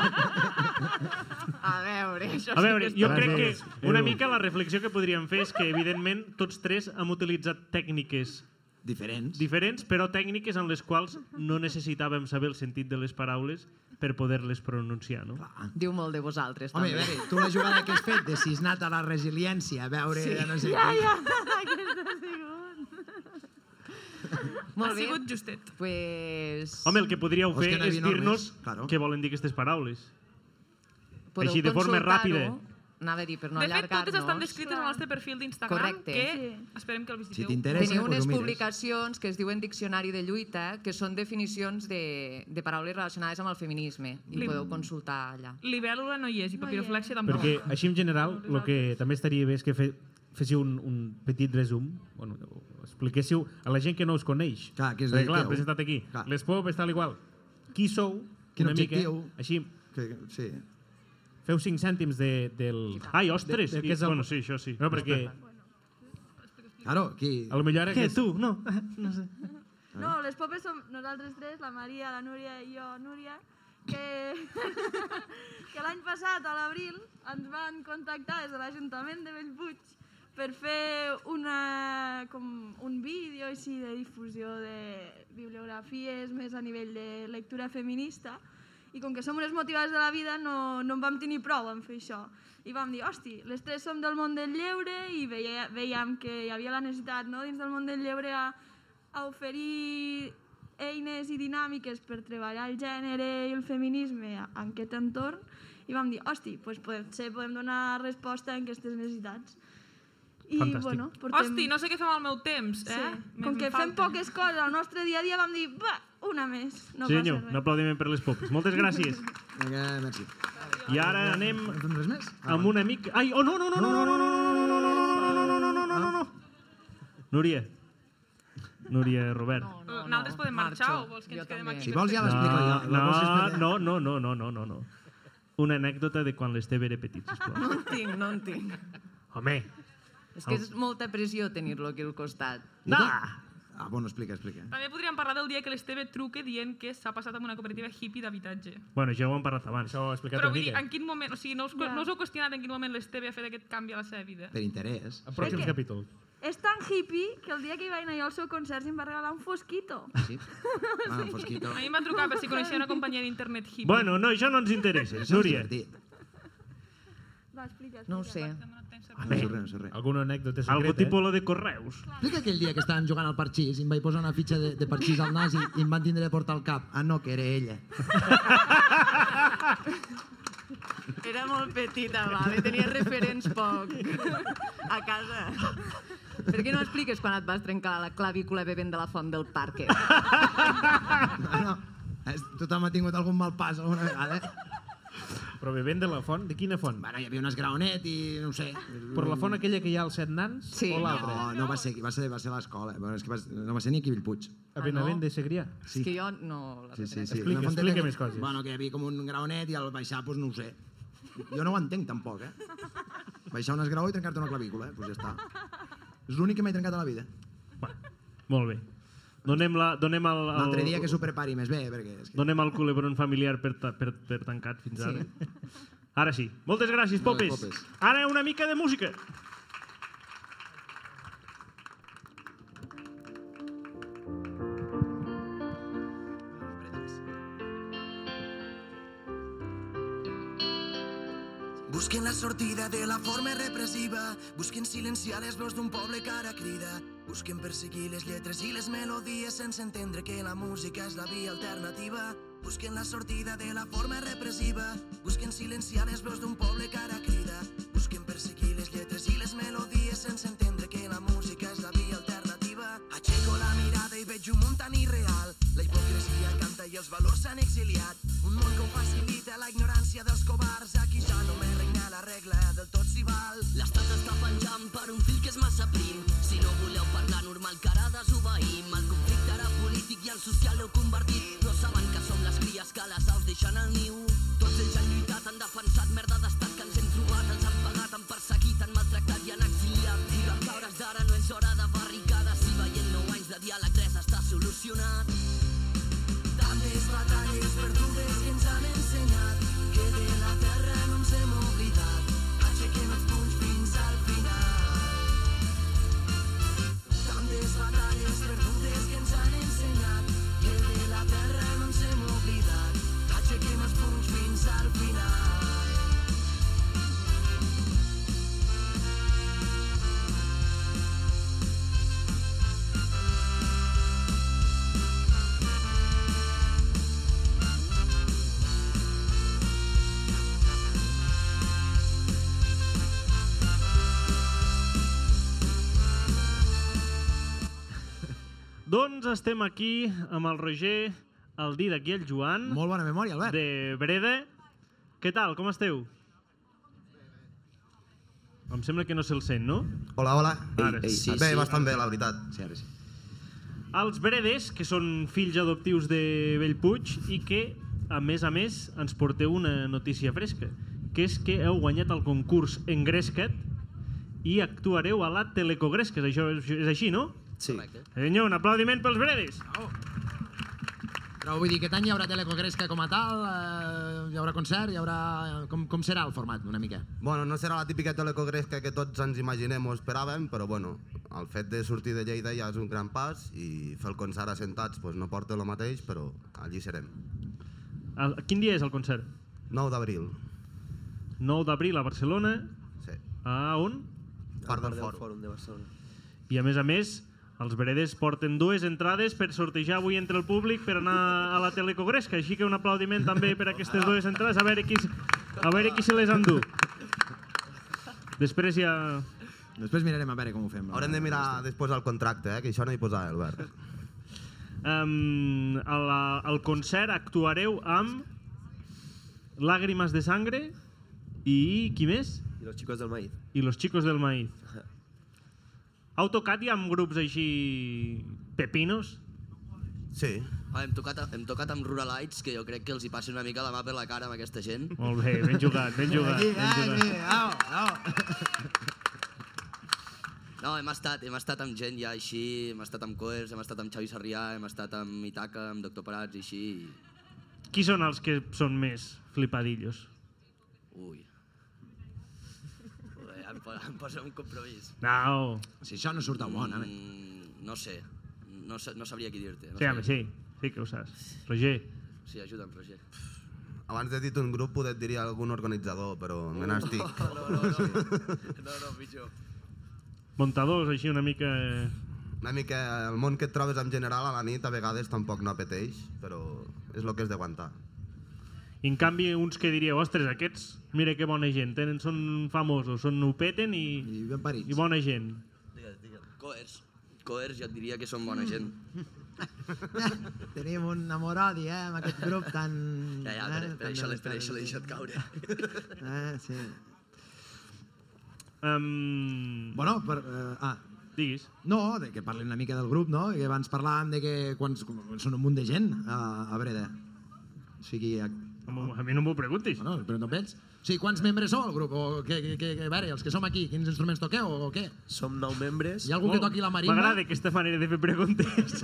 P: A veure, això
B: A veure,
P: sí que
B: jo
P: és
B: crec que
D: Gràcies,
B: una
D: Edu.
B: mica la reflexió que podríem fer és que, evidentment, tots tres hem utilitzat tècniques
C: diferents,
B: diferents però tècniques en les quals no necessitàvem saber el sentit de les paraules per poder-les pronunciar, no?
P: Diu molt de vosaltres,
C: Home, a
P: també.
C: veure, tu la jugada que has fet de cisnat a la resiliència, a veure...
P: Sí.
C: No sé
P: Ja,
C: què.
P: ja.
A: Aquesta ha sigut.
P: Molt
O: Ha
P: bé.
O: sigut justet.
P: Pues...
B: Home, el que podríeu
P: O és
B: fer
P: que no hi
B: és
P: havia
B: dir-nos
P: normes,
B: què volen dir aquestes paraules.
P: Podeu
B: Així, de forma ràpida.
P: consultar-ho. Anava a dir, per no
O: de fet,
P: allargar-nos.
O: totes estan descrites al nostre perfil d'Instagram,
P: Correcte. doncs
O: que esperem que el visiteu.
P: Teniu unes publicacions que es diuen Diccionari de lluita, que són definicions de, de paraules relacionades amb el feminisme, i
O: Li-
P: podeu consultar allà.
O: Libèl·lula no hi és, i papiroflexia tampoc.
D: Perquè així en general, el que també estaria bé és que fe, féssiu un, un petit resum, bueno, o expliquéssiu a la gent que no us coneix.
C: Clar,
B: Eh,
C: que és
D: Perquè,
C: de-
D: clar,
C: que-
D: presentat aquí. Clar. Les pop està igual. Qui sou?
C: Quin
D: una
C: objectiu?
D: Mica, així.
C: Que, sí.
D: Feu cinc cèntims de, del...
B: Ai, ostres!
D: què és el-
B: Bueno, sí, això sí.
D: No, perquè...
C: Claro, aquí...
D: A lo millor ara...
B: Què,
D: aquest-
B: tu? No, no sé.
A: No, les popes som nosaltres tres, la Maria, la Núria i jo, Núria, que, que l'any passat, a l'abril, ens van contactar des de l'Ajuntament de Bellpuig per fer una, com un vídeo així de difusió de bibliografies més a nivell de lectura feminista i com que som unes motivades de la vida no, no en vam tenir prou en fer això i vam dir, hosti, les tres som del món del lleure i veia, veiem que hi havia la necessitat no, dins del món del lleure a, a oferir eines i dinàmiques per treballar el gènere i el feminisme en aquest entorn i vam dir, hosti, doncs potser podem donar resposta a aquestes necessitats. I,
U: Fantàstic.
A: bueno, portem...
O: Hosti, no sé què fem al meu temps, eh?
A: Sí.
O: Me-
A: Com
O: em
A: que fem
O: falta.
A: poques coses al nostre dia a dia, vam dir, va, una més. No
B: sí, senyor,
A: passa res.
B: un aplaudiment per les popes. Moltes gràcies.
C: Vinga, merci.
B: I ara anem
C: res més?
B: amb un amic... Ai, oh, no, no, no, no, no, no, no, no, no, no, no, no, no, no, no, no, no, no. Núria. Núria Robert.
O: No, Nosaltres podem marxar o vols que ens quedem aquí?
C: Si vols ja l'explico
B: no,
C: jo. La vols explicar?
B: No, no, no, no, no, no, no. Una anècdota de quan l'Esteve era petit, sisplau.
P: No en tinc, no en tinc.
B: Home,
P: És que és molta pressió tenir-lo aquí al costat.
B: No!
C: Ah, bueno, explica, explica.
O: També podríem parlar del dia que l'Esteve truque dient que s'ha passat amb una cooperativa hippie d'habitatge.
B: bueno, ja ho hem parlat abans. Això ho ha explicat
O: Però vull dir, en quin moment... O sigui, no us, yeah. no us heu qüestionat en quin moment l'Esteve ha fet aquest canvi a la seva vida?
C: Per interès.
B: En pròxims capítols.
A: És tan hippie que el dia que hi vaig anar jo al seu concert i em va regalar un fosquito.
C: Sí? Ah, un fosquito.
O: A mi em van trucar per si coneixia una companyia d'internet hippie.
B: Bueno, no, això no ens interessa,
C: Això és
B: Núria.
C: divertit.
O: Va, explica,
P: No ho sé.
C: No sé res, no sé res.
B: Alguna anècdota
C: secreta,
B: Algo
C: eh?
B: tipo lo de correus.
C: Explica aquell dia que estàvem jugant al parxís i em vaig posar una fitxa de, de parxís al nas i, i em van tindre de portar al cap. Ah, no, que era ella.
P: Era molt petita, va, tenia referents poc a casa. Per què no expliques quan et vas trencar la clavícula bevent de la font del parc?
C: Es- Tothom ha tingut algun mal pas alguna vegada.
B: Però bevent de la font, de quina font?
C: Bueno, hi havia un esgraonet i no ho sé.
B: Per la font aquella que hi ha als set nans?
C: Sí.
B: O l'altra?
C: No, no va ser, va ser, va ser a l'escola. Bueno, és que va, no va ser ni aquí a Bellpuig.
B: A Benavent de Segrià?
C: Sí.
P: Ah, Que jo no... la
C: Sí, sí, sí.
B: Explica,
C: Una fonteta
B: explica
C: que-
B: més coses.
C: Bueno, que hi havia com un graonet i al baixar, doncs no ho sé. Jo no ho entenc tampoc, eh? Baixar un esgraó i trencar-te una clavícula, eh? Doncs ja està. És l'únic que m'he trencat a la vida.
B: Molt bé. Donem, la, donem el, el,
C: Un altre dia que s'ho prepari més bé, perquè... És que...
B: Donem el culebron familiar per, ta, per, per tancat fins
C: Sí.
B: ara. Ara sí. Moltes gràcies,
C: Molt bé,
B: popes.
C: popes.
B: Ara una mica de música.
V: Busquen la sortida de la forma repressiva, busquen silenciar les veus d'un poble que ara crida, busquen perseguir les lletres i les melodies sense entendre que la música és la via alternativa. Busquen la sortida de la forma repressiva, busquen silenciar les veus d'un poble que ara crida, busquen perseguir les lletres i les melodies sense entendre que la música és la via alternativa. Aixeco la mirada i veig un muntant irreal, la hipocresia canta i els valors s'han exiliat, un món que ho facilita la ignorància dels covards, aquí ja només regna la regla del tot s'hi val.
W: L'estat està penjant per un fil que és massa prim. Si no voleu parlar normal, que ara desobeïm. El conflicte ara polític i el social l'heu convertit. No saben que som les cries que les aus deixen al niu. Tots ells han lluitat, han defensat merda d'estat que ens hem trobat. Ens han pagat, han perseguit, han maltractat i han exiliat. I les hores d'ara no és hora de barricades. Si veient nou anys de diàleg res està solucionat.
V: Tantes batalles perdudes que ens han ensenyat que de la terra no ens hem oblidat. Aixequem els punys fins al final. Tantes batalles perdudes que ens han ensenyat que de la terra no ens hem oblidat. Aixequem els punys fins al final.
B: Doncs estem aquí amb el Roger, el Didac i el Joan. Molt
C: bona memòria, Albert.
B: De Breda. Què tal, com esteu? Em sembla que no se'l sent, no?
X: Hola, hola.
B: Ara
X: Ei, ei,
B: sí,
X: bé,
B: sí.
X: bastant bé, la veritat. Sí, ara sí.
B: Els Bredes, que són fills adoptius de Bellpuig i que, a més a més, ens porteu una notícia fresca, que és que heu guanyat el concurs Engresca't i actuareu a la Telecogresques. Això és, és així, no?
X: Sí.
B: Senyor, un aplaudiment pels Bredes.
G: Però vull dir, aquest any hi haurà telecogresca com a tal, eh, hi haurà concert, hi haurà... Com, com serà el format, una mica?
X: Bueno, no serà la típica telecogresca que tots ens imaginem o esperàvem, però bueno, el fet de sortir de Lleida ja és un gran pas i fer el concert assentats pues, no porta el mateix, però allí serem.
B: El, quin dia és el concert?
X: 9 d'abril.
B: 9 d'abril a Barcelona.
X: Sí.
B: A on?
X: Part del fòrum.
Y: de Barcelona.
B: I a més a més, els veredes porten dues entrades per sortejar avui entre el públic per anar a la telecogresca, així que un aplaudiment també per aquestes dues entrades, a veure qui, s- a veure qui se les endú. Després ja...
G: Després mirarem a veure com ho fem.
X: Haurem de mirar després el contracte, eh, que això no hi posava Albert.
B: Um, a la, al concert actuareu amb Làgrimes de Sangre i qui més?
Y: I los chicos del maíz.
B: I Los Chicos del Maíz. Heu tocat ja amb grups així... pepinos?
X: Sí.
Y: Ah, hem, tocat, hem tocat amb Ruralites, que jo crec que els hi passi una mica la mà per la cara amb aquesta gent.
B: Molt bé, ben jugat, ben jugat. ben jugat.
G: au, au.
Y: No, hem estat, hem estat amb gent ja així, hem estat amb Coers, hem estat amb Xavi Sarrià, hem estat amb Itaca, amb Doctor Prats i així.
B: Qui són els que són més flipadillos?
Y: Ui. Joder, em, po- em posa un compromís.
B: No.
G: Si això no surt
B: bon, home.
Y: Mm, no sé. No, sa- no sabria qui
G: eh,
Y: dir-te. No
B: Sí, home,
Y: sabria.
B: sí. Sí que ho saps. Roger.
Y: Sí, ajuda'm, Roger.
X: Abans de dir un grup, poder et diria algun organitzador, però me n'estic.
Y: No, no, no, no. No, no, pitjor.
B: Muntadors, així una mica... eh.
X: Una mica el món que et trobes en general a la nit a vegades tampoc no apeteix, però és el que has d'aguantar.
B: I en canvi, uns que diríeu, ostres, aquests, mira que bona gent, tenen, són famosos, són, ho peten i,
G: I, ben
B: i bona gent.
Y: Digues, digues. Coers. Coers, jo et diria que són bona gent.
G: Mm. Tenim un amor-odi, eh, amb aquest grup tan...
Y: Ja, ja, Eh, per, per, això, l'he- per això l'he deixat caure.
G: Eh, sí.
B: Um...
G: Bueno, per... Eh, ah.
B: Diguis.
G: No, de que parlin una mica del grup, no? Que abans parlàvem de que quants, són un munt de gent a, a Breda. O sigui... A,
B: a mi no m'ho preguntis.
G: Bueno, però no pens. O sigui, quants membres sou al grup? O que, que, que, a veure, els que som aquí, quins instruments toqueu o què?
Y: Som nou membres.
G: Hi ha algú que toqui la marimba?
B: M'agrada aquesta manera de fer preguntes.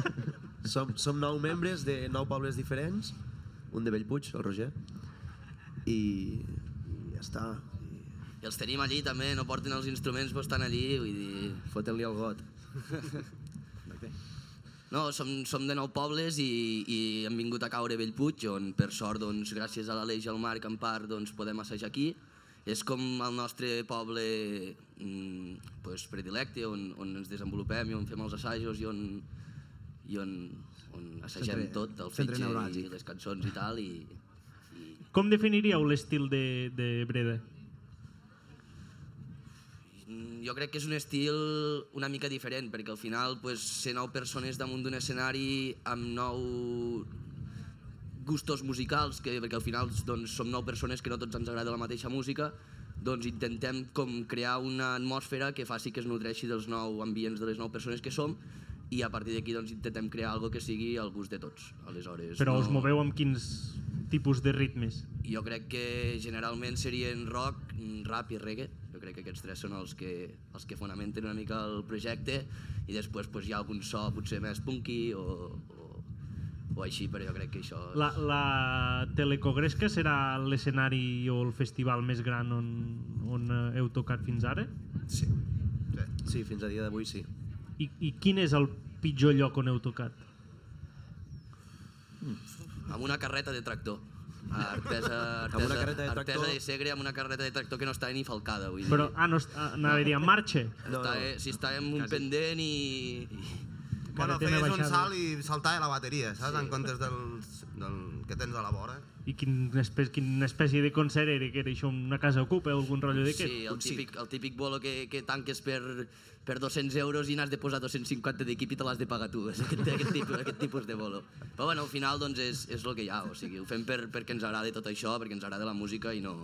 Y: Som, som nou membres de nou pobles diferents, un de Bellpuig, el Roger, i, i ja està. I els tenim allí també, no porten els instruments però estan allí, vull dir, foten-li el got. No, som, som de nou pobles i, i hem vingut a caure a Bellpuig, on per sort, doncs, gràcies a l'Aleix i al Marc en part, doncs, podem assajar aquí. És com el nostre poble mm, pues, predilecte, on, on ens desenvolupem i on fem els assajos i on, i on, on assagem
G: Centre-
Y: tot, el
G: centre
Y: fetge i
G: neuràlgic.
Y: les cançons i tal. I,
B: Com definiríeu l'estil de, de Breda?
Y: Mm, jo crec que és un estil una mica diferent, perquè al final pues, ser nou persones damunt d'un escenari amb nou gustos musicals, que, perquè al final doncs, som nou persones que no tots ens agrada la mateixa música, doncs intentem com crear una atmosfera que faci que es nodreixi dels nou ambients de les nou persones que som i a partir d'aquí doncs, intentem crear algo que sigui al gust de tots. Aleshores,
B: Però
Y: no...
B: us moveu amb quins tipus de ritmes?
Y: Jo crec que generalment serien rock, mm, rap i reggae. Jo crec que aquests tres són els que, els que fonamenten una mica el projecte i després pues, hi ha algun so potser més punky o, o, o així, però jo crec que això...
B: La, la Telecogresca serà l'escenari o el festival més gran on, on eh, heu tocat fins ara?
Y: Sí. Sí, fins a dia d'avui sí.
B: I, I quin és el pitjor lloc on heu tocat?
Y: Amb una carreta de tractor. A Artesa,
B: Amb
Y: Artesa,
B: una carreta de tractor.
Y: Artesa de Segre amb una carreta de tractor que no està ni falcada, vull dir.
B: Però, ah, no, est- ah, anava a dir, en marxa?
Y: No, està, eh, no. Si està en un Quasi. pendent i... i...
X: Bueno,
B: Carretera
X: feies un
B: baixada.
X: salt i saltava la bateria, saps?
Y: Sí.
X: Sí. En comptes del, del que tens a la vora.
B: I quina espècie, quina espècie de concert era? Que era això, una casa ocupa o algun rotllo d'aquest?
Y: Sí, el típic, el típic bolo que, que tanques per, per 200 euros i n'has de posar 250 d'equip i te l'has de pagar tu. És aquest, aquest, tipus, aquest tipus de bolo. Però bueno, al final doncs, és, és el que hi ha. O sigui, ho fem per, perquè ens agrada tot això, perquè ens agrada la música i no,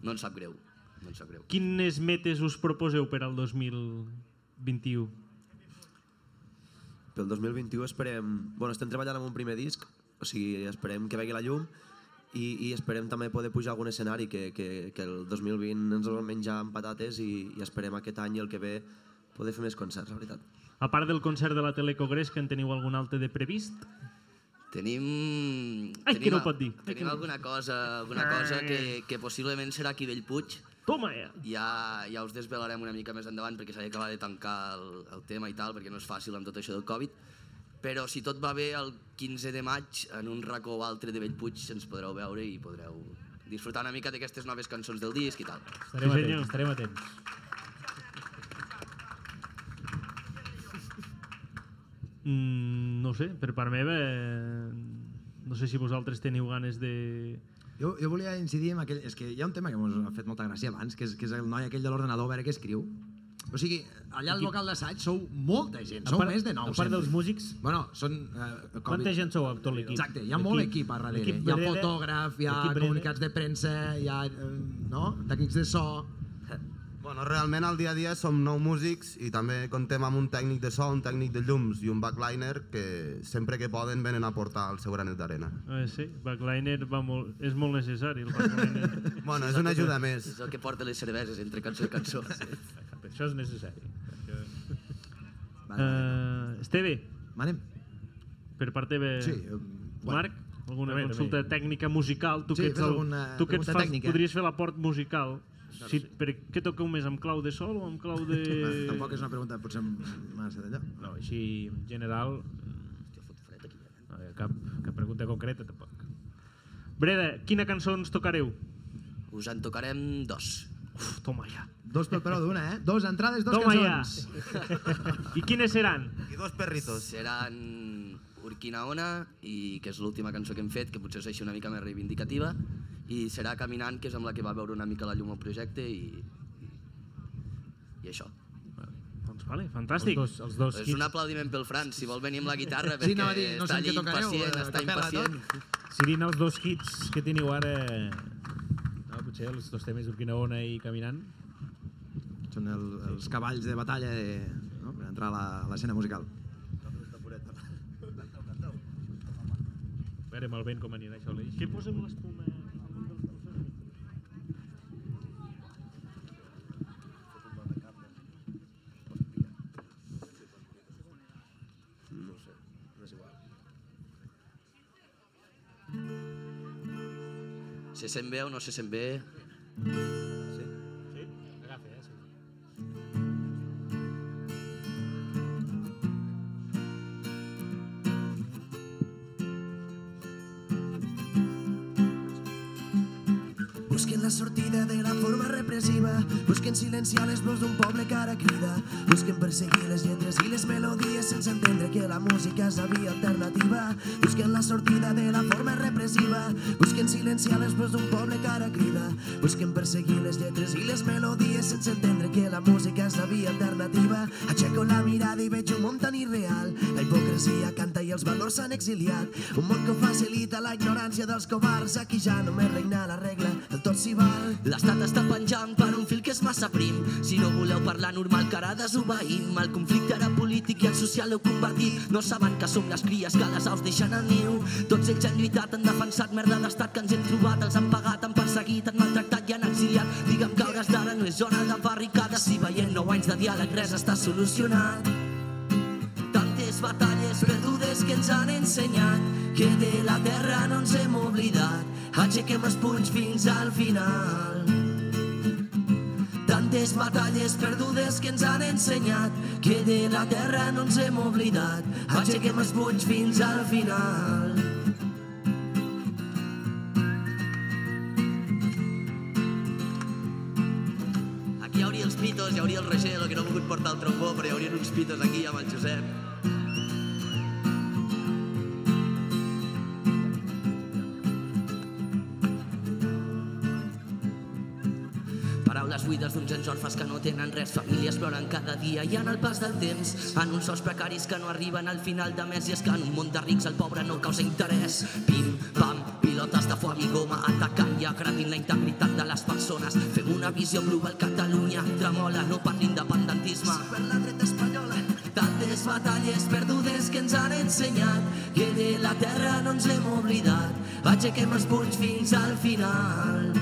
Y: no ens sap greu. No ens sap greu.
B: Quines metes us proposeu per al 2021?
Z: Pel 2021 esperem... Bueno, estem treballant en un primer disc, o sigui, esperem que vegi la llum i, i esperem també poder pujar a algun escenari que, que, que el 2020 ens el vam menjar amb patates i, i esperem aquest any i el que ve poder fer més concerts, la veritat.
B: A part del concert de la Telecogresca, en teniu algun altre de previst?
Y: Tenim...
B: Ai,
Y: Mm, tenim
B: que no
Y: a-
B: ho pot dir. Ai, que
Y: Tenim
B: no.
Y: alguna cosa, alguna
B: Ai.
Y: cosa que, que possiblement serà aquí Bellpuig.
B: Toma, ja.
Y: Ja, ja us desvelarem una mica més endavant perquè s'ha d'acabar de tancar el, el tema i tal, perquè no és fàcil amb tot això del Covid. Però si tot va bé, el 15 de maig, en un racó o altre de Bellpuig, ens podreu veure i podreu disfrutar una mica d'aquestes noves cançons del disc i tal.
D: Estarem atents, estarem atents.
B: Mm, no ho sé, per part meva... eh, No sé si vosaltres teniu ganes de...
C: Jo, jo volia incidir en aquell... És que hi ha un tema que ens ha fet molta gràcia abans, que és, que és el noi aquell de l'ordenador, a veure què escriu. O sigui, allà al
G: Aquí-
C: local d'assaig sou molta gent, sou
G: part-
C: més de nou.
G: a part dels
C: músics... Bueno, són... Eh,
G: Quanta gent
C: sou, tot
G: l'equip?
C: Exacte, hi ha molt
G: L'equip-
C: equip a darrere.
G: l'equip
C: Hi ha
G: Breda-
C: fotògraf, hi ha
G: l'equip Breda.
C: comunicats de premsa, hi ha... Eh, no? Tècnics de so...
X: Bueno, realment al dia a dia som nou músics i també contem amb un tècnic de so, un tècnic de llums i un backliner que sempre que poden venen a portar el seu granet d'arena.
B: Eh, sí, backliner va molt, és molt necessari, el backliner.
X: Bueno, és una ajuda més.
Y: És el que porta les cerveses entre cançó i cançó.
D: Això és necessari.
B: Uh, Esteve.
C: Anem.
B: Per part teva,
C: Sí,
B: sí,
C: eh, bueno.
B: Marc, alguna
C: També,
B: també, consulta
C: també.
B: també. tècnica musical? Tu
C: Sí,
B: que ets
C: fes
B: el,
C: alguna
B: tu que ets
C: pregunta
B: fas,
C: tècnica.
B: podries fer l'aport musical.
C: No
B: si,
C: sé.
B: per, què toqueu més, amb clau de sol o amb clau de...
C: Tampoc és una pregunta potser massa d'allò.
D: No, així, en general...
Y: eh,
D: No hi ha cap, cap pregunta concreta, tampoc.
B: Breda, quina cançó ens tocareu?
Y: Us en tocarem dos.
B: Uf, toma ja.
C: Dos pel però d'una, eh? Dos entrades, dos
B: Toma ja.
C: cançons.
B: I quines seran?
Y: I dos perritos. Seran Urquinaona, i que és l'última cançó que hem fet, que potser és així una mica més reivindicativa, i serà Caminant, que és amb la que va veure una mica la llum al projecte, i, i, i això.
B: Doncs vale, fantàstic.
D: Els dos- els dos
Y: és
D: hits.
Y: un aplaudiment pel Fran, si vol venir amb la guitarra,
D: Sí,
Y: perquè
D: anava a dir, no
Y: està
D: sé en què
Y: allí
D: tocareu,
Y: impacient,
D: eh,
Y: està
D: capella,
Y: impacient.
D: Si dint els dos hits que teniu ara... No, potser els dos temes d'Urquinaona i Caminant.
C: Són el, els cavalls de batalla de, no? per entrar a la- a l'escena musical.
D: A veure amb el vent com anirà això a l'eix.
B: Què posem l'espuma?
Z: No ho sé, no és igual.
Y: Se sent bé o no se sent bé? Sí.
D: Sí? Agafa, eh? Sí.
V: Busquen la sortida de la forma repressiva, busquen silenciar les veus d'un poble que ara crida, busquen perseguir les lletres i les melodies sense entendre que la música és la via alternativa. Busquen la sortida de la forma repressiva, busquen silenciar les veus d'un poble que ara crida, busquen perseguir les lletres i les melodies sense entendre que la música és la via alternativa. Aixeco la mirada i veig un món tan irreal, la hipocresia canta i els valors s'han exiliat, un món que facilita la ignorància dels covards, aquí ja només regna la regla, el tot s'hi val.
W: L'estat està penjant per un fil que és massa prim. Si no voleu parlar normal, cara desobeïm. El conflicte era polític i el social l'heu convertit. No saben que som les cries que les aus deixen al niu. Tots ells han lluitat, han defensat merda d'estat que ens hem trobat. Els han pagat, han perseguit, han maltractat i han exiliat. Digue'm que hores d'ara no és hora de barricades. Si veient nou anys de diàleg res està solucionat.
V: tantes batalles perdudes que ens han ensenyat que de la terra no ens hem oblidat. Aixequem els punys fins al final. Tantes batalles perdudes que ens han ensenyat que de la terra no ens hem oblidat. Aixequem els punys fins al final.
Y: Aquí hi hauria els pitos, hi hauria el Roger, el que no ha volgut portar el trombó, però hi haurien uns pitos aquí amb el Josep.
W: Paraules buides d'uns gens orfes que no tenen res, famílies ploren cada dia i en el pas del temps, en uns sous precaris que no arriben al final de mes i és que en un món de rics el pobre no causa interès. Pim, pam, pilotes de foam i goma atacant i agredint la integritat de les persones. Fem una visió global, Catalunya tremola, no per l'independentisme.
V: per la dreta espanyola. Tantes batalles perdudes que ens han ensenyat que de la terra no ens hem oblidat. Aixequem els punys fins al final.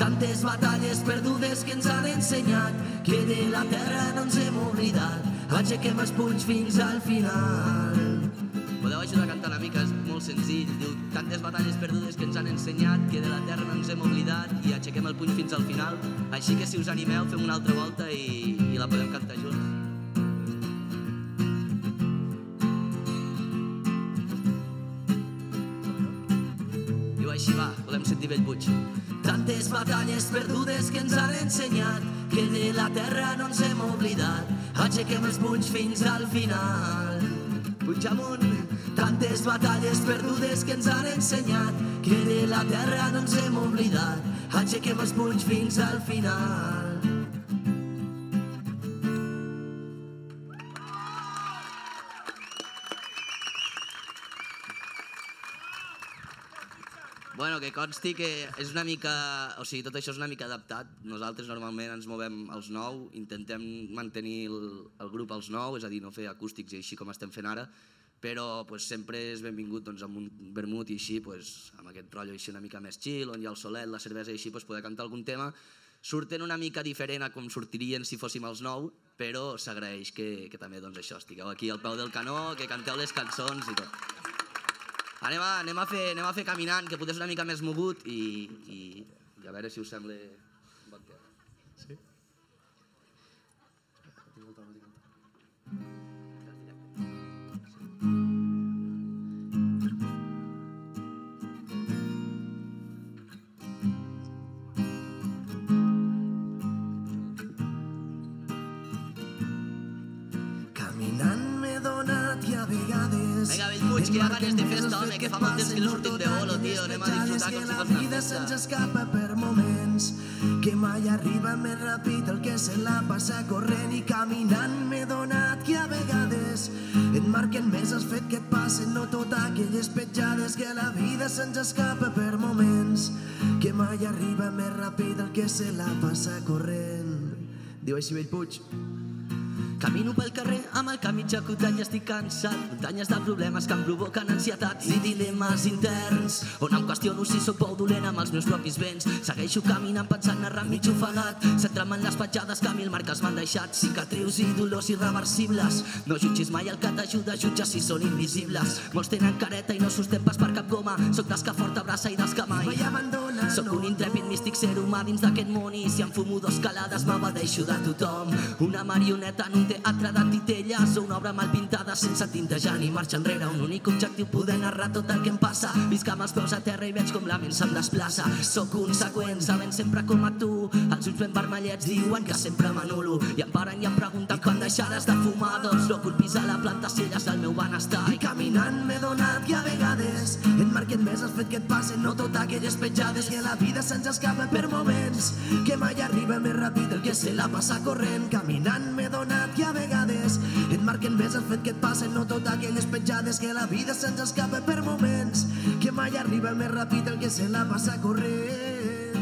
V: Tantes batalles perdudes que ens han ensenyat que de la terra no ens hem oblidat. Aixequem els punys fins al final.
Y: Va podeu ajudar a cantar una mica, és molt senzill. Diu, tantes batalles perdudes que ens han ensenyat que de la terra no ens hem oblidat i aixequem el puny fins al final. Així que si us animeu, fem una altra volta i, i la podem cantar junts. Diu, així va, volem sentir Bellpuig.
W: Tantes batalles perdudes que ens han ensenyat que de la terra no ens hem oblidat. Aixequem els punys fins al final. Puig amunt! Tantes batalles perdudes que ens han ensenyat que de la terra no ens hem oblidat. Aixequem els punys fins al final.
Y: Bueno, que consti que és una mica... O sigui, tot això és una mica adaptat. Nosaltres normalment ens movem als 9, intentem mantenir el, el grup als 9, és a dir, no fer acústics i així com estem fent ara, però pues, sempre és benvingut doncs, amb un vermut i així, pues, amb aquest rotllo així una mica més chill, on hi ha el solet, la cervesa i així, pues, poder cantar algun tema. Surten una mica diferent a com sortirien si fóssim els 9, però s'agraeix que, que també doncs, això, estigueu aquí al peu del canó, que canteu les cançons i tot. Anem a, anem a, fer, anem a fer caminant, que potser és una mica més mogut i, i, i a veure si us sembla un bon tema. Sí.
V: Caminant m'he donat i a vegades...
Y: Vinga, Bellpuig, que hi ha ganes de festa, home, eh, que fa molt temps que no sortim de bolo, tio, anem a disfrutar com si fos una
V: vida se'ns
Y: festa.
V: escapa per moments que mai arriba més ràpid el que se la passa corrent i caminant m'he donat que a vegades et marquen més els fets que et passen no tot aquelles petjades que la vida se'ns escapa per moments que mai arriba més ràpid el que se la passa corrent
Y: Diu així Bellpuig Camino pel carrer amb el cap mig acotat i estic cansat. Muntanyes de problemes que em provoquen ansietats i dilemes interns. On em qüestiono si sóc prou dolent amb els meus propis béns. Segueixo caminant pensant narrant mig ofegat. Centrant-me en les petjades que a mi el marques m'han deixat. Cicatrius i dolors irreversibles. No jutgis mai el que t'ajuda, jutja si són invisibles. Molts tenen careta i no sostén pas per cap goma. Soc dels que fort abraça i dels que mai.
V: mai abandona,
Y: Soc un intrèpid místic ser humà Ah, dins d'aquest món i si em fumo dos calades m'abadeixo de tothom. Una marioneta en un teatre de titelles o una obra mal pintada sense tintejar ni marxa enrere. Un únic objectiu, poder narrar tot el que em passa. Visc amb els peus a terra i veig com la ment se'm desplaça. Soc conseqüent, sabent sempre com a tu. Els ulls ben vermellets diuen que sempre m'anulo. I em paren i em pregunten quan deixaràs de fumar. Doncs no culpis a la planta si ella és el meu benestar. I
V: caminant m'he donat que a vegades et marquen més el fet que et passen, no tot aquelles petjades que la vida se'ns escapa per moments, que mai arriba més ràpid el que se la passa corrent. Caminant m'he donat que a vegades et marquen més el fet que et passen, no tot aquelles petjades que la vida se'ns escapa per moments, que mai arriba més ràpid el que se la passa corrent.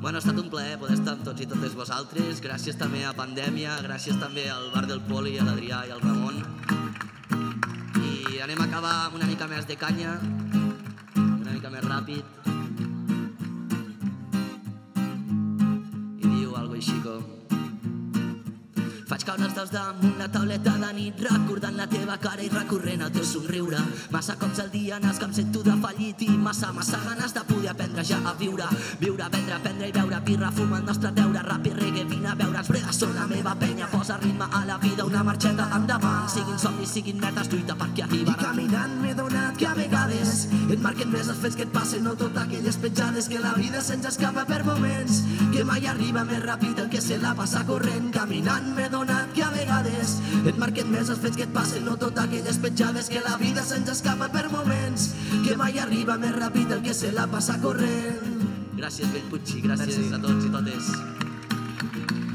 Y: Bueno, ha estat un plaer poder estar amb tots i totes vosaltres. Gràcies també a Pandèmia, gràcies també al Bar del Poli, a l'Adrià i al Ramon. I anem a acabar amb una mica més de canya, una mica més ràpid. I diu algo així com... Faig caure els dos damunt la tauleta de nit recordant la teva cara i recorrent el teu somriure. Massa cops al dia en els que em sento defallit i massa, massa ganes de poder aprendre ja a viure. Viure, vendre, prendre i beure birra, fumar el nostre deure, rap i reggae, vine a veure'ns, brega, són la meva penya, posa ritme a la vida, una marxeta endavant. Siguin somnis, siguin metes, lluita perquè
V: I
Y: arribaran.
V: caminant m'he donat que a vegades et marquen més els fets que et passen, no tot aquelles petjades que la vida se'ns escapa per moments, que mai arriba més ràpid el que se la passa corrent. Caminant m'he donat que a vegades et marquen més els fets que et passen, no tot aquelles petjades que la vida se'ns escapa per moments, que mai arriba més ràpid el que se la passa corrent.
Y: Gràcies, Bellpuig, i gràcies a tots i totes.